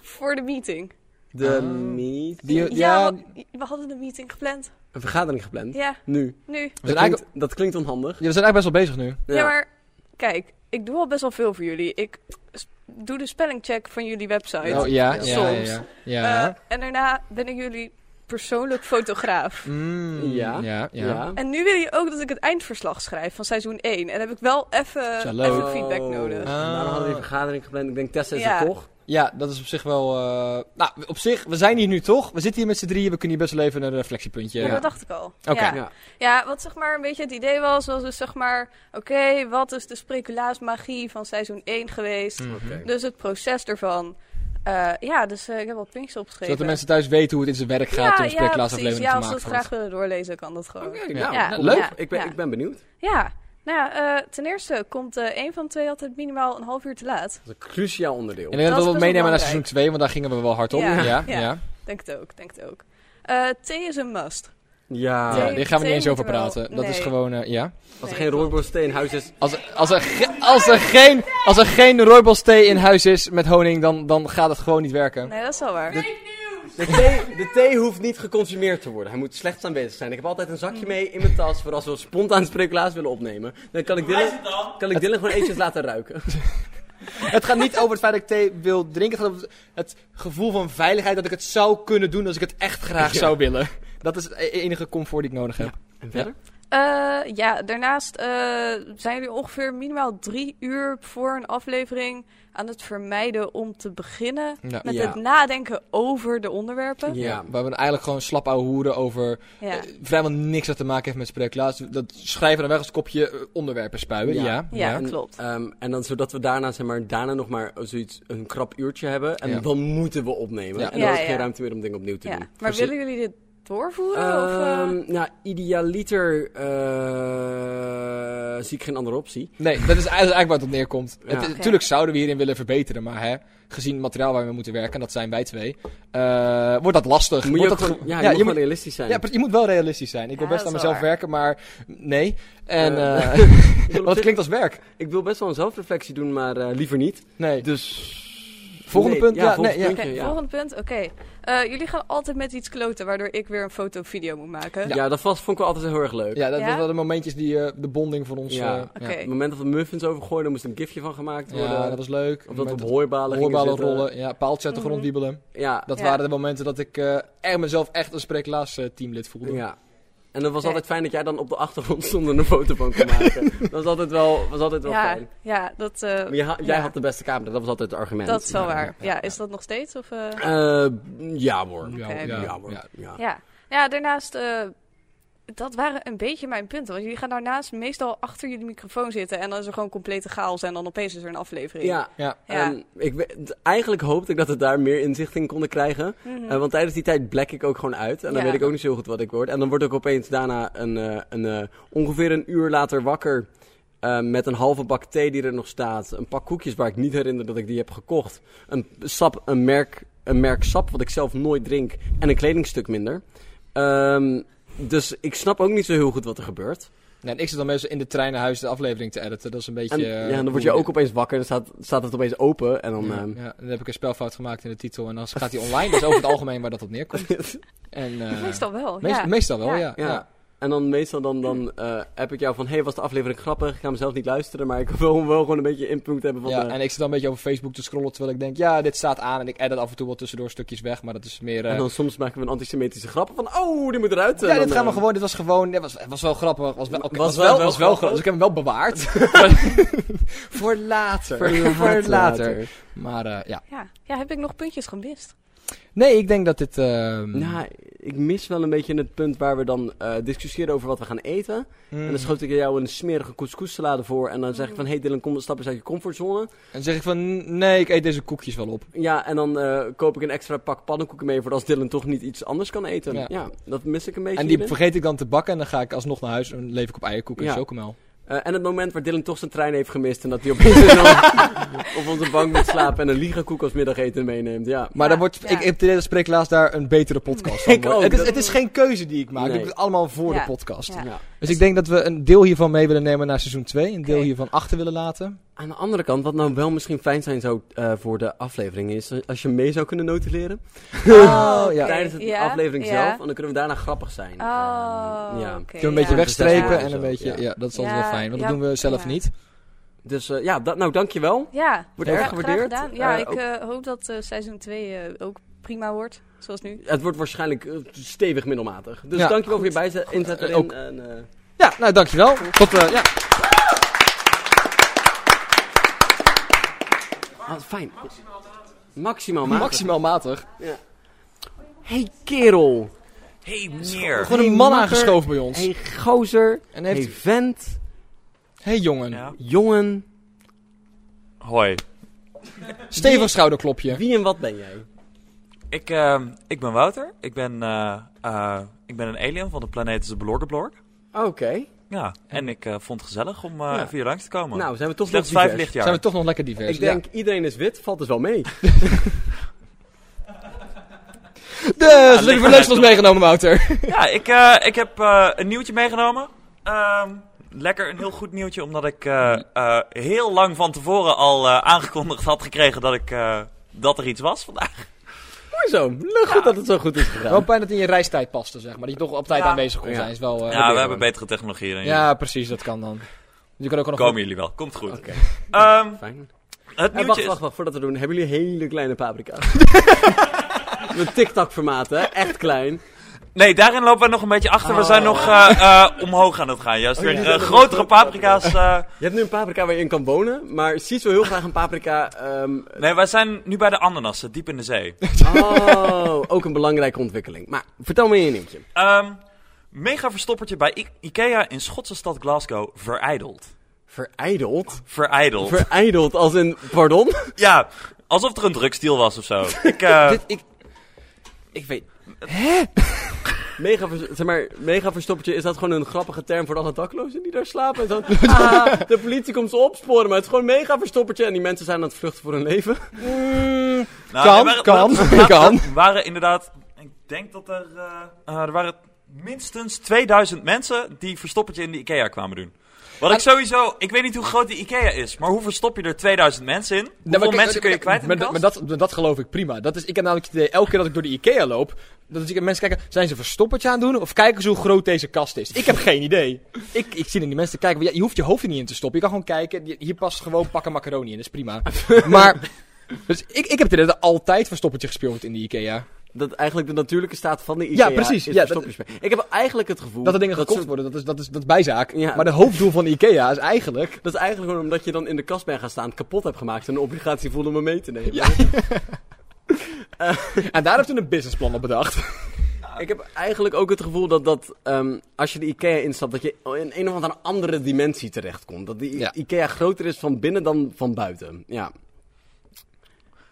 Speaker 10: voor de meeting.
Speaker 1: De meet...
Speaker 2: Die,
Speaker 10: Ja,
Speaker 2: Oh. ja,
Speaker 10: wa- we hadden de meeting gepland.
Speaker 1: Een vergadering gepland.
Speaker 10: Ja,
Speaker 1: Nu.
Speaker 10: nu.
Speaker 2: We zijn,
Speaker 1: Dat
Speaker 2: eigenlijk,
Speaker 1: klinkt, dat klinkt onhandig.
Speaker 2: ja, we zijn eigenlijk best wel bezig nu.
Speaker 10: Ja. maar kijk, ik doe al best wel veel voor jullie. Ik s- doe de spellingcheck van jullie website.
Speaker 2: Oh, ja, ja, ja,
Speaker 10: soms.
Speaker 2: ja. ja.
Speaker 10: Eh, en daarna ben ik jullie persoonlijk fotograaf.
Speaker 2: Mm,
Speaker 1: Ja.
Speaker 2: ja, ja.
Speaker 10: En nu willen jullie ook dat ik het eindverslag schrijf van seizoen 1. En heb ik wel
Speaker 1: Eh,
Speaker 10: even
Speaker 2: Zo leuk.
Speaker 10: even feedback
Speaker 1: Oh.
Speaker 10: nodig.
Speaker 2: Ah.
Speaker 1: Daarom Nou, hadden we die vergadering gepland. Ik denk, Tessa is
Speaker 10: Ja.
Speaker 1: er toch?
Speaker 2: Ja, dat is op zich wel... eh, nou, op zich, we zijn hier nu toch? We zitten hier met z'n drieën, we kunnen hier best wel even een reflectiepuntje...
Speaker 10: Ja, dat dacht ik al.
Speaker 2: Oké.
Speaker 10: Ja. Ja, wat zeg maar een beetje het idee was, was dus zeg maar... Oké, wat is de speculaarsmagie van seizoen 1 geweest?
Speaker 2: Mhm.
Speaker 10: Dus het proces ervan. Eh, ja, dus eh, ik heb wat puntjes opgeschreven.
Speaker 2: Zodat de mensen thuis weten hoe het in zijn werk gaat toen een
Speaker 10: precies.
Speaker 2: spreeklaasaflevering
Speaker 10: Ja, als ze het
Speaker 2: gemaakt
Speaker 10: graag
Speaker 2: wordt.
Speaker 10: willen doorlezen, kan dat gewoon.
Speaker 1: Oké,
Speaker 2: Ja.
Speaker 1: nou,
Speaker 10: Ja.
Speaker 1: nou, leuk.
Speaker 10: Ja.
Speaker 1: Ik, ben,
Speaker 10: Ja.
Speaker 1: ik ben benieuwd. Dat
Speaker 10: Ja, nou ja, eh, ten eerste komt eh één van de twee altijd minimaal een half uur te laat.
Speaker 1: is een cruciaal onderdeel.
Speaker 2: En ik denk
Speaker 10: Dat
Speaker 2: dat
Speaker 10: is
Speaker 2: we
Speaker 10: best wel
Speaker 2: het meenemen
Speaker 10: belangrijk.
Speaker 2: naar seizoen 2, want daar gingen we wel hard op.
Speaker 10: Ja,
Speaker 2: Ja, ja.
Speaker 10: ja.
Speaker 2: ja.
Speaker 10: Denk het ook, denk het ook. Eh thee is een must.
Speaker 1: Ja.
Speaker 10: Twee-
Speaker 2: Hier gaan we
Speaker 10: twee
Speaker 2: niet eens
Speaker 10: moeten
Speaker 2: over
Speaker 10: we wel.
Speaker 2: praten. Dat is
Speaker 10: Nee.
Speaker 2: gewoon, eh, ja.
Speaker 1: Als er geen rooiboorsteen in huis is...
Speaker 2: Als, er- als, er, ge- als, er geen, als er geen rooibos thee in huis is met honing, dan, dan gaat het gewoon niet werken.
Speaker 10: Nee, dat is wel waar.
Speaker 1: De thee, de thee hoeft niet geconsumeerd te worden. Hij moet slechts aanwezig zijn. Ik heb altijd een zakje mee in mijn tas voor als we spontaan speculaas willen opnemen. Dan kan ik Dylan, kan ik Dylan gewoon eentjes laten ruiken.
Speaker 2: Het gaat niet over het feit dat ik thee wil drinken. Het gaat over het gevoel van veiligheid dat ik het zou kunnen doen als ik het echt graag zou willen. Dat is het e- enige comfort die ik nodig heb.
Speaker 1: En verder?
Speaker 10: Eh, ja, daarnaast eh, zijn jullie ongeveer minimaal drie uur voor een aflevering aan het vermijden om te beginnen
Speaker 2: Ja.
Speaker 10: met
Speaker 2: Ja.
Speaker 10: het nadenken over de onderwerpen.
Speaker 2: Ja, we hebben eigenlijk gewoon slap ouwe hoeren over
Speaker 10: Ja.
Speaker 2: eh, vrijwel niks dat te maken heeft met spreeklaas. Dat schrijven dan weg als kopje eh, onderwerpen spuien. Ja,
Speaker 1: En, ehm, en dan zodat we daarna, zeg maar, daarna nog maar zoiets, een krap uurtje hebben. En
Speaker 2: Ja.
Speaker 1: dan moeten we opnemen.
Speaker 2: Ja.
Speaker 1: En dan
Speaker 10: Ja,
Speaker 1: is er
Speaker 10: ja.
Speaker 1: geen ruimte meer om dingen opnieuw te
Speaker 10: Ja.
Speaker 1: doen. Dus
Speaker 10: Maar willen jullie dit doorvoeren? of, eh?
Speaker 1: Ehm, Nou, idealiter eh, zie ik geen andere optie.
Speaker 2: Nee, dat is eigenlijk- eigenlijk waar het op neerkomt.
Speaker 1: Ja.
Speaker 2: Het-
Speaker 1: Oké.
Speaker 2: Tuurlijk zouden we hierin willen verbeteren, maar hè, gezien het materiaal waar we mee moeten werken, en dat zijn wij twee, eh, wordt dat lastig.
Speaker 1: Moet
Speaker 2: wordt
Speaker 1: je ook
Speaker 2: dat
Speaker 1: gewoon-
Speaker 2: ge-
Speaker 1: ja, je moet gewoon realistisch zijn.
Speaker 2: Ja, pre- je moet wel realistisch zijn. Ik wil
Speaker 1: Ja,
Speaker 2: best aan
Speaker 1: dat is
Speaker 2: mezelf
Speaker 1: wel
Speaker 2: werken, maar nee. En,
Speaker 1: Eh,
Speaker 2: eh,
Speaker 1: ik wil op
Speaker 2: want het
Speaker 1: zich-
Speaker 2: klinkt als werk.
Speaker 1: Ik wil best wel een zelfreflectie doen, maar eh, liever niet.
Speaker 2: Nee.
Speaker 1: Dus...
Speaker 2: Volgende
Speaker 1: Nee,
Speaker 2: punt? Ja,
Speaker 1: volgend
Speaker 2: nee, ja.
Speaker 10: Oké,
Speaker 1: puntje, ja.
Speaker 10: volgend punt. Oké. Eh, jullie gaan altijd met iets kloten, waardoor ik weer een foto of video moet maken.
Speaker 1: Ja, dat vast vond ik wel altijd heel erg leuk.
Speaker 2: Ja, dat
Speaker 10: Ja?
Speaker 2: dat waren de momentjes die eh, de bonding voor ons...
Speaker 1: Ja.
Speaker 2: eh,
Speaker 1: Op het moment dat we muffins overgooiden, moest er een gifje van gemaakt
Speaker 2: Ja,
Speaker 1: worden.
Speaker 2: dat was leuk.
Speaker 1: Of dat
Speaker 2: Moment
Speaker 1: we op
Speaker 2: dat-
Speaker 1: hooibalen gingen
Speaker 2: Hoorbalen
Speaker 1: zitten.
Speaker 2: rollen, ja, paaltjes uit de grond
Speaker 1: Mhm.
Speaker 2: wiebelen.
Speaker 1: Ja.
Speaker 2: Dat
Speaker 1: Ja.
Speaker 2: waren de momenten dat ik eh, echt mezelf echt een spreeklaas eh, teamlid voelde.
Speaker 1: Ja. En dat was altijd fijn dat jij dan op de achtergrond stond en een foto van kon maken. dat was altijd wel, was altijd wel
Speaker 10: ja,
Speaker 1: fijn.
Speaker 10: ja, dat, eh,
Speaker 1: Maar je ha- jij
Speaker 10: ja.
Speaker 1: had de beste camera, dat was altijd het argument.
Speaker 10: dat is wel
Speaker 1: Ja.
Speaker 10: waar. Ja, is dat nog steeds? Of, eh?
Speaker 1: Eh, ja hoor.
Speaker 10: Oké.
Speaker 1: Ja,
Speaker 10: Ja,
Speaker 1: hoor. Ja.
Speaker 10: Ja, ja daarnaast, eh, dat waren een beetje mijn punten. Want jullie gaan daarnaast meestal achter jullie microfoon zitten en dan is er gewoon complete chaos en dan opeens is er een aflevering.
Speaker 1: Ja,
Speaker 2: ja.
Speaker 1: ehm, ik, we- d- eigenlijk hoopte ik dat we daar meer inzicht in konden krijgen.
Speaker 10: Mhm.
Speaker 1: Eh, want tijdens die tijd black ik ook gewoon uit. En dan
Speaker 10: Ja.
Speaker 1: weet ik ook niet zo heel goed wat ik word. En dan word ik opeens daarna een, eh, een, eh, ongeveer een uur later wakker. eh, met een halve bak thee die er nog staat. Een pak koekjes waar ik niet herinner dat ik die heb gekocht. Een sap, een merk, een merk sap wat ik zelf nooit drink. En een kledingstuk minder. Ehm, dus ik snap ook niet zo heel goed wat er gebeurt.
Speaker 2: Nee, en ik zit dan meestal in de trein naar huis de aflevering te editen. Dat is een beetje...
Speaker 1: En,
Speaker 2: eh,
Speaker 1: ja, dan word je ook opeens wakker en dan staat, staat het opeens open. En dan,
Speaker 2: Ja,
Speaker 1: ehm,
Speaker 2: ja, dan heb ik een spelfout gemaakt in de titel en dan gaat die online. Dat is over het algemeen waar dat op neerkomt. En, eh,
Speaker 10: Meestal wel,
Speaker 2: meest-
Speaker 10: ja.
Speaker 2: Meestal wel, ja.
Speaker 1: Ja.
Speaker 2: ja.
Speaker 1: En dan meestal dan, dan eh, app ik jou van... hey, was de aflevering grappig? Ik ga hem zelf niet luisteren, maar ik wil wel gewoon een beetje input hebben van...
Speaker 2: Ja,
Speaker 1: de-
Speaker 2: en ik zit dan een beetje over Facebook te scrollen terwijl ik denk, ja, dit staat aan. En ik edit af en toe wel tussendoor stukjes weg, maar dat is meer... eh,
Speaker 1: en dan soms maken we een antisemitische grap van... oh, die moet eruit.
Speaker 2: ja, dit gaan we gewoon. Dit was gewoon. Dit was, was wel grappig. Was wel, oké, was wel, was wel grappig. Dus ik heb hem wel bewaard. voor later.
Speaker 1: Voor later.
Speaker 2: Voor later. Maar eh, ja.
Speaker 10: ja. Ja, heb ik nog puntjes gemist?
Speaker 2: Nee, ik denk dat dit. ehm,
Speaker 1: Nou, ik mis wel een beetje het punt waar we dan eh, discussiëren over wat we gaan eten.
Speaker 2: Mm.
Speaker 1: En dan schoot ik jou een smerige couscous-salade voor. En dan zeg ik van, hey Dylan, kom stap eens uit je comfortzone.
Speaker 2: En zeg ik van, nee, ik eet deze koekjes wel op.
Speaker 1: Ja, en dan eh, koop ik een extra pak pannenkoeken mee... voor als Dylan toch niet iets anders kan eten.
Speaker 2: Ja.
Speaker 1: Ja, dat mis ik een beetje.
Speaker 2: En die
Speaker 1: hierin.
Speaker 2: vergeet ik dan te bakken en dan ga ik alsnog naar huis en leef ik op eierkoeken
Speaker 1: Ja.
Speaker 2: en chocomel.
Speaker 1: Eh, en het moment waar Dylan toch zijn trein heeft gemist en dat hij opeens op- op onze bank moet slapen en een ligakoek als middageten meeneemt. Ja.
Speaker 2: Maar dan wordt, ik heb de spreeklaas daar een betere podcast van.
Speaker 1: Ik
Speaker 2: wordt.
Speaker 1: ook,
Speaker 2: het, is,
Speaker 1: dat-
Speaker 2: het is geen keuze Ah, die ik maak.
Speaker 1: Nee.
Speaker 2: Ik doe het allemaal voor
Speaker 1: Ja.
Speaker 2: de podcast.
Speaker 1: Ja.
Speaker 2: Dus ik denk dat we een deel hiervan mee willen nemen naar seizoen 2. Een deel hiervan achter willen laten.
Speaker 1: Aan de andere kant, wat nou wel misschien fijn zijn zou, eh, voor de aflevering is eh, als je mee zou kunnen notuleren.
Speaker 2: Oh, ja.
Speaker 1: Tijdens de
Speaker 10: Ja,
Speaker 1: aflevering
Speaker 10: ja.
Speaker 1: zelf. En dan kunnen we daarna grappig zijn. Ehm,
Speaker 10: Oh,
Speaker 1: ja. Dus
Speaker 10: oké,
Speaker 2: Kunnen we een beetje
Speaker 1: ja.
Speaker 2: wegstrepen en
Speaker 1: Zo,
Speaker 2: een beetje... Ja,
Speaker 1: ja.
Speaker 2: dat is altijd
Speaker 10: Ja,
Speaker 2: wel fijn, want
Speaker 10: ja,
Speaker 2: dat doen we zelf
Speaker 10: ja.
Speaker 2: niet.
Speaker 1: Dus eh, ja, dat, nou dankjewel.
Speaker 10: Ja,
Speaker 1: Wordt
Speaker 10: gra-
Speaker 1: erg
Speaker 10: graag
Speaker 1: gewaardeerd.
Speaker 10: gedaan. Ja,
Speaker 1: Eh,
Speaker 10: ik
Speaker 1: ook-
Speaker 10: eh, hoop dat eh, seizoen 2 ook prima wordt, zoals nu.
Speaker 1: het wordt waarschijnlijk eh, stevig middelmatig. Dus
Speaker 2: Ja.
Speaker 1: dankjewel voor je bijzet, inzet
Speaker 2: Eh,
Speaker 1: erin.
Speaker 2: ook.
Speaker 1: En, eh,
Speaker 2: Ja, nou dankjewel. Tot, eh, ja.
Speaker 1: ah, fijn. Maximaal matig.
Speaker 2: Maximaal matig.
Speaker 1: Ja. Hey kerel.
Speaker 3: Hey meneer.
Speaker 2: Gewoon een
Speaker 1: Hey,
Speaker 2: man
Speaker 1: makker.
Speaker 2: aangeschoven bij ons.
Speaker 1: Hey gozer.
Speaker 2: En heeft-
Speaker 1: Hey vent.
Speaker 2: hey, jongen.
Speaker 1: Jongen.
Speaker 13: Hoi,
Speaker 2: Stevig schouderklopje.
Speaker 1: Wie en wat ben jij?
Speaker 13: ik, ehm, ik ben Wouter. Ik ben, eh, eh, ik ben een alien van de planeet de Blorkeblork.
Speaker 1: Oké.
Speaker 13: Ja, en ik eh, vond het gezellig om eh,
Speaker 1: Ja.
Speaker 13: even hier langs te komen.
Speaker 1: Nou, zijn we toch
Speaker 13: Slechts
Speaker 1: nog
Speaker 13: vijf
Speaker 1: divers.
Speaker 13: lichtjaar.
Speaker 2: Zijn we toch nog lekker divers.
Speaker 1: Ik denk, iedereen is wit, valt dus wel mee.
Speaker 2: Ja. Dus, wat heb je voor leuks van ons meegenomen, Wouter?
Speaker 13: Ja, ik, eh, ik heb eh, een nieuwtje meegenomen. Ehm, lekker, een heel goed nieuwtje, omdat ik eh, eh, heel lang van tevoren al eh, aangekondigd had gekregen dat, ik, eh, dat er iets was vandaag.
Speaker 1: Mooi zo. Leuk goed dat het zo goed is
Speaker 2: Wel
Speaker 1: gegaan.
Speaker 2: pijn dat het in je reistijd paste, zeg maar. Dat je toch op tijd
Speaker 13: Ja.
Speaker 2: aanwezig kon
Speaker 13: Ja.
Speaker 2: zijn. Is wel, eh,
Speaker 13: ja, we hebben betere technologie dan jullie.
Speaker 2: Ja, precies, dat kan dan. Je kan ook nog
Speaker 13: Komen jullie wel, komt goed.
Speaker 1: Oké.
Speaker 13: Ehm,
Speaker 1: Fijn.
Speaker 13: het
Speaker 1: En
Speaker 13: nieuwtje
Speaker 1: wacht,
Speaker 13: is-
Speaker 1: wacht, wacht. Voordat we doen, hebben jullie hele kleine paprika's? Met TikTok formaat, hè? Echt klein.
Speaker 13: Nee, daarin lopen we nog een beetje achter. We
Speaker 2: Oh.
Speaker 13: zijn nog eh, eh, omhoog aan het gaan. Juist
Speaker 1: Oh,
Speaker 13: weer
Speaker 1: ja.
Speaker 13: eh, grotere paprika's. eh.
Speaker 1: Je hebt nu een paprika waar je in kan wonen, maar Sies wil heel graag een paprika... ehm,
Speaker 13: Nee, wij zijn nu bij de ananassen, diep in de zee.
Speaker 1: Oh, ook een belangrijke ontwikkeling. Maar vertel me je nieuwtje.
Speaker 13: Ehm, mega verstoppertje bij I- Ikea in Schotse stad Glasgow verijdeld.
Speaker 1: Verijdeld?
Speaker 13: Verijdeld.
Speaker 1: Verijdeld als een... Pardon?
Speaker 13: ja, alsof er een drugsdeal was of zo. Ik, eh,
Speaker 1: Dit- ik, ik weet... Hè? Mega, vers- zeg maar, mega verstoppertje, is dat gewoon een grappige term voor alle daklozen die daar slapen? En dan, ah, de politie komt ze opsporen, maar het is gewoon mega verstoppertje en die mensen zijn aan het vluchten voor hun leven.
Speaker 13: nou,
Speaker 1: kan,
Speaker 13: er waren-
Speaker 1: kan,
Speaker 13: er waren-
Speaker 1: kan.
Speaker 13: Er waren inderdaad, ik denk dat er, eh, eh, er waren minstens 2000 mensen die verstoppertje in de Ikea kwamen doen. Wat ik sowieso, ik weet niet hoe groot die Ikea is, maar hoe verstop je er 2000 mensen in? Hoeveel
Speaker 2: Nou, maar kijk,
Speaker 13: mensen kun je
Speaker 2: kijk,
Speaker 13: kwijt in de
Speaker 2: maar, dat-
Speaker 13: kast?
Speaker 2: maar dat, maar dat geloof ik prima. Dat is, ik heb namelijk het idee, elke keer dat ik door de Ikea loop, dat ik mensen kijken, zijn ze een verstoppertje aan het doen? Of kijken ze hoe groot deze kast is? Ik heb geen idee. Ik, ik zie naar die mensen te kijken, maar ja, je hoeft je hoofd er niet in te stoppen. Je kan gewoon kijken, je- hier past gewoon pakken macaroni in, dat is prima. maar, dus ik, ik heb het idee dat er altijd verstoppertje gespeeld wordt in de Ikea.
Speaker 1: Dat eigenlijk de natuurlijke staat van de Ikea
Speaker 2: Ja, precies.
Speaker 1: is
Speaker 2: Ja,
Speaker 1: verstoppertje spelen. Ik heb eigenlijk het gevoel...
Speaker 2: Dat er dingen gekocht
Speaker 1: ze-
Speaker 2: worden, dat is, dat, is, dat is bijzaak.
Speaker 1: Ja.
Speaker 2: Maar de hoofddoel van de Ikea is eigenlijk...
Speaker 1: Dat is eigenlijk gewoon omdat je dan in de kast bent gaan staan, kapot hebt gemaakt en een obligatie voelde om hem mee te nemen. Eh.
Speaker 2: En daar heeft toen een businessplan op bedacht.
Speaker 1: Ik heb eigenlijk ook het gevoel dat, dat ehm, als je de IKEA instapt, dat je in een of andere andere dimensie terechtkomt. Dat die I- IKEA groter is van binnen dan van buiten. Ja.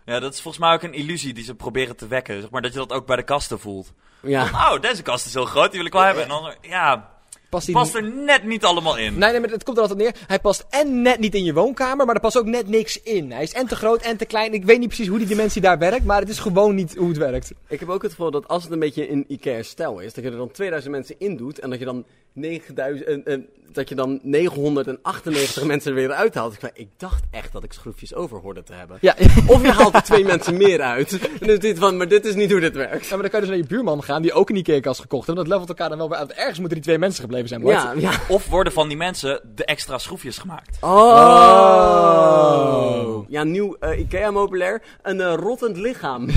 Speaker 13: Ja, dat is volgens mij ook een illusie die ze proberen te wekken. Zeg maar dat je dat ook bij de kasten voelt.
Speaker 1: Ja.
Speaker 13: Van, oh, deze kast is heel groot, die wil ik wel hebben. En dan, ja,
Speaker 2: Past,
Speaker 13: past,
Speaker 2: die
Speaker 13: er net niet allemaal in.
Speaker 2: Nee, nee, maar het komt er altijd neer. Hij past en net niet in je woonkamer, maar er past ook net niks in. Hij is en te groot en te klein. Ik weet niet precies hoe die dimensie daar werkt, maar het is gewoon niet hoe het werkt.
Speaker 1: Ik heb ook het gevoel dat als het een beetje in IKEA-stijl is, dat je er dan 2000 mensen in doet en dat je dan, 9000, eh, eh, dat je dan 998 mensen er weer uithaalt. Ik, ik dacht echt dat ik schroefjes over hoorde te hebben.
Speaker 2: Ja.
Speaker 1: Of je haalt er twee mensen meer uit. En dan is dit van, maar dit is niet hoe dit werkt.
Speaker 2: Ja, maar dan kan je dus naar je buurman gaan, die ook een Ikea-kast gekocht heeft. En dat levelt elkaar dan wel weer uit. Ergens moeten die twee mensen gebleven zijn, Bart.
Speaker 13: Of worden van die mensen de extra schroefjes gemaakt.
Speaker 1: Oh. Ja, nieuw eh, IKEA-meubilair. Een eh, rottend lichaam.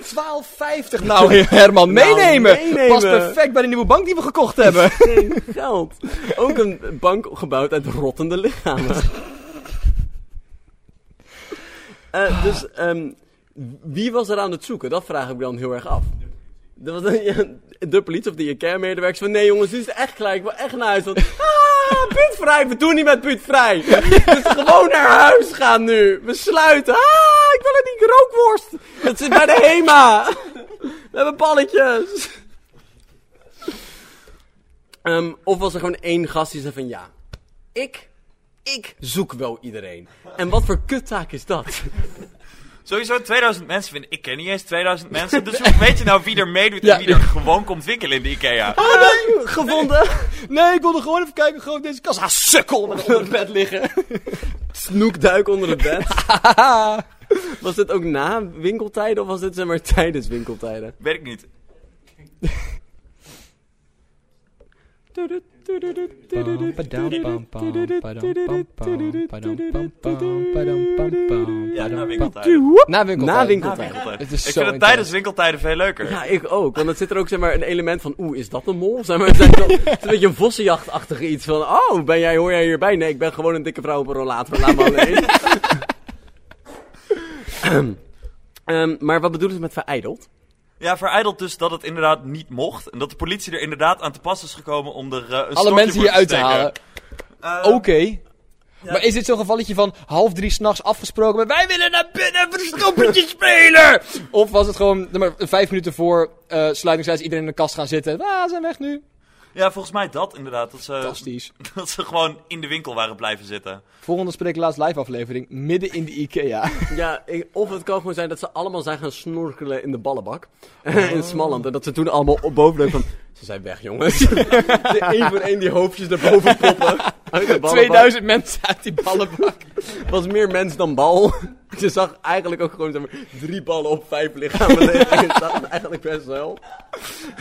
Speaker 2: 12,50. Nou, Herman,
Speaker 1: Nou,
Speaker 2: meenemen.
Speaker 1: meenemen.
Speaker 2: Past perfect bij de nieuwe bank die we gekocht hebben.
Speaker 1: Geen geld. Ook een bank gebouwd uit rottende lichamen. Eh, dus, ehm, wie was er aan het zoeken? Dat vraag ik me dan heel erg af. De, de politie of de IKEA-medewerkers van... Nee jongens, dit is echt gelijk. Ik wil echt naar huis. Want, ah, buurtvrij. We doen niet met buurtvrij. Dus gewoon naar huis gaan nu. We sluiten. Ah, ik wil het niet rookworst. Het zit bij de HEMA. We hebben balletjes. Ehm, of was er gewoon één gast die zei van ja, ik, ik zoek wel iedereen. En wat voor kuttaak is dat?
Speaker 13: Sowieso 2000 mensen vinden. Ik ken niet eens 2000 mensen. Dus hoe weet je nou wie er meedoet en wie er gewoon komt wikkelen in de Ikea?
Speaker 2: Oh, nee, gevonden. Nee, ik wilde gewoon even kijken hoe groot deze kast. Ah, sukkel. met onder het bed liggen.
Speaker 1: Snoekduik onder het bed. was dit ook na winkeltijden of was dit zeg maar tijdens winkeltijden?
Speaker 13: Weet ik niet.
Speaker 2: Ja,
Speaker 13: na
Speaker 1: winkeltijden.
Speaker 2: Na winkeltijd.
Speaker 1: Na winkeltijden.
Speaker 2: Het
Speaker 13: ik
Speaker 2: is
Speaker 13: vind
Speaker 2: zo
Speaker 13: het
Speaker 2: intens.
Speaker 13: tijdens winkeltijden veel leuker.
Speaker 1: Ja, ik ook. Want het zit er ook zeg maar, een element van, oeh, is dat een mol? Zeg maar, het is wel- het is een beetje een vossenjachtachtige iets van, oh, ben jij, hoor jij hierbij? Nee, ik ben gewoon een dikke vrouw op een rollator, laat me alleen. Ehm, maar wat bedoelen ze met verijdeld?
Speaker 13: Ja, verijdeld dus dat het inderdaad niet mocht. En dat de politie er inderdaad aan te pas is gekomen om er eh, een
Speaker 2: Alle
Speaker 13: stokje
Speaker 2: mensen
Speaker 13: voor
Speaker 2: hier uit te
Speaker 13: steken.
Speaker 2: halen. Oké.
Speaker 1: Eh,
Speaker 2: Maar is dit zo'n gevalletje van half drie s'nachts afgesproken met wij willen naar binnen verstoppertje spelen? Of was het gewoon zeg maar, vijf minuten voor eh sluitingstijd iedereen in de kast gaan zitten? Ah, ze zijn weg nu.
Speaker 13: Ja, volgens mij dat inderdaad. Dat ze,
Speaker 2: Fantastisch.
Speaker 13: Dat ze gewoon in de winkel waren blijven zitten.
Speaker 2: Volgende spreeklaas live aflevering midden in de Ikea.
Speaker 1: Ja, ik- of het kan gewoon zijn dat ze allemaal zijn gaan snorkelen in de ballenbak.
Speaker 2: Oh.
Speaker 1: in Smalland. En dat ze toen allemaal op bovenleuk van... Ze zijn weg, jongens. De één voor één die hoofdjes naar boven poppen. Uit de ballenbak.
Speaker 2: 2000 mensen uit die ballenbak.
Speaker 1: was meer mens dan bal. Je zag eigenlijk ook gewoon zeg maar, drie ballen op vijf lichamen liggen. Dat was eigenlijk best wel.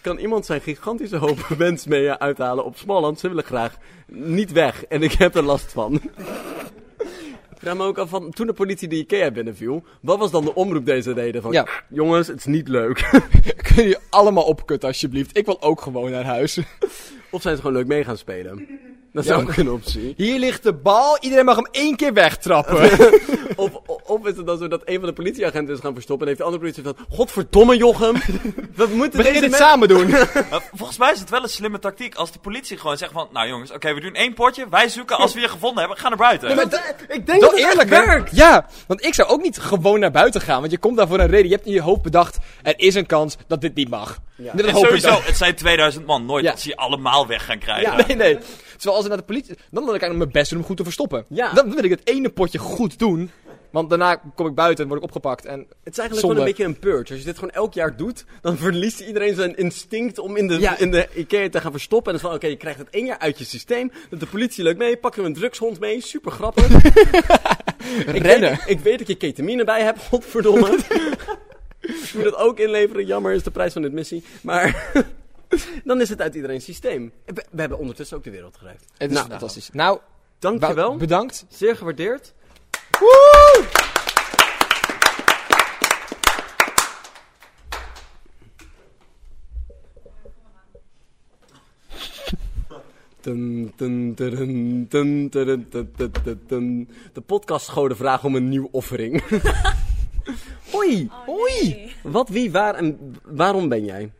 Speaker 1: Kan iemand zijn gigantische hoop wens mee uithalen op Smalland? Ze willen graag niet weg. En ik heb er last van. vraag me ook af van toen de politie de IKEA binnenviel. Wat was dan de omroep deze reden? Van,
Speaker 2: Ja.
Speaker 1: Jongens, het is niet leuk.
Speaker 2: Kun je allemaal opkutten alsjeblieft. Ik wil ook gewoon naar huis.
Speaker 1: Of zijn ze gewoon leuk mee gaan spelen? Dat is
Speaker 2: Ja.
Speaker 1: ook een optie.
Speaker 2: Hier ligt de bal. Iedereen mag hem één keer wegtrappen.
Speaker 1: Of, of is het dan zo dat een van de politieagenten is gaan verstoppen en heeft de andere politieagent van... Godverdomme Jochem, we moeten
Speaker 2: We gaan
Speaker 1: deze
Speaker 2: dit
Speaker 1: men-
Speaker 2: samen doen.
Speaker 13: Eh, volgens mij is het wel een slimme tactiek als de politie gewoon zegt van... Nou jongens, oké, we doen één potje. Wij zoeken. Als we je gevonden hebben, gaan naar buiten.
Speaker 2: Nee, maar
Speaker 1: ik
Speaker 2: Dat eerlijker. Ja, want ik zou ook niet gewoon naar buiten gaan. Want je komt daar voor een reden. Je hebt in je hoofd bedacht, er is een kans dat dit niet mag. En Dat
Speaker 13: En
Speaker 2: hoop ik
Speaker 13: sowieso,
Speaker 2: dan.
Speaker 13: het zijn 2000 man. Nooit dat ze je allemaal weg gaan krijgen.
Speaker 2: Ja, nee, nee. Terwijl als ik naar de politie... Dan wil ik eigenlijk mijn best doen om goed te verstoppen. Dan wil ik het ene potje goed doen. Want daarna kom ik buiten en word ik opgepakt. En
Speaker 1: Het is eigenlijk gewoon een beetje een purge. Als je dit gewoon elk jaar doet, dan verliest iedereen zijn instinct om in de,
Speaker 2: Ja.
Speaker 1: in de IKEA te gaan verstoppen. En dan is van, oké, je krijgt het één jaar uit je systeem. Dat de politie leuk mee, pakken we een drugshond mee, super grappig. Ik
Speaker 2: Rennen.
Speaker 1: weet, ik weet dat je ketamine bij hebt, godverdomme. Je moet dat ook inleveren, jammer is de prijs van dit missie. Maar dan is het uit iedereen's systeem. We, we hebben ondertussen ook de wereld gerecht.
Speaker 2: Het is
Speaker 1: Nou,
Speaker 2: fantastisch. Nou,
Speaker 1: Dankjewel.
Speaker 2: Wout, Bedankt.
Speaker 1: Zeer gewaardeerd. Dun, dun, dun, dun, dun, dun, dun, dun, dun. De podcast schoot vraag om een nieuwe offering. Oei, oei. Wat, wie, waar en waarom ben jij? ik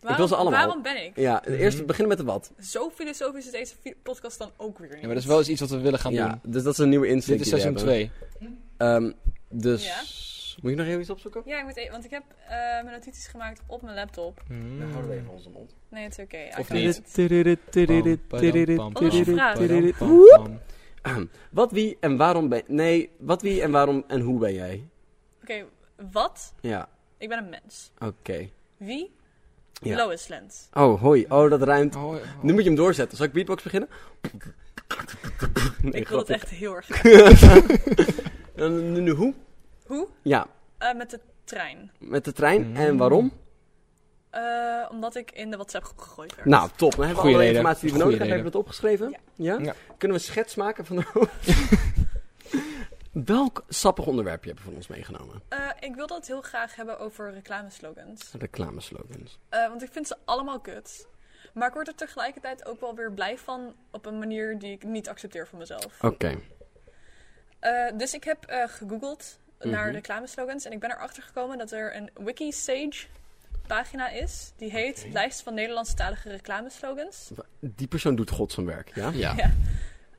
Speaker 1: wil ze
Speaker 4: Waarom-
Speaker 1: allemaal.
Speaker 4: waarom ben ik?
Speaker 1: Ja,
Speaker 2: Mhm.
Speaker 1: eerst beginnen met de wat.
Speaker 4: Zo filosofisch is deze fi- podcast dan ook weer niet.
Speaker 2: Ja, maar dat is wel eens iets wat we willen gaan
Speaker 1: ja,
Speaker 2: doen.
Speaker 1: dus dat is een nieuwe insteek.
Speaker 2: Dit is
Speaker 1: die we
Speaker 2: seizoen
Speaker 1: hebben. Ehm, dus,
Speaker 4: Ja.
Speaker 1: moet ik nog even iets opzoeken?
Speaker 4: Ja, ik moet e- want ik heb eh, mijn notities gemaakt op mijn laptop.
Speaker 2: Mm.
Speaker 1: Dan houden we even onze mond.
Speaker 4: Nee, het is oké. I
Speaker 1: Hmm. Of
Speaker 4: got
Speaker 1: niet.
Speaker 4: it.
Speaker 1: Woep. Ahem. Wat, wie en waarom ben... Nee, wat, wie en waarom en hoe ben jij?
Speaker 4: Oké, wat?
Speaker 1: Ja,
Speaker 4: Ik ben een mens.
Speaker 1: oké.
Speaker 4: Wie?
Speaker 1: Ja.
Speaker 4: Lois Lent.
Speaker 1: Oh, hoi. Oh, dat ruimt. Nu moet je hem doorzetten. Zal ik beatbox beginnen? Nee,
Speaker 4: ik wil het
Speaker 1: grapje.
Speaker 4: echt heel erg. graag.
Speaker 1: Dan nu- nu hoe?
Speaker 4: Hoe?
Speaker 1: Ja,
Speaker 4: Eh, met de trein.
Speaker 1: met de
Speaker 2: Mm.
Speaker 1: trein. En waarom?
Speaker 4: Eh, omdat ik in de WhatsApp groep gegooid werd.
Speaker 1: Nou, top. Dan hebben we
Speaker 2: Goeie
Speaker 1: alle
Speaker 2: reden.
Speaker 1: informatie die we
Speaker 2: Goeie
Speaker 1: nodig hebben. Hebben we
Speaker 2: reden.
Speaker 1: dat opgeschreven? Ja.
Speaker 2: Ja.
Speaker 1: Kunnen we een schets maken van de... Welk sappig onderwerp heb je voor ons meegenomen?
Speaker 4: Eh, ik wil dat heel graag hebben over reclameslogans.
Speaker 1: Reclameslogans.
Speaker 4: Eh, want ik vind ze allemaal kut. Maar ik word er tegelijkertijd ook wel weer blij van op een manier die ik niet accepteer van mezelf.
Speaker 1: Oké.
Speaker 4: Eh, dus ik heb eh, gegoogeld naar
Speaker 1: Mhm.
Speaker 4: reclameslogans en ik ben erachter gekomen dat er een Wikisage pagina is. Die heet Lijst van Nederlandstalige reclameslogans.
Speaker 1: Die persoon doet God zijn werk, ja?
Speaker 4: Ja.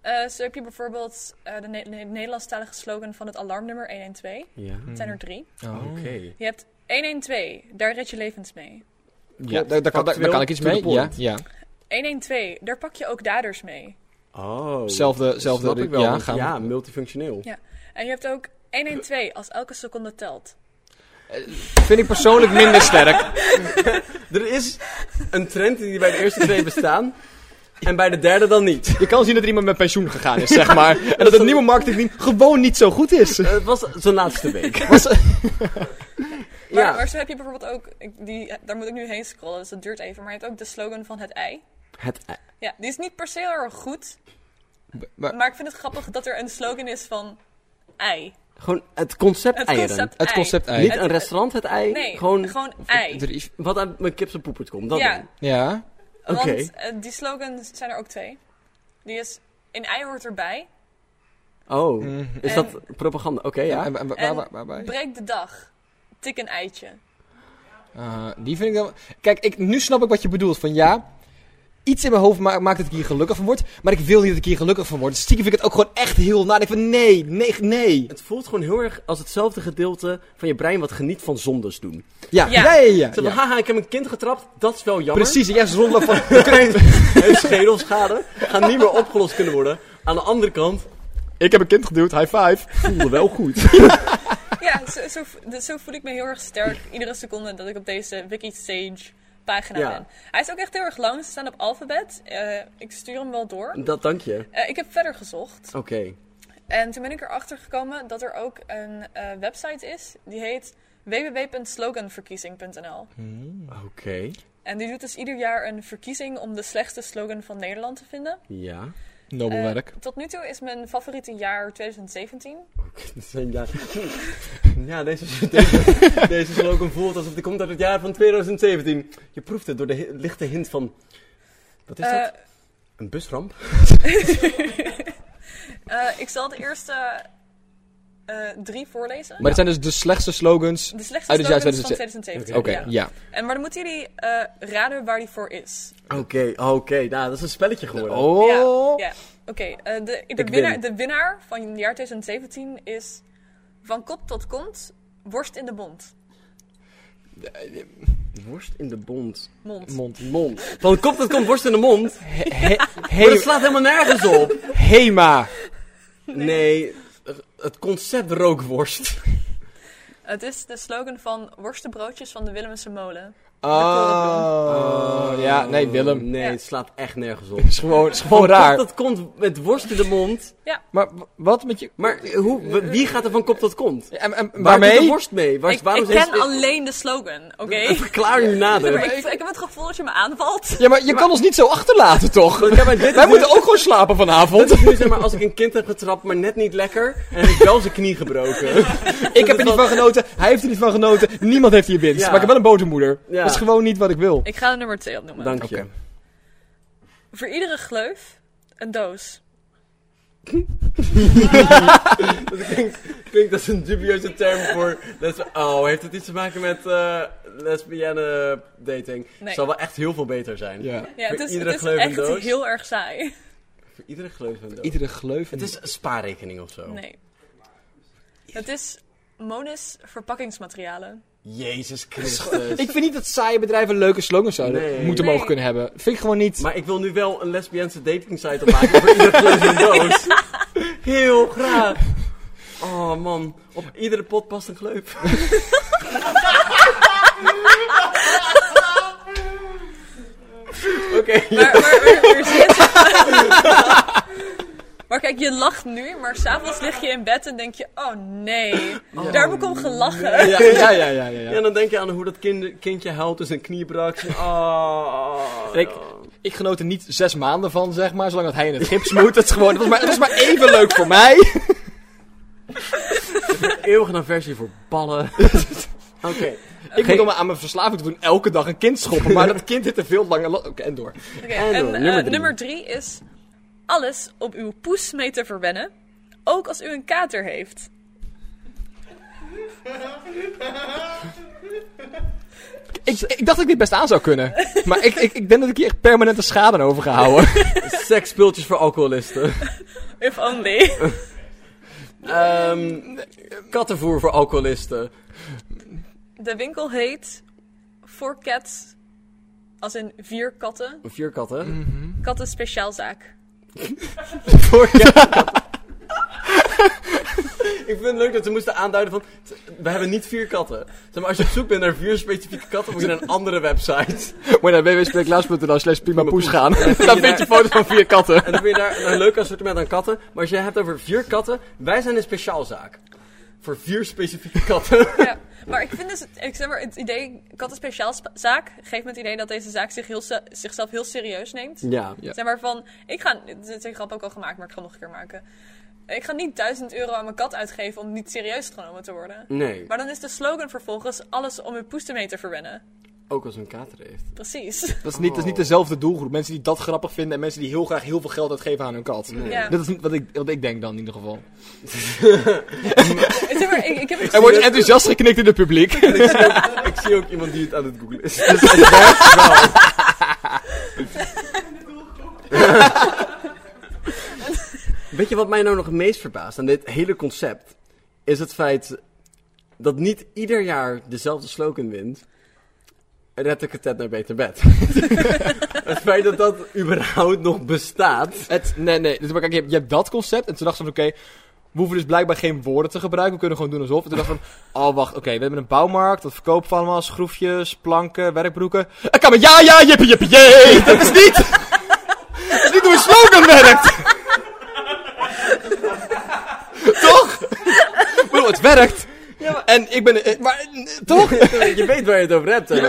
Speaker 4: Eh, zo heb je bijvoorbeeld eh, de Ne- Ne- Nederlandstalige slogan van het alarmnummer 112.
Speaker 1: Ja.
Speaker 4: Het zijn er drie.
Speaker 1: Oh. Oké.
Speaker 4: Je hebt 112, daar red je levens mee.
Speaker 2: Ja, daar, daar kan, daar- daar kan ik iets mee. Ja, ja.
Speaker 4: 112, daar pak je ook daders mee.
Speaker 1: Oh.
Speaker 2: Zelfde- zelfde-
Speaker 1: Snap ik wel.
Speaker 2: ja,
Speaker 1: want-
Speaker 2: gaan we-
Speaker 1: ja, multifunctioneel.
Speaker 4: Ja. En je hebt ook 112 als elke seconde telt.
Speaker 2: Vind ik persoonlijk minder sterk.
Speaker 1: Er is een trend die bij de eerste twee bestaan. En bij de derde dan niet.
Speaker 2: Je kan zien dat er iemand met pensioen gegaan is, zeg maar. En dat het nieuwe marketingteam gewoon niet zo goed is.
Speaker 1: eh, Het was zijn laatste week.
Speaker 4: Maar,
Speaker 1: Ja.
Speaker 4: maar zo heb je bijvoorbeeld ook, ik- die, eh, daar moet ik nu heen scrollen, dus dat duurt even. Maar je hebt ook de slogan van het ei.
Speaker 1: Het ei.
Speaker 4: Ja, die is niet per se heel erg goed.
Speaker 2: maar-
Speaker 4: Maar, ik vind het grappig dat er een slogan is van ei.
Speaker 1: Gewoon het concept
Speaker 4: Het
Speaker 1: eieren.
Speaker 4: concept Het ei. concept ei.
Speaker 1: Niet
Speaker 4: Het-
Speaker 1: een restaurant het ei.
Speaker 4: nee,
Speaker 1: gewoon,
Speaker 4: gewoon ei. Er
Speaker 1: Wat uit mijn kip zijn poepert komt. Dat
Speaker 4: Ja.
Speaker 1: dan.
Speaker 2: Ja.
Speaker 1: Oké.
Speaker 4: Want eh, die slogans zijn er ook twee. Die is, in ei hoort erbij.
Speaker 1: Oh,
Speaker 4: Mhm.
Speaker 1: is
Speaker 4: En-
Speaker 1: dat propaganda? Oké, ja.
Speaker 2: En- en- waar-
Speaker 4: En
Speaker 2: waar- waarbij?
Speaker 4: breek de dag. Tik een eitje.
Speaker 2: Ah, die vind ik dan... Kijk, ik, nu snap ik wat je bedoelt. Van ja, iets in mijn hoofd ma- maakt dat ik hier gelukkig van word. Maar ik wil niet dat ik hier gelukkig van word. Dus stiekem vind ik het ook gewoon echt heel na. Ik van nee, nee, nee.
Speaker 1: Het voelt gewoon heel erg als hetzelfde gedeelte van je brein wat geniet van zondes doen.
Speaker 2: Ja, ja, ja. ja,
Speaker 1: Zo van,
Speaker 2: ja.
Speaker 1: haha, ik heb een kind getrapt, dat is wel jammer.
Speaker 2: Precies, en jij is rondloop van...
Speaker 1: Heeft schedelschade, gaat niet meer opgelost kunnen worden. Aan de andere kant,
Speaker 2: ik heb een kind geduwd, high five.
Speaker 1: voelde wel goed.
Speaker 4: Ja, zo, zo, vo- dus zo voel ik me heel erg sterk iedere seconde dat ik op deze Wikisage pagina
Speaker 1: Ja.
Speaker 4: ben. Hij is ook echt heel erg lang, ze staan op alfabet. Eh, ik stuur hem wel door.
Speaker 1: Dat dank je.
Speaker 4: Eh, ik heb verder gezocht
Speaker 1: Oké.
Speaker 4: en toen ben ik erachter gekomen dat er ook een eh, website is die heet www.sloganverkiezing.nl.
Speaker 2: Hmm.
Speaker 1: Oké.
Speaker 4: En die doet dus ieder jaar een verkiezing om de slechtste slogan van Nederland te vinden.
Speaker 1: Ja.
Speaker 2: Nobel
Speaker 4: Eh,
Speaker 2: werk.
Speaker 4: Tot nu toe is mijn favoriete jaar 2017.
Speaker 1: Dit is een jaar- ja, deze, deze, deze slogan voelt alsof die komt uit het jaar van 2017. Je proeft het door de hi- lichte hint van... Wat is
Speaker 4: Eh,
Speaker 1: dat? Een busramp?
Speaker 4: eh, ik zal de eerste eh, drie voorlezen.
Speaker 2: Maar dit zijn dus de slechtste slogans
Speaker 4: de slechtste
Speaker 2: uit het jaar
Speaker 4: slogans
Speaker 2: 2017.
Speaker 4: van
Speaker 2: Oké,
Speaker 4: 2017.
Speaker 2: ja.
Speaker 4: En, maar dan moeten jullie eh, raden waar die voor is.
Speaker 1: Oké, oké. nou, dat is een spelletje geworden.
Speaker 2: Oh.
Speaker 4: Ja, ja. Oké, eh, de, de,
Speaker 1: Ik
Speaker 4: winnaar,
Speaker 1: win.
Speaker 4: de winnaar van het jaar 2017 is... Van kop tot kont, worst in de mond.
Speaker 1: Worst in de bond.
Speaker 4: Mond.
Speaker 1: Mond. Mond. Van kop tot komt worst in de mond. maar dat slaat helemaal nergens op.
Speaker 2: Hema.
Speaker 1: Nee, het concept rookworst.
Speaker 4: Het is de slogan van worstenbroodjes van de Willemse molen.
Speaker 2: Oh, ja, nee, Willem.
Speaker 1: Nee, het slaat echt nergens op.
Speaker 2: Het is gewoon, het is gewoon
Speaker 1: Van
Speaker 2: raar.
Speaker 1: Kop tot kont met worst in de mond.
Speaker 4: Ja.
Speaker 2: Maar w- wat met je...
Speaker 1: Maar hoe, w- wie gaat er van kop tot kont?
Speaker 2: En, en,
Speaker 1: Waar
Speaker 2: waarmee?
Speaker 1: doet de worst mee? Waar,
Speaker 4: Ik,
Speaker 1: waarom
Speaker 4: ik ken
Speaker 1: is-
Speaker 4: alleen de slogan, oké?
Speaker 1: Verklaar nu nader.
Speaker 4: Maar ik, ik heb het gevoel dat je me aanvalt.
Speaker 2: Ja, maar je kan ons niet zo achterlaten, toch?
Speaker 1: dit is
Speaker 2: Wij
Speaker 1: nu-
Speaker 2: moeten ook gewoon slapen vanavond.
Speaker 1: Nu zeg maar, als ik een kind heb getrapt, maar net niet lekker, en heb ik wel zijn knie gebroken.
Speaker 2: Ik heb er niet van genoten, hij heeft er niet van genoten, niemand heeft hier winst.
Speaker 1: Ja.
Speaker 2: Maar ik heb wel een boze moeder.
Speaker 1: Ja.
Speaker 2: Dat is gewoon niet wat ik wil.
Speaker 4: Ik ga de nummer 2 opnoemen.
Speaker 1: Dank je.
Speaker 4: Voor iedere gleuf, een doos.
Speaker 1: Dat klinkt, klinkt als een dubieuze term voor... lesb- oh, heeft het iets te maken met eh lesbienne dating?
Speaker 4: Nee.
Speaker 1: Zou wel echt heel veel beter zijn.
Speaker 2: Ja.
Speaker 4: Ja, het
Speaker 1: Voor
Speaker 4: is,
Speaker 1: iedere
Speaker 4: het is
Speaker 1: gleuf een
Speaker 4: echt
Speaker 1: doos.
Speaker 4: heel erg saai.
Speaker 1: Voor iedere gleuf een doos.
Speaker 2: Iedere gleuf.
Speaker 1: Het is een spaarrekening of zo.
Speaker 4: Nee. Het is Monis verpakkingsmaterialen.
Speaker 1: Jezus Christus.
Speaker 2: Ik vind niet dat saaie bedrijven leuke slogans zouden
Speaker 1: eh, Nee.
Speaker 2: moeten
Speaker 4: Nee.
Speaker 2: mogen kunnen hebben. Vind ik gewoon niet.
Speaker 1: Maar ik wil nu wel een lesbiense dating site opmaken voor iedere klus een doos. Heel graag. Oh man, op iedere pot past een gleuf. Oké,
Speaker 4: Maar, maar, maar, maar zie je het? Maar kijk, je lacht nu, maar s'avonds lig je in bed en denk je... Oh nee, daar heb ik om gelachen.
Speaker 1: Oh ja,
Speaker 2: ja, ja, ja, ja.
Speaker 1: Ja, dan denk je aan hoe dat kind, kindje huilt dus een knie brak. Oh,
Speaker 2: Ik, ik genoot er niet zes maanden van, zeg maar, zolang dat hij in het gips moet. Het, is gewoon, het, was maar, het was maar even leuk voor mij.
Speaker 1: eeuwige aversie voor ballen. Oké.
Speaker 2: Ik moet om aan mijn verslaving te doen elke dag een kind schoppen. Maar dat kind heeft er veel langer... la- Oké, en door.
Speaker 4: Oké,
Speaker 1: En
Speaker 4: en
Speaker 1: door,
Speaker 4: eh,
Speaker 1: nummer drie.
Speaker 4: nummer drie is... Alles om uw poes mee te verwennen. Ook als u een kater heeft.
Speaker 2: Ik, ik dacht dat ik dit best aan zou kunnen. Maar ik, ik, ik denk dat ik hier echt permanente schade aan over ga houden.
Speaker 1: Sekspultjes voor alcoholisten.
Speaker 4: If only.
Speaker 1: Ehm, kattenvoer voor alcoholisten.
Speaker 4: De winkel heet... Voor cats... Als in vier katten.
Speaker 1: Vier katten.
Speaker 2: Mhm.
Speaker 4: Katten speciaalzaak.
Speaker 1: Voor katten. Ik vind het leuk dat ze moesten aanduiden van... t- We hebben niet vier katten. Zeg maar, als je op zoek bent naar vier specifieke katten... moet je naar een andere website.
Speaker 2: Moet je naar www.spreeklaas.nl slash prima poes gaan.
Speaker 1: Dan
Speaker 2: Dan vind je foto's van vier katten.
Speaker 1: En dan vind je daar een leuk assortiment aan katten. Maar als je hebt over vier katten... Wij zijn een speciaalzaak. Voor vier specifieke katten.
Speaker 4: Ja, maar ik vind dus, het- ik zeg maar, het idee, katten speciaal spa- zaak, geeft me het idee dat deze zaak zich heel, se- zichzelf heel serieus neemt.
Speaker 1: Ja.
Speaker 2: Ja.
Speaker 4: Zeg maar van, ik ga, dit is een grap ook al gemaakt, maar ik ga hem nog een keer maken. Ik ga niet 1000 euro aan mijn kat uitgeven om niet serieus genomen te worden.
Speaker 1: Nee.
Speaker 4: Maar dan is de slogan vervolgens alles om uw poes ermee te verwennen.
Speaker 1: Ook als een kater heeft.
Speaker 4: Precies.
Speaker 2: Dat is, niet, dat is niet dezelfde doelgroep. Mensen die dat grappig vinden en mensen die heel graag heel veel geld uitgeven aan hun kat.
Speaker 4: Ja.
Speaker 2: Dat is niet wat ik, wat ik denk dan in ieder geval.
Speaker 4: zeg maar, ik, ik heb
Speaker 2: Er wordt enthousiast geknikt in het publiek.
Speaker 1: En ik, zie ook, ik zie ook iemand die het aan het googlen is. Dus het werkt wel. Weet je wat mij nou nog het meest verbaast aan dit hele concept? Is het feit dat niet ieder jaar dezelfde slogan wint. Red de katet naar beter bed. het feit dat dat überhaupt nog bestaat.
Speaker 2: Het, nee, nee. Dus, maar kijk, je, hebt, je hebt dat concept. En toen dachten ze van, oké, we hoeven dus blijkbaar geen woorden te gebruiken. We kunnen gewoon doen alsof. En toen dachten we van, oh wacht, oké, we hebben een bouwmarkt. Dat verkoopt van allemaal schroefjes, planken, werkbroeken. Ik kan maar ja, ja, jippie, jippie, jee. Dat is niet... Dat is niet hoe een slogan werkt. toch? Ik bedoel, het werkt. En ik ben... eh, Maar, eh, toch?
Speaker 1: eh. je weet waar je het over hebt. hè.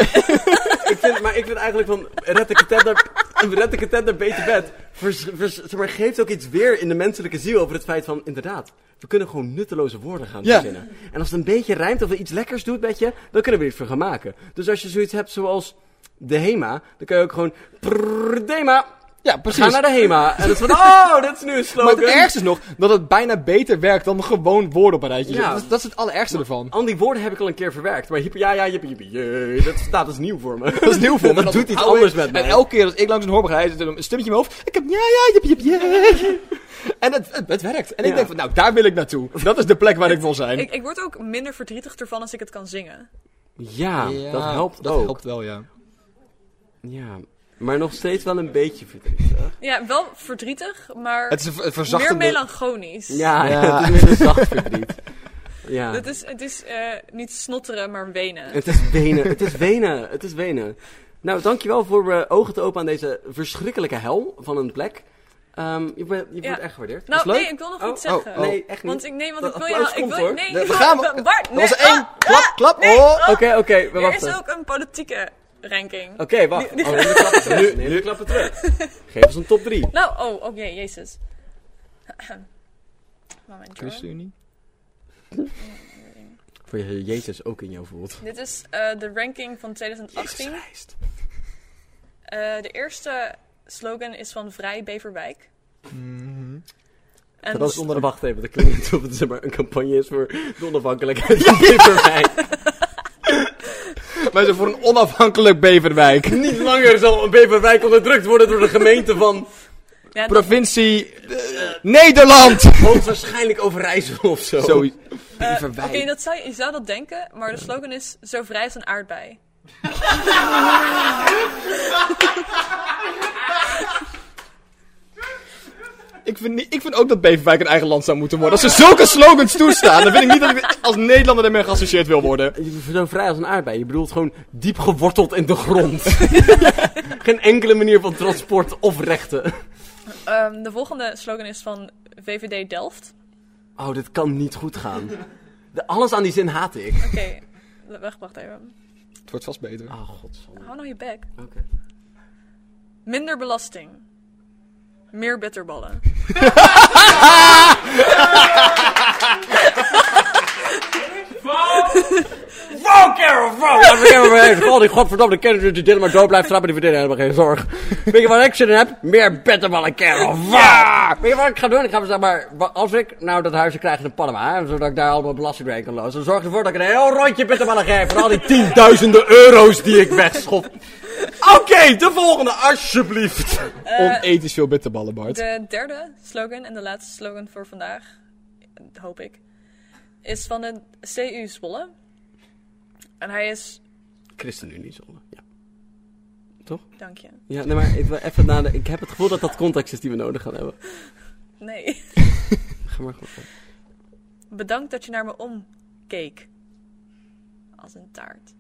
Speaker 1: ik vind, maar ik vind eigenlijk van. Red de katet naar. een reddekatender beter bed. Vers, vers, zeg maar, geeft ook iets weer in de menselijke ziel over het feit van, inderdaad, we kunnen gewoon nutteloze woorden gaan
Speaker 2: Ja.
Speaker 1: verzinnen. En als het een beetje rijmt of iets lekkers doet met je, dan kunnen we er iets voor gaan maken. Dus als je zoiets hebt zoals de HEMA, dan kun je ook gewoon, prrr, DEMA.
Speaker 2: Ja, precies.
Speaker 1: Ga naar de HEMA. En dat is van, oh, dit is nu een slogan.
Speaker 2: Maar het ergste is nog dat het bijna beter werkt dan gewoon woorden op een rijtje.
Speaker 1: Ja.
Speaker 2: zetten. Dus Dat, is- dat is het allerergste ervan.
Speaker 1: Al die woorden heb ik al een keer verwerkt. Maar hippie, ja, ja, hippie, hippie, jee, dat staat als nieuw voor me.
Speaker 2: Dat is nieuw voor me.
Speaker 1: Dat
Speaker 2: en
Speaker 1: doet iets
Speaker 2: hou ik-
Speaker 1: anders met mij.
Speaker 2: En elke keer als ik langs een hoorn ga, is het een stemmetje in mijn hoofd. Ik heb ja, ja, jip, jip, jip. En het, het, het werkt. En ik
Speaker 4: Ja.
Speaker 2: denk van, nou, daar wil ik naartoe. Dat is de plek waar ik wil zijn.
Speaker 4: Ik, ik word ook minder verdrietig ervan als ik het kan zingen.
Speaker 1: Ja,
Speaker 2: Ja,
Speaker 1: dat helpt
Speaker 2: dat
Speaker 1: ook.
Speaker 2: helpt wel, ja.
Speaker 1: Ja, maar nog steeds wel een beetje verdrietig.
Speaker 4: Ja, wel verdrietig, maar
Speaker 1: Het is een ver- verzachtende-
Speaker 4: meer melancholisch.
Speaker 1: Ja, ja, het is meer een zacht verdriet. Ja.
Speaker 4: Het is, het is eh, niet snotteren, maar wenen.
Speaker 1: Het is wenen, het is wenen, het is wenen. Nou, dankjewel voor eh ogen te open aan deze verschrikkelijke hel van een plek. Ehm, je bent- je wordt echt gewaardeerd.
Speaker 4: Nou,
Speaker 1: Was leuk?
Speaker 4: nee, ik wil nog
Speaker 1: Oh,
Speaker 4: iets zeggen.
Speaker 1: oh, nee, echt niet.
Speaker 4: Want ik, nee, want
Speaker 1: Dat
Speaker 4: ik wil
Speaker 1: applaus
Speaker 4: je... Ik
Speaker 1: komt,
Speaker 4: wil,
Speaker 1: hoor.
Speaker 4: nee,
Speaker 1: Dat-
Speaker 4: ik
Speaker 1: we
Speaker 4: wil-
Speaker 1: gaan-
Speaker 4: dat- Bart,
Speaker 1: dat
Speaker 4: nee,
Speaker 1: was één.
Speaker 4: ah,
Speaker 1: Klap,
Speaker 4: ah,
Speaker 1: klap.
Speaker 4: nee,
Speaker 1: Oh,
Speaker 4: ah.
Speaker 1: oké, oké, we
Speaker 4: Er is
Speaker 1: wachten.
Speaker 4: ook een politieke ranking.
Speaker 1: Oké, wacht.
Speaker 4: Die- die-
Speaker 1: Oh, nu klappen terug. Nee, nu klappen terug. Geef ons een top 3.
Speaker 4: Nou, oh, oké, jezus. Momentje hoor.
Speaker 2: ChristenUnie.
Speaker 1: Voor je Jezus ook in jou voelt.
Speaker 4: Dit is eh, de ranking van 2018. Eh, de eerste slogan is van Vrij Beverwijk. En
Speaker 1: dat is onder de wacht even. Dat klinkt niet of het zeg maar, een campagne is voor de onafhankelijkheid van
Speaker 2: Wij zijn voor een onafhankelijk Beverwijk.
Speaker 1: Niet langer zal Beverwijk onderdrukt worden door de gemeente van eh,
Speaker 4: Ja, dat-
Speaker 2: Provincie Nederland.
Speaker 1: Hoogstwaarschijnlijk Overijssel of zo.
Speaker 2: Zoiets.
Speaker 4: Eh, Oké, dat zou je, je zou dat denken, maar de slogan is Zo vrij als een aardbei.
Speaker 2: Ik vind, niet- ik vind ook dat Beverwijk een eigen land zou moeten worden. Als ze zulke slogans toestaan, dan vind ik niet dat ik als Nederlander ermee geassocieerd wil worden.
Speaker 1: Zo vrij als een aardbei. Je bedoelt gewoon diep geworteld in de grond. Geen enkele manier van transport of rechten.
Speaker 4: Ehm, de volgende slogan is van VVD Delft.
Speaker 1: Oh, dit kan niet goed gaan. De- alles aan die zin haat ik.
Speaker 4: Oké, wacht, wacht even.
Speaker 2: Het wordt vast beter.
Speaker 1: Ah, godsamme.
Speaker 4: Hou nou je bek.
Speaker 1: Oké.
Speaker 4: Minder belasting. Meer bitterballen.
Speaker 11: Wow, Carol, wow!
Speaker 1: Laten we even bij God, die godverdomme kennis die dit maar door blijft trappen, die verdienen helemaal geen zorg. Weet je wat ik zin in heb? Meer bitterballen kerel. Ja! Weet je wat ik ga doen? Ik ga zeg maar, wa- als ik nou dat huisje krijg in Panama, hè, zodat ik daar allemaal belasting mee kan lozen, dan zorg ervoor dat ik een heel rondje bitterballen geef voor al die tienduizenden euro's die ik wegschop. Oké, de volgende, alsjeblieft.
Speaker 4: Eh,
Speaker 2: Onethisch veel bitterballen, Bart.
Speaker 4: De derde slogan en de laatste slogan voor vandaag, hoop ik, is van de CU Zwolle. En hij is...
Speaker 1: ChristenUnie zonne, ja.
Speaker 4: Dank je.
Speaker 1: Ja, nee, maar ik, wil even nadenken. ik heb het gevoel dat dat context is die we nodig gaan hebben.
Speaker 4: Nee.
Speaker 1: Ga maar goed.
Speaker 4: Bedankt dat je naar me omkeek. Als een taart.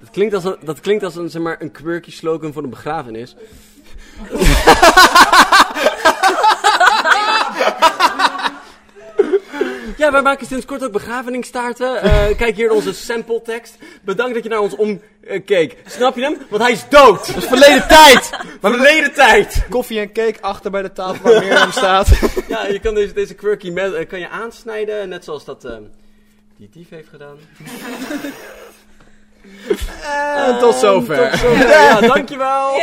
Speaker 1: Dat klinkt als een, dat klinkt als een, zeg maar, een quirky slogan voor een begrafenis. ja, wij maken sinds kort ook begraveningstaarten. Eh, kijk hier onze sample tekst. Bedankt dat je naar ons omkeek. Snap je hem? Want hij is dood. Dat is
Speaker 2: verleden tijd.
Speaker 1: Maar verleden tijd.
Speaker 2: Koffie en cake achter bij de tafel waar Mirjam staat.
Speaker 1: Ja, je kan deze, deze quirky me- eh, kan je aansnijden. Net zoals dat ehm, die dief heeft gedaan.
Speaker 2: En tot zover.
Speaker 1: Ehm, Tot zover. Ja, dankjewel.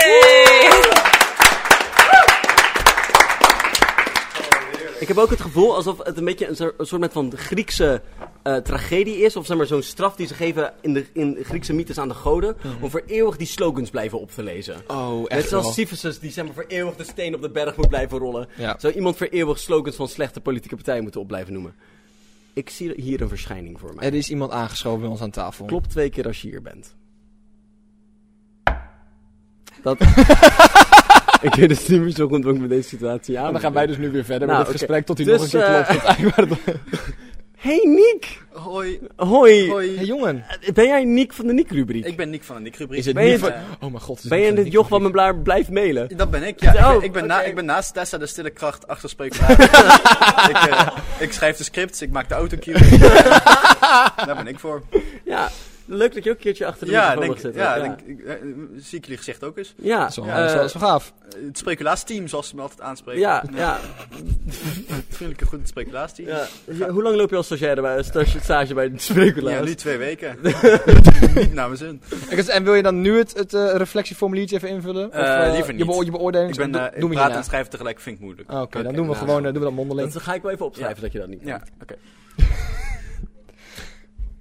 Speaker 1: Ik heb ook het gevoel alsof het een beetje een, zo- een soort met van Griekse eh, tragedie is. Of zeg maar zo'n straf die ze geven in de in Griekse mythes aan de goden. Om voor eeuwig die slogans blijven op te lezen.
Speaker 2: Mhm. Oh, echt
Speaker 1: Net
Speaker 2: wel.
Speaker 1: zoals Sisyphus die zeg maar voor eeuwig de steen op de berg moet blijven rollen.
Speaker 2: Ja.
Speaker 1: Zou iemand voor eeuwig slogans van slechte politieke partijen moeten op blijven noemen. Ik zie hier een verschijning voor mij.
Speaker 2: Er is iemand aangeschoven bij ons aan tafel.
Speaker 1: Klopt twee keer als je hier bent. Dat... ik weet het niet meer zo goed hoe ik met deze situatie aan
Speaker 2: En dan
Speaker 1: moet.
Speaker 2: gaan wij dus nu weer verder
Speaker 1: Nou,
Speaker 2: met het
Speaker 1: oké.
Speaker 2: gesprek tot hij
Speaker 1: Dus,
Speaker 2: nog een keer
Speaker 1: eh,
Speaker 2: klopt. Want eigenlijk waren het-
Speaker 1: Hey Niek!
Speaker 2: Hoi.
Speaker 1: Hoi. Eh,
Speaker 2: Hey jongen.
Speaker 1: Ben jij Niek van de Niek-rubriek?
Speaker 11: Ik ben Nick van de Nick-rubriek.
Speaker 2: Is het
Speaker 1: Ben je
Speaker 2: niet van...
Speaker 1: het-
Speaker 2: Oh mijn god. is
Speaker 1: Ben
Speaker 2: het
Speaker 1: jij
Speaker 2: niet van
Speaker 1: dit joch wat me bla- blijft mailen?
Speaker 11: Dat ben ik, ja. ik,
Speaker 1: Oh,
Speaker 11: ben, ik, ben na,
Speaker 1: oké.
Speaker 11: ik ben naast Tessa de stille kracht achter spreekvragen. ik,
Speaker 14: eh,
Speaker 11: eh, ik schrijf de scripts, ik maak de autocue. Daar ben ik voor.
Speaker 1: Ja, Leuk dat je ook een keertje achter de
Speaker 14: ja,
Speaker 1: microfoon
Speaker 14: denk,
Speaker 1: mag zitten.
Speaker 14: Ja, Denk, ik, eh, zie ik jullie gezicht ook eens.
Speaker 1: Ja, Dat is wel- eh, dat is wel- dat is wel gaaf.
Speaker 14: eh, Het speculaasteam, zoals ze me altijd aanspreken.
Speaker 1: Ja, ja.
Speaker 14: Vriendelijk en goed het speculaasteam.
Speaker 1: Ja, ja, hoe lang loop je als stagiaire bij, stage, stage bij de spreekulaars?
Speaker 14: Ja, nu twee weken. Niet naar mijn zin.
Speaker 2: Ik- En wil je dan nu het, het eh, reflectieformuliertje even invullen? Of,
Speaker 14: Eh,
Speaker 2: eh,
Speaker 14: liever niet.
Speaker 2: Je, beo- je beoordeling?
Speaker 14: Ik ben,
Speaker 2: Doe- doe me
Speaker 14: eh, praten
Speaker 2: hierna.
Speaker 14: en schrijven tegelijk vind ik moeilijk.
Speaker 2: Ah, Oké,
Speaker 14: Oké,
Speaker 2: dan doen we
Speaker 14: nou,
Speaker 2: gewoon, eh, doen we dat mondeling.
Speaker 1: Dat ga ik wel even opschrijven dat je dat niet
Speaker 14: Ja,
Speaker 1: doet.
Speaker 14: oké.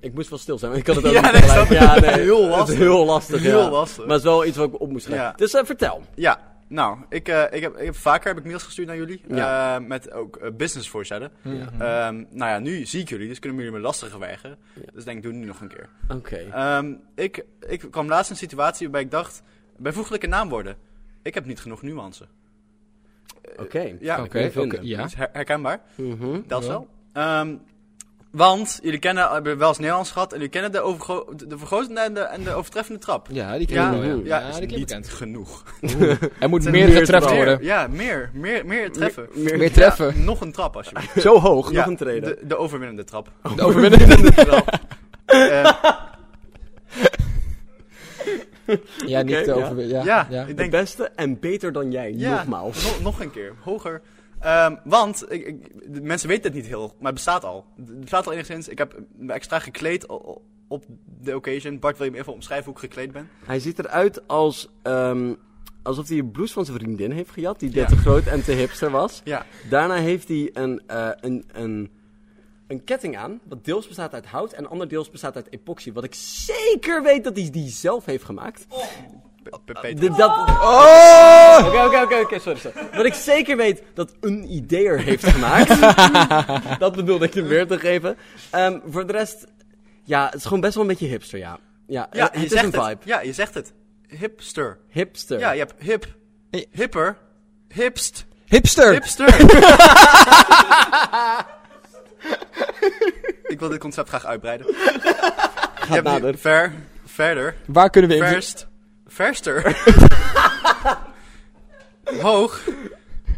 Speaker 1: Ik moest wel stil zijn, want ik had het ook
Speaker 14: Ja,
Speaker 1: niet
Speaker 14: nee,
Speaker 1: tegelijk.
Speaker 14: snap ik.
Speaker 1: Ja,
Speaker 14: Heel
Speaker 1: het is
Speaker 14: lastig.
Speaker 1: Heel lastig, ja.
Speaker 14: Heel lastig.
Speaker 1: Maar het is wel iets wat ik op moest schrijven.
Speaker 14: Ja.
Speaker 1: Dus eh, vertel.
Speaker 14: Ja, nou, ik, eh, ik heb, ik heb, vaker heb ik mails gestuurd naar jullie.
Speaker 1: Ja.
Speaker 14: eh, met ook eh, businessvoorstellen.
Speaker 1: Ja. Mhm.
Speaker 14: Ehm, nou ja, nu zie ik jullie, dus kunnen jullie me lastig weigeren. Dus denk, doe nu nog een keer.
Speaker 1: Oké.
Speaker 14: Ehm, ik, ik kwam laatst in een situatie waarbij ik dacht, bijvoeglijke naamwoorden. Ik heb niet genoeg nuance. Eh,
Speaker 1: Oké,
Speaker 14: Ja,
Speaker 1: kan ik Oké, vinden. oké, ja.
Speaker 14: Dat is her- herkenbaar.
Speaker 1: Mhm.
Speaker 14: Dat is
Speaker 1: Ja.
Speaker 14: wel. Ehm, want jullie kennen, eh, hebben wel eens Nederlands gehad en jullie kennen de, overgro- de vergrotende en de, en de overtreffende trap.
Speaker 2: Ja, die kennen we wel, ja.
Speaker 14: Ja,
Speaker 2: Ja,
Speaker 14: is
Speaker 2: die klinkt
Speaker 14: niet
Speaker 2: bekend.
Speaker 14: genoeg.
Speaker 2: Oeh, er moet
Speaker 14: Het is
Speaker 2: meer
Speaker 14: een
Speaker 2: getreft
Speaker 14: trap.
Speaker 2: worden.
Speaker 14: Ja, meer, meer, meer treffen.
Speaker 2: meer- Meer treffen.
Speaker 14: Ja, nog een trap alsjeblieft.
Speaker 1: Zo hoog, nog een
Speaker 14: treden. De, de overwinnende trap.
Speaker 2: De overwinnende
Speaker 14: trap. Eh.
Speaker 2: Ja, niet
Speaker 1: Oké,
Speaker 2: de overwin- ja, ja.
Speaker 14: ik
Speaker 1: De
Speaker 14: denk-
Speaker 1: beste en beter dan jij, nogmaals.
Speaker 14: no- nog een keer, hoger. Ehm, want ik, ik- de mensen weten het niet heel, maar het bestaat al. Het bestaat al enigszins. Ik heb me extra gekleed o- o- op de occasion. Bart, wil je me even omschrijven hoe ik gekleed ben?
Speaker 1: Hij ziet eruit als, ehm, alsof hij een blouse van zijn vriendin heeft gejat, die
Speaker 14: Ja.
Speaker 1: dit te groot en te hipster was.
Speaker 14: Ja.
Speaker 1: Daarna heeft hij een, eh, een, een, een ketting aan, wat deels bestaat uit hout en ander deels bestaat uit epoxy. Wat ik zeker weet dat hij die zelf heeft gemaakt.
Speaker 14: Oh. Peter.
Speaker 1: Dit- dat- Oh! Oké, oké, oké, oké, sorry, sorry. Wat ik zeker weet dat een ideeër heeft gemaakt. dat bedoelde ik hem weer te geven. Ehm, voor de rest, ja, het is gewoon best wel een beetje hipster, ja. Ja, het is
Speaker 14: zegt
Speaker 1: een vibe.
Speaker 14: Het. Ja, je zegt het. Hipster.
Speaker 1: Hipster. Eh.
Speaker 14: Ja, je hebt hip. Hipper. Hipst.
Speaker 2: Hipster.
Speaker 14: Hipster. ik wil dit concept graag uitbreiden. Je hebt nu
Speaker 2: nader.
Speaker 14: Ver, verder.
Speaker 2: Waar kunnen we in-
Speaker 14: Verst. Verster. Hoog.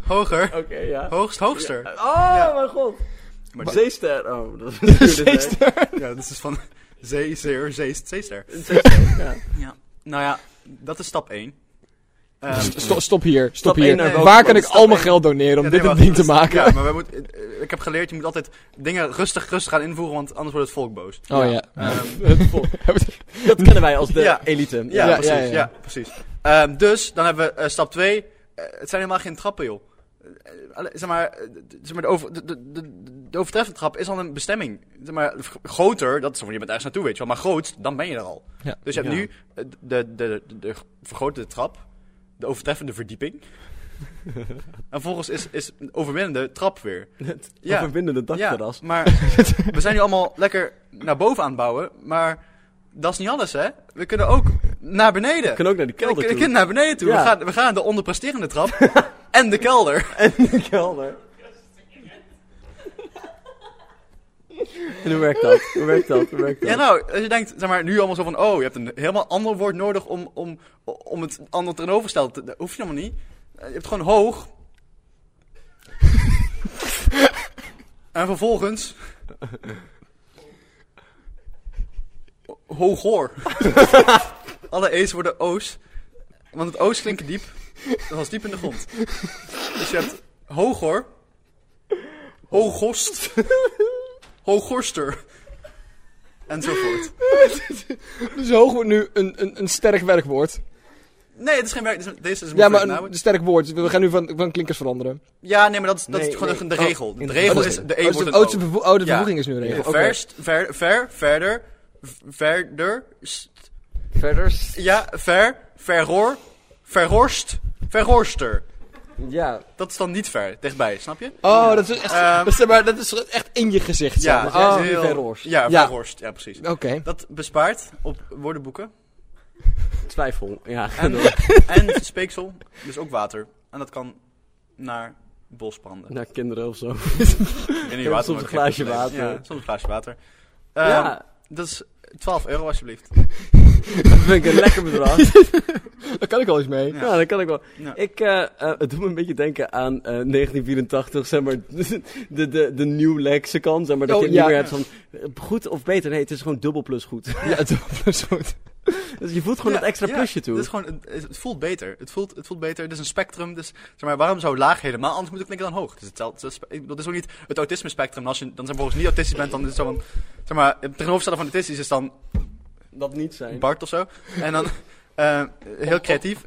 Speaker 14: Hoger. Oké,
Speaker 1: ja.
Speaker 14: Hoogst, hoogster.
Speaker 1: Oh, mijn god.
Speaker 14: Maar
Speaker 1: Maar
Speaker 14: die-
Speaker 1: zeester. Oh, dat is
Speaker 14: Zeester. Ja, dat is van zee, zeer, zeest, zeester.
Speaker 1: Zeester, ja.
Speaker 14: ja. Nou ja, dat is stap 1.
Speaker 2: Sto- Ehm, stop hier, stop
Speaker 14: Stap
Speaker 2: hier.
Speaker 14: één, eh,
Speaker 2: Waar kan
Speaker 14: wat
Speaker 2: ik
Speaker 14: is stap
Speaker 2: al mijn
Speaker 14: één?
Speaker 2: geld doneren om
Speaker 14: Ja,
Speaker 2: dit
Speaker 14: nee,
Speaker 2: een
Speaker 14: wacht.
Speaker 2: ding te maken?
Speaker 14: Ja, maar wij moeten, eh, ik heb geleerd, je moet altijd dingen rustig, rustig gaan invoeren, want anders wordt het volk boos.
Speaker 2: Oh, ja.
Speaker 14: Ehm,
Speaker 2: Het volk. Dat kennen wij als de
Speaker 1: elite.
Speaker 14: Ja,
Speaker 1: Ja,
Speaker 14: precies.
Speaker 1: ja,
Speaker 14: Ja,
Speaker 1: ja.
Speaker 14: precies. Ehm, dus, dan hebben we eh, stap 2. het zijn helemaal geen trappen, joh. Eh, alle- zeg maar, eh, d- zeg maar de, over, de, de, de, de overtreffende trap is al een bestemming. Zeg maar, v- groter, dat is van je bent ergens naartoe, weet je wel. Maar groot, dan ben je er al.
Speaker 2: Ja.
Speaker 14: Dus je hebt
Speaker 2: Ja.
Speaker 14: nu eh, de, de, de, de, de vergrotende trap, de overtreffende verdieping.
Speaker 3: Eh,
Speaker 14: en vervolgens is, is een overwinnende trap weer.
Speaker 1: Het overwinnende dakterras.
Speaker 14: Ja, maar we zijn nu allemaal lekker naar boven aan het bouwen, maar dat is niet alles, hè? We kunnen ook naar beneden. We
Speaker 1: kunnen ook naar de kelder
Speaker 14: we,
Speaker 1: toe.
Speaker 14: kunnen naar beneden toe.
Speaker 1: Ja.
Speaker 14: We, gaan, we gaan naar de onderpresterende trap en de kelder.
Speaker 1: En de kelder. En hoe werkt dat? Hoe werkt dat? Hoe werkt dat?
Speaker 14: Ja, nou, als je denkt, zeg maar, nu allemaal zo van, oh, je hebt een helemaal ander woord nodig om, om, om het ander tegenovergesteld te... Dat hoef je helemaal niet. Eh, Je hebt gewoon hoog. en vervolgens... Hooghoor. Alle E's worden O's. Want het O's klinken diep. Dat was diep in de grond. Dus je hebt hooghoor. Hooghorst. Hooghorster. Enzovoort.
Speaker 2: Dus hoog wordt nu een, een, een sterk werkwoord.
Speaker 14: Dus Nee, het is geen werk. dit is een- Deze is een
Speaker 2: Ja, maar
Speaker 14: moeilijke
Speaker 2: een,
Speaker 14: naam.
Speaker 2: een sterk woord. We gaan nu van, van klinkers veranderen.
Speaker 14: Ja, nee, maar dat is, dat
Speaker 2: Nee,
Speaker 14: is gewoon
Speaker 2: nee.
Speaker 14: de
Speaker 2: Oh,
Speaker 14: regel.
Speaker 2: in-
Speaker 14: de regel
Speaker 2: oh, dat
Speaker 14: is
Speaker 2: is-
Speaker 14: de
Speaker 2: oh,
Speaker 14: E
Speaker 2: dus
Speaker 14: wordt
Speaker 2: het
Speaker 14: een
Speaker 2: oudste
Speaker 14: O.
Speaker 2: vervo- oude vervoeging is nu regel. Oké.
Speaker 14: Verst, ver, ver, verder, v- verder,
Speaker 1: Verder.
Speaker 14: Ja, ver, verhoor, verhorst, verhorster.
Speaker 1: Ja.
Speaker 14: Dat is dan niet ver, dichtbij, snap je?
Speaker 2: Oh, dat is echt,
Speaker 14: Ehm,
Speaker 2: dat, is, maar, dat is echt in je gezicht.
Speaker 14: Ja,
Speaker 2: zeg maar.
Speaker 14: dat
Speaker 2: Oh.
Speaker 14: is heel- Ja, verhorst, ja, precies.
Speaker 2: Oké.
Speaker 14: Dat bespaart op woordenboeken.
Speaker 1: Twijfel, ja.
Speaker 14: En,
Speaker 1: genoeg.
Speaker 14: en speeksel, dus ook water. En dat kan naar bosbranden.
Speaker 1: Naar kinderen of zo. En
Speaker 14: In die water,
Speaker 1: soms
Speaker 14: maar
Speaker 1: een
Speaker 14: dat
Speaker 1: glaasje
Speaker 14: geeft
Speaker 1: water.
Speaker 14: niks. Ja, soms een glaasje water. Ehm,
Speaker 1: Ja.
Speaker 14: Dat is 12 euro alsjeblieft.
Speaker 1: Dat vind ik een lekker bedrag.
Speaker 2: Daar kan ik wel iets mee.
Speaker 1: Ja, dat kan ik wel. Ik, eh, eh, het doet me een beetje denken aan eh, 1984, zeg maar, de, de, de new lexe kan, zeg maar, dat
Speaker 2: Oh,
Speaker 1: je het
Speaker 2: ja.
Speaker 1: niet meer hebt van eh, goed of beter. Nee, het is gewoon dubbel plus goed.
Speaker 2: Ja, dubbel plus goed.
Speaker 1: Dus je voelt gewoon
Speaker 14: Ja,
Speaker 1: dat extra
Speaker 14: ja,
Speaker 1: plusje toe.
Speaker 14: Het, is gewoon, het, het voelt beter. Het voelt, het voelt beter. Het is een spectrum. Dus zeg maar, waarom zou laag helemaal? Anders moet ik denken dan hoog. Dus het, telt- het is- ik bedoel, het is ook niet het autisme spectrum. Als je dan zijn bijvoorbeeld niet autistisch bent, dan is het zo van. Zeg maar, het tegenovergestelde van autistisch is dan
Speaker 1: dat niet zijn.
Speaker 14: Bart of zo. En dan eh, heel creatief.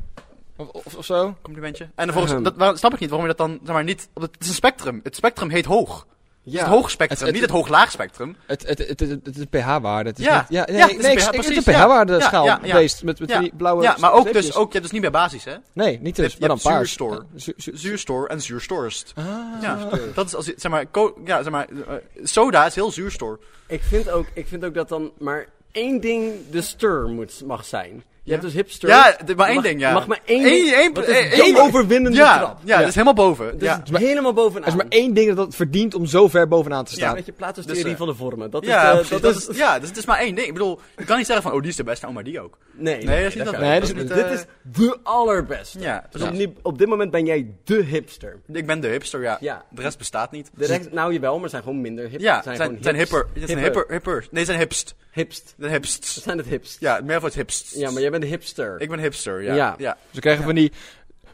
Speaker 2: Of, zo. Ehm.
Speaker 14: Complimentje. En vervolgens,
Speaker 1: Ahem.
Speaker 14: dat, waarom- snap ik niet waarom je dat dan zeg maar, niet. op het, het is een spectrum. Het spectrum heet hoog. Het is het hoog spectrum,
Speaker 2: Het- het-
Speaker 14: niet het hoog-laag spectrum.
Speaker 2: Het, het, het, het, het is pH-waarde. Het is
Speaker 14: Ja,
Speaker 2: niet- ja, nee,
Speaker 14: ja,
Speaker 2: nee,
Speaker 14: het is een
Speaker 2: ik-
Speaker 14: pH
Speaker 2: ik- het is
Speaker 14: precies,
Speaker 2: een
Speaker 14: ja.
Speaker 2: pH-waarde
Speaker 14: Ja,
Speaker 2: schaal
Speaker 14: ja, ja.
Speaker 2: beest met, met
Speaker 14: Ja.
Speaker 2: die blauwe
Speaker 14: Ja, maar ook dus
Speaker 2: streepjes.
Speaker 14: ook, je hebt dus niet meer basis, hè?
Speaker 2: Nee, niet
Speaker 14: Je
Speaker 2: dus,
Speaker 14: hebt-
Speaker 2: maar
Speaker 14: je
Speaker 2: dan paars.
Speaker 14: hebt
Speaker 2: Eh,
Speaker 14: zuurstoor. zuurstoor en zuurstorst.
Speaker 2: Ah.
Speaker 14: ja,
Speaker 1: zuurstoor.
Speaker 14: dat is als je- zeg maar, ko- ja, zeg maar, eh, soda is heel zuurstoor.
Speaker 1: Ik vind, ook, ik vind ook dat dan maar één ding de stir moet, mag zijn. Je hebt dus hipster.
Speaker 14: Ja, de- maar één
Speaker 1: mag,
Speaker 14: ding, ja.
Speaker 1: Mag maar één
Speaker 14: Eén-
Speaker 1: ding.
Speaker 14: één-
Speaker 1: wat is
Speaker 14: één-
Speaker 1: zo'n
Speaker 14: één-
Speaker 1: overwinnende
Speaker 14: Ja,
Speaker 1: trap.
Speaker 14: ja, dat is helemaal boven,
Speaker 1: Dat
Speaker 14: ja.
Speaker 1: is helemaal bovenaan.
Speaker 2: Er is maar één ding dat het verdient om zo ver bovenaan te
Speaker 1: Ja,
Speaker 2: staan.
Speaker 1: met je
Speaker 14: Dus,
Speaker 1: plaatsentheorie
Speaker 14: eh,
Speaker 1: van de vormen. Dat
Speaker 14: ja,
Speaker 1: is,
Speaker 14: precies,
Speaker 1: de- dat is,
Speaker 14: ja, dus het is maar één ding. Ik bedoel, je kan niet zeggen van, oh, die is de beste, oh, maar die ook.
Speaker 1: Nee,
Speaker 14: nee, dat is niet dat.
Speaker 1: kan niet.
Speaker 14: dat
Speaker 1: dit,
Speaker 2: dus
Speaker 14: niet, eh,
Speaker 1: is de allerbeste.
Speaker 14: Ja,
Speaker 1: dus
Speaker 14: ja.
Speaker 1: Op, die- op dit moment ben jij de hipster.
Speaker 14: Ik ben de hipster, ja.
Speaker 1: Ja.
Speaker 14: De rest bestaat niet. Dus
Speaker 1: De rest, nou jawel, maar zijn gewoon minder hip.
Speaker 14: Ja, zijn, zijn,
Speaker 1: gewoon hips.
Speaker 14: hipper. Het zijn hipper, hipper. Nee, zijn hipst.
Speaker 1: Hipst.
Speaker 14: De hipsts.
Speaker 1: Zijn het hipst?
Speaker 14: Ja, meer van het hipst.
Speaker 1: Ja, maar jij bent een hipster.
Speaker 14: Ik ben hipster, ja.
Speaker 1: Ja.
Speaker 14: ja.
Speaker 2: Ze krijgen van die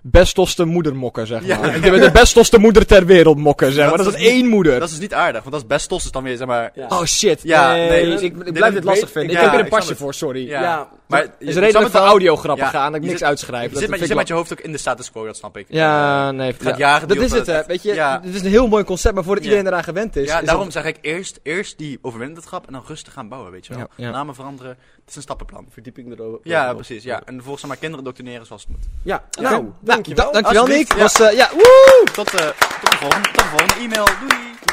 Speaker 2: bestoste moedermokken, zeg
Speaker 14: Ja.
Speaker 2: maar. Ik ben de bestoste moeder ter wereld mokken, zeg maar. Dat, is
Speaker 14: dus
Speaker 2: één
Speaker 14: niet-
Speaker 2: moeder.
Speaker 14: Dat is dus niet aardig, want dat is best tos, is dan weer, zeg maar...
Speaker 2: Oh shit.
Speaker 14: Ja,
Speaker 2: nee,
Speaker 14: nee,
Speaker 2: ik-
Speaker 14: dus-
Speaker 2: ik, ik
Speaker 14: dit
Speaker 2: blijf
Speaker 14: is-
Speaker 2: dit lastig vinden.
Speaker 14: ja,
Speaker 2: ik heb er een
Speaker 14: ik
Speaker 2: pasje
Speaker 14: snap het.
Speaker 2: voor, sorry.
Speaker 14: Ja.
Speaker 2: Maar,
Speaker 14: Maar je-
Speaker 2: is
Speaker 14: je
Speaker 2: er reden
Speaker 14: snapt
Speaker 2: dat we
Speaker 14: het wel.
Speaker 2: audiograppen
Speaker 14: Ja.
Speaker 2: gaan, dat ik
Speaker 14: Je
Speaker 2: niks
Speaker 14: zit-
Speaker 2: uitschrijf.
Speaker 14: Je
Speaker 2: Dat
Speaker 14: zit, met, je
Speaker 2: vind
Speaker 14: zit
Speaker 2: ik
Speaker 14: met je
Speaker 2: wel-
Speaker 14: hoofd ook in de status quo, dat snap ik.
Speaker 2: Ja, nee.
Speaker 14: Gaat
Speaker 2: ja.
Speaker 14: jaren
Speaker 2: dat
Speaker 14: duren
Speaker 2: is het, hè.
Speaker 14: voordat-
Speaker 2: Weet je,
Speaker 14: Ja.
Speaker 2: dit is een heel mooi concept, maar voordat iedereen eraan gewend is...
Speaker 14: Ja,
Speaker 2: is
Speaker 14: daarom
Speaker 2: het-
Speaker 14: zeg ik eerst, eerst die overwinnende trap en dan rustig gaan bouwen, weet je wel.
Speaker 2: Ja, ja.
Speaker 14: Namen veranderen, het is een stappenplan.
Speaker 1: Verdieping erover.
Speaker 14: Ja, precies. Ja. En vervolgens zeg maar kinderen doctrineren zoals het moet.
Speaker 1: Ja,
Speaker 14: Ja.
Speaker 1: nou,
Speaker 14: Nou,
Speaker 1: dankjewel.
Speaker 2: da- dankjewel,
Speaker 1: Alsjeblieft.
Speaker 2: Nick. Was, eh, ja, woe!
Speaker 14: Tot, eh, tot, de volgende, tot de volgende e-mail.
Speaker 2: eh,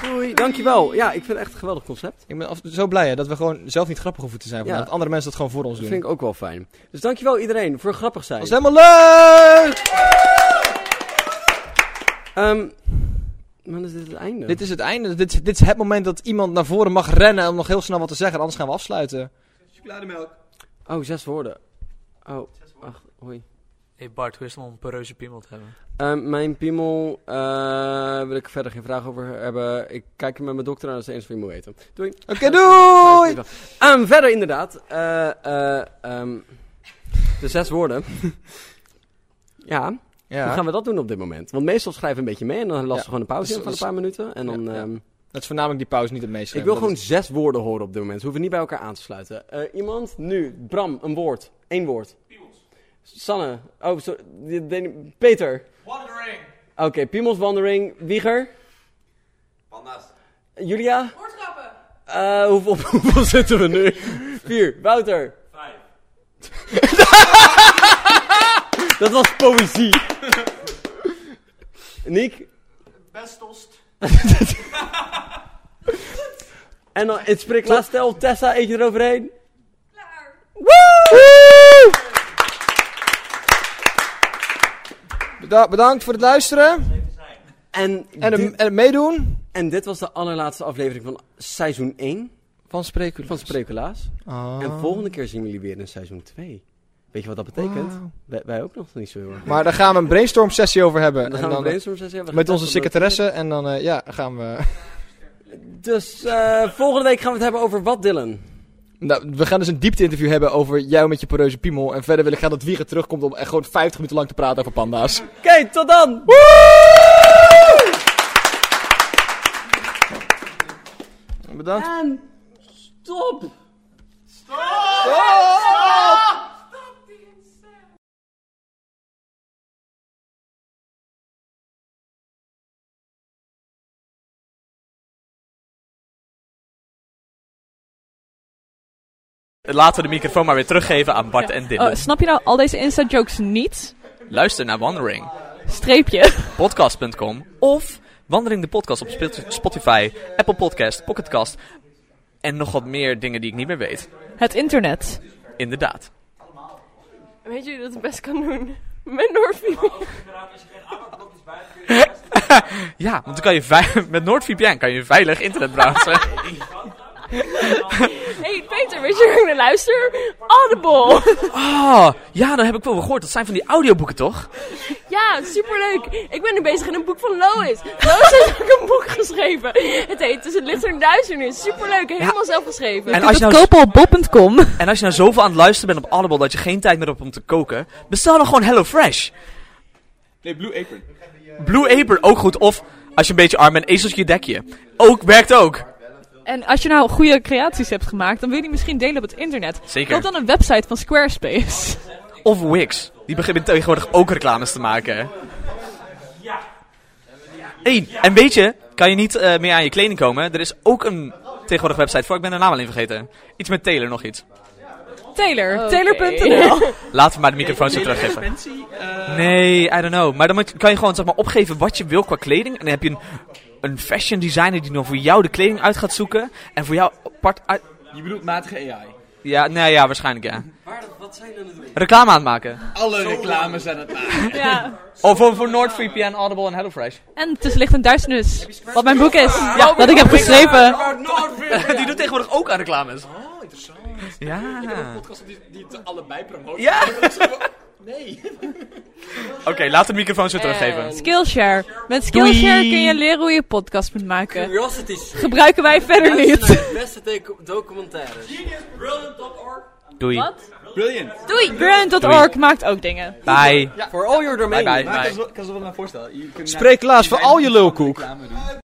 Speaker 14: Doei!
Speaker 1: Doei, dankjewel. Ja, ik vind het echt een geweldig concept.
Speaker 2: Ik ben af- zo blij hè, dat we gewoon zelf niet grappig hoeven te zijn.
Speaker 1: Ja.
Speaker 2: vandaag. Dat andere mensen dat gewoon voor ons
Speaker 1: Dat
Speaker 2: doen.
Speaker 1: vind ik ook wel fijn. Dus dankjewel iedereen voor grappig zijn.
Speaker 2: Dat is helemaal leuk!
Speaker 1: Ehm, maar is dit het einde?
Speaker 2: Dit is het einde. Dit, dit is het moment dat iemand naar voren mag rennen om nog heel snel wat te zeggen. Anders gaan we afsluiten.
Speaker 12: Chocolademelk.
Speaker 1: Oh, zes woorden. Oh, ach, hoi.
Speaker 9: hey Bart, hoe is het om een poreuze piemel te hebben?
Speaker 1: Ehm, mijn piemel eh, wil ik verder geen vraag over hebben. Ik kijk er met mijn dokter aan als ze eens van je moet eten. Doei.
Speaker 2: Oké, doei!
Speaker 1: Ehm, verder inderdaad. eh, eh, ehm, de zes woorden. ja.
Speaker 2: Ja.
Speaker 1: Hoe gaan we dat doen op dit moment? Want meestal schrijven we een beetje mee en dan lassen
Speaker 2: Ja.
Speaker 1: we gewoon een pauze
Speaker 2: Dus-
Speaker 1: in van een
Speaker 2: dus-
Speaker 1: paar minuten. En dan, ehm,
Speaker 2: Dat is voornamelijk die pauze niet het meest.
Speaker 1: ik wil gewoon zes woorden horen op dit moment. Ze hoeven niet bij elkaar aan te sluiten. Eh, iemand, nu. Bram, een woord. Eén woord. Sanne. Oh, sorry. Die- die- Peter.
Speaker 12: Wandering.
Speaker 1: Oké, Piemels Wandering. Wieger.
Speaker 12: Panda's.
Speaker 1: Julia? Eh, hoeveel, hoeveel zitten we nu? Vier. Wouter? Vijf. Dat was poëzie. Niek?
Speaker 12: Bestost.
Speaker 1: En dan in het spriklaastel, Tessa, eet je eroverheen?
Speaker 2: Beda- bedankt voor het luisteren.
Speaker 1: En,
Speaker 2: En,
Speaker 1: dit-
Speaker 2: het- en het meedoen.
Speaker 1: en dit was de allerlaatste aflevering van seizoen 1
Speaker 2: Van Spreekulaas.
Speaker 1: van Sprekulaas.
Speaker 2: Ah.
Speaker 1: En volgende keer zien we jullie weer in seizoen 2. Weet je wat dat betekent?
Speaker 2: Wauw.
Speaker 1: Wij, wij ook nog niet zo heel erg.
Speaker 2: Maar daar gaan we een brainstorm sessie over hebben. eh,
Speaker 1: Dan gaan we een brainstorm sessie hebben.
Speaker 2: Met onze
Speaker 1: Getest op de-
Speaker 2: secretaresse. En dan eh, ja, gaan we...
Speaker 1: Dus eh, volgende week gaan we het hebben over wat, Dylan?
Speaker 2: Nou, we gaan dus een diepte-interview hebben over jou met je poreuze piemel. En verder wil ik gaan dat Wieger terugkomt om echt gewoon 50 minuten lang te praten over panda's.
Speaker 1: Oké, tot dan!
Speaker 2: Bedankt.
Speaker 12: Ehm,
Speaker 1: En stop!
Speaker 9: Laten we de microfoon maar weer teruggeven aan Bart en Dylan.
Speaker 15: Oh, snap je nou al deze Insta-jokes niet?
Speaker 9: Luister naar Wandering.
Speaker 15: Streepje.
Speaker 9: Podcast.com of Wandering de Podcast op Spil- Spotify, Apple Podcast, Pocketcast en nog wat meer dingen die ik niet meer weet.
Speaker 15: Het internet.
Speaker 9: Inderdaad.
Speaker 10: Weet je wie dat het best kan doen? Met Noorfie.
Speaker 9: Ja, want dan kan je vei- met NoordVPN kan je veilig internet browsen.
Speaker 10: hey, Peter,
Speaker 4: luister, weet je waar ik naar luister? Audible!
Speaker 9: Oh, ja, dat heb ik wel weer gehoord. Dat zijn van die audioboeken, toch?
Speaker 4: Ja, superleuk. Ik ben nu bezig in een boek van Lois. Lois heeft ook een boek geschreven. Het heet Tussen het licht en duisternis. Superleuk, helemaal zelf geschreven.
Speaker 9: kopen op bol.com. nou En als je nou zoveel aan het luisteren bent op Audible dat je geen tijd meer hebt om te koken, bestel dan gewoon HelloFresh.
Speaker 6: Nee, Blue Apron.
Speaker 9: Blue Apron ook goed. Of als je een beetje arm bent, ezeltje dekje. Ook werkt ook.
Speaker 4: En als je nou goede creaties hebt gemaakt, dan wil je die misschien delen op het internet.
Speaker 9: Zeker.
Speaker 4: Koop dan een website van Squarespace.
Speaker 9: Of Wix. Die beginnen tegenwoordig ook reclames te maken. Hey, en weet je, kan je niet eh, meer aan je kleding komen? Er is ook een tegenwoordig website voor. Ik ben de naam alleen vergeten. Iets met Taylor, nog iets.
Speaker 4: Taylor. Taylor.nl.
Speaker 9: Laten we maar de microfoon zo teruggeven. Nee, I don't know. Maar dan moet- kan je gewoon zeg maar, opgeven wat je wil qua kleding. En dan heb je een, een fashion designer die dan voor jou de kleding uit gaat zoeken. En voor jou apart uit...
Speaker 8: Je bedoelt matige AI.
Speaker 9: Ja, nee, ja, waarschijnlijk ja.
Speaker 8: wat zijn jullie doen?
Speaker 9: Reclame aan het maken.
Speaker 8: Alle reclames aan het maken.
Speaker 4: Ja.
Speaker 9: Of voor, voor NordVPN, Audible en HelloFresh.
Speaker 4: En Tussen licht en duisternis. Wat mijn boek is. dat ik heb geschreven.
Speaker 9: Die doet tegenwoordig ook aan reclames.
Speaker 2: Oh, interessant.
Speaker 9: Ja.
Speaker 2: Ik heb een podcast die, die het allebei promoten.
Speaker 9: Ja.
Speaker 2: Nee.
Speaker 9: Oké, laat de microfoon
Speaker 4: Eh,
Speaker 9: zo teruggeven.
Speaker 4: Skillshare. Met Skillshare
Speaker 9: Doei.
Speaker 4: kun je leren hoe je podcast moet maken.
Speaker 9: Curiosity Street.
Speaker 4: Gebruiken wij verder
Speaker 9: Luister
Speaker 4: niet.
Speaker 9: naar
Speaker 1: Beste docu- documentaires.
Speaker 9: Doei.
Speaker 4: Wat?
Speaker 8: Brilliant.
Speaker 4: Doei. Brand.org maakt ook dingen.
Speaker 9: Bye.
Speaker 8: Voor all your domain.
Speaker 9: Bye, bye,
Speaker 8: Maar ik
Speaker 9: bye.
Speaker 8: kan ze wel- kan ze wel naar voorstellen. Je kunt
Speaker 2: Spreek Klaas voor al je lulkoek.
Speaker 8: reclame doen.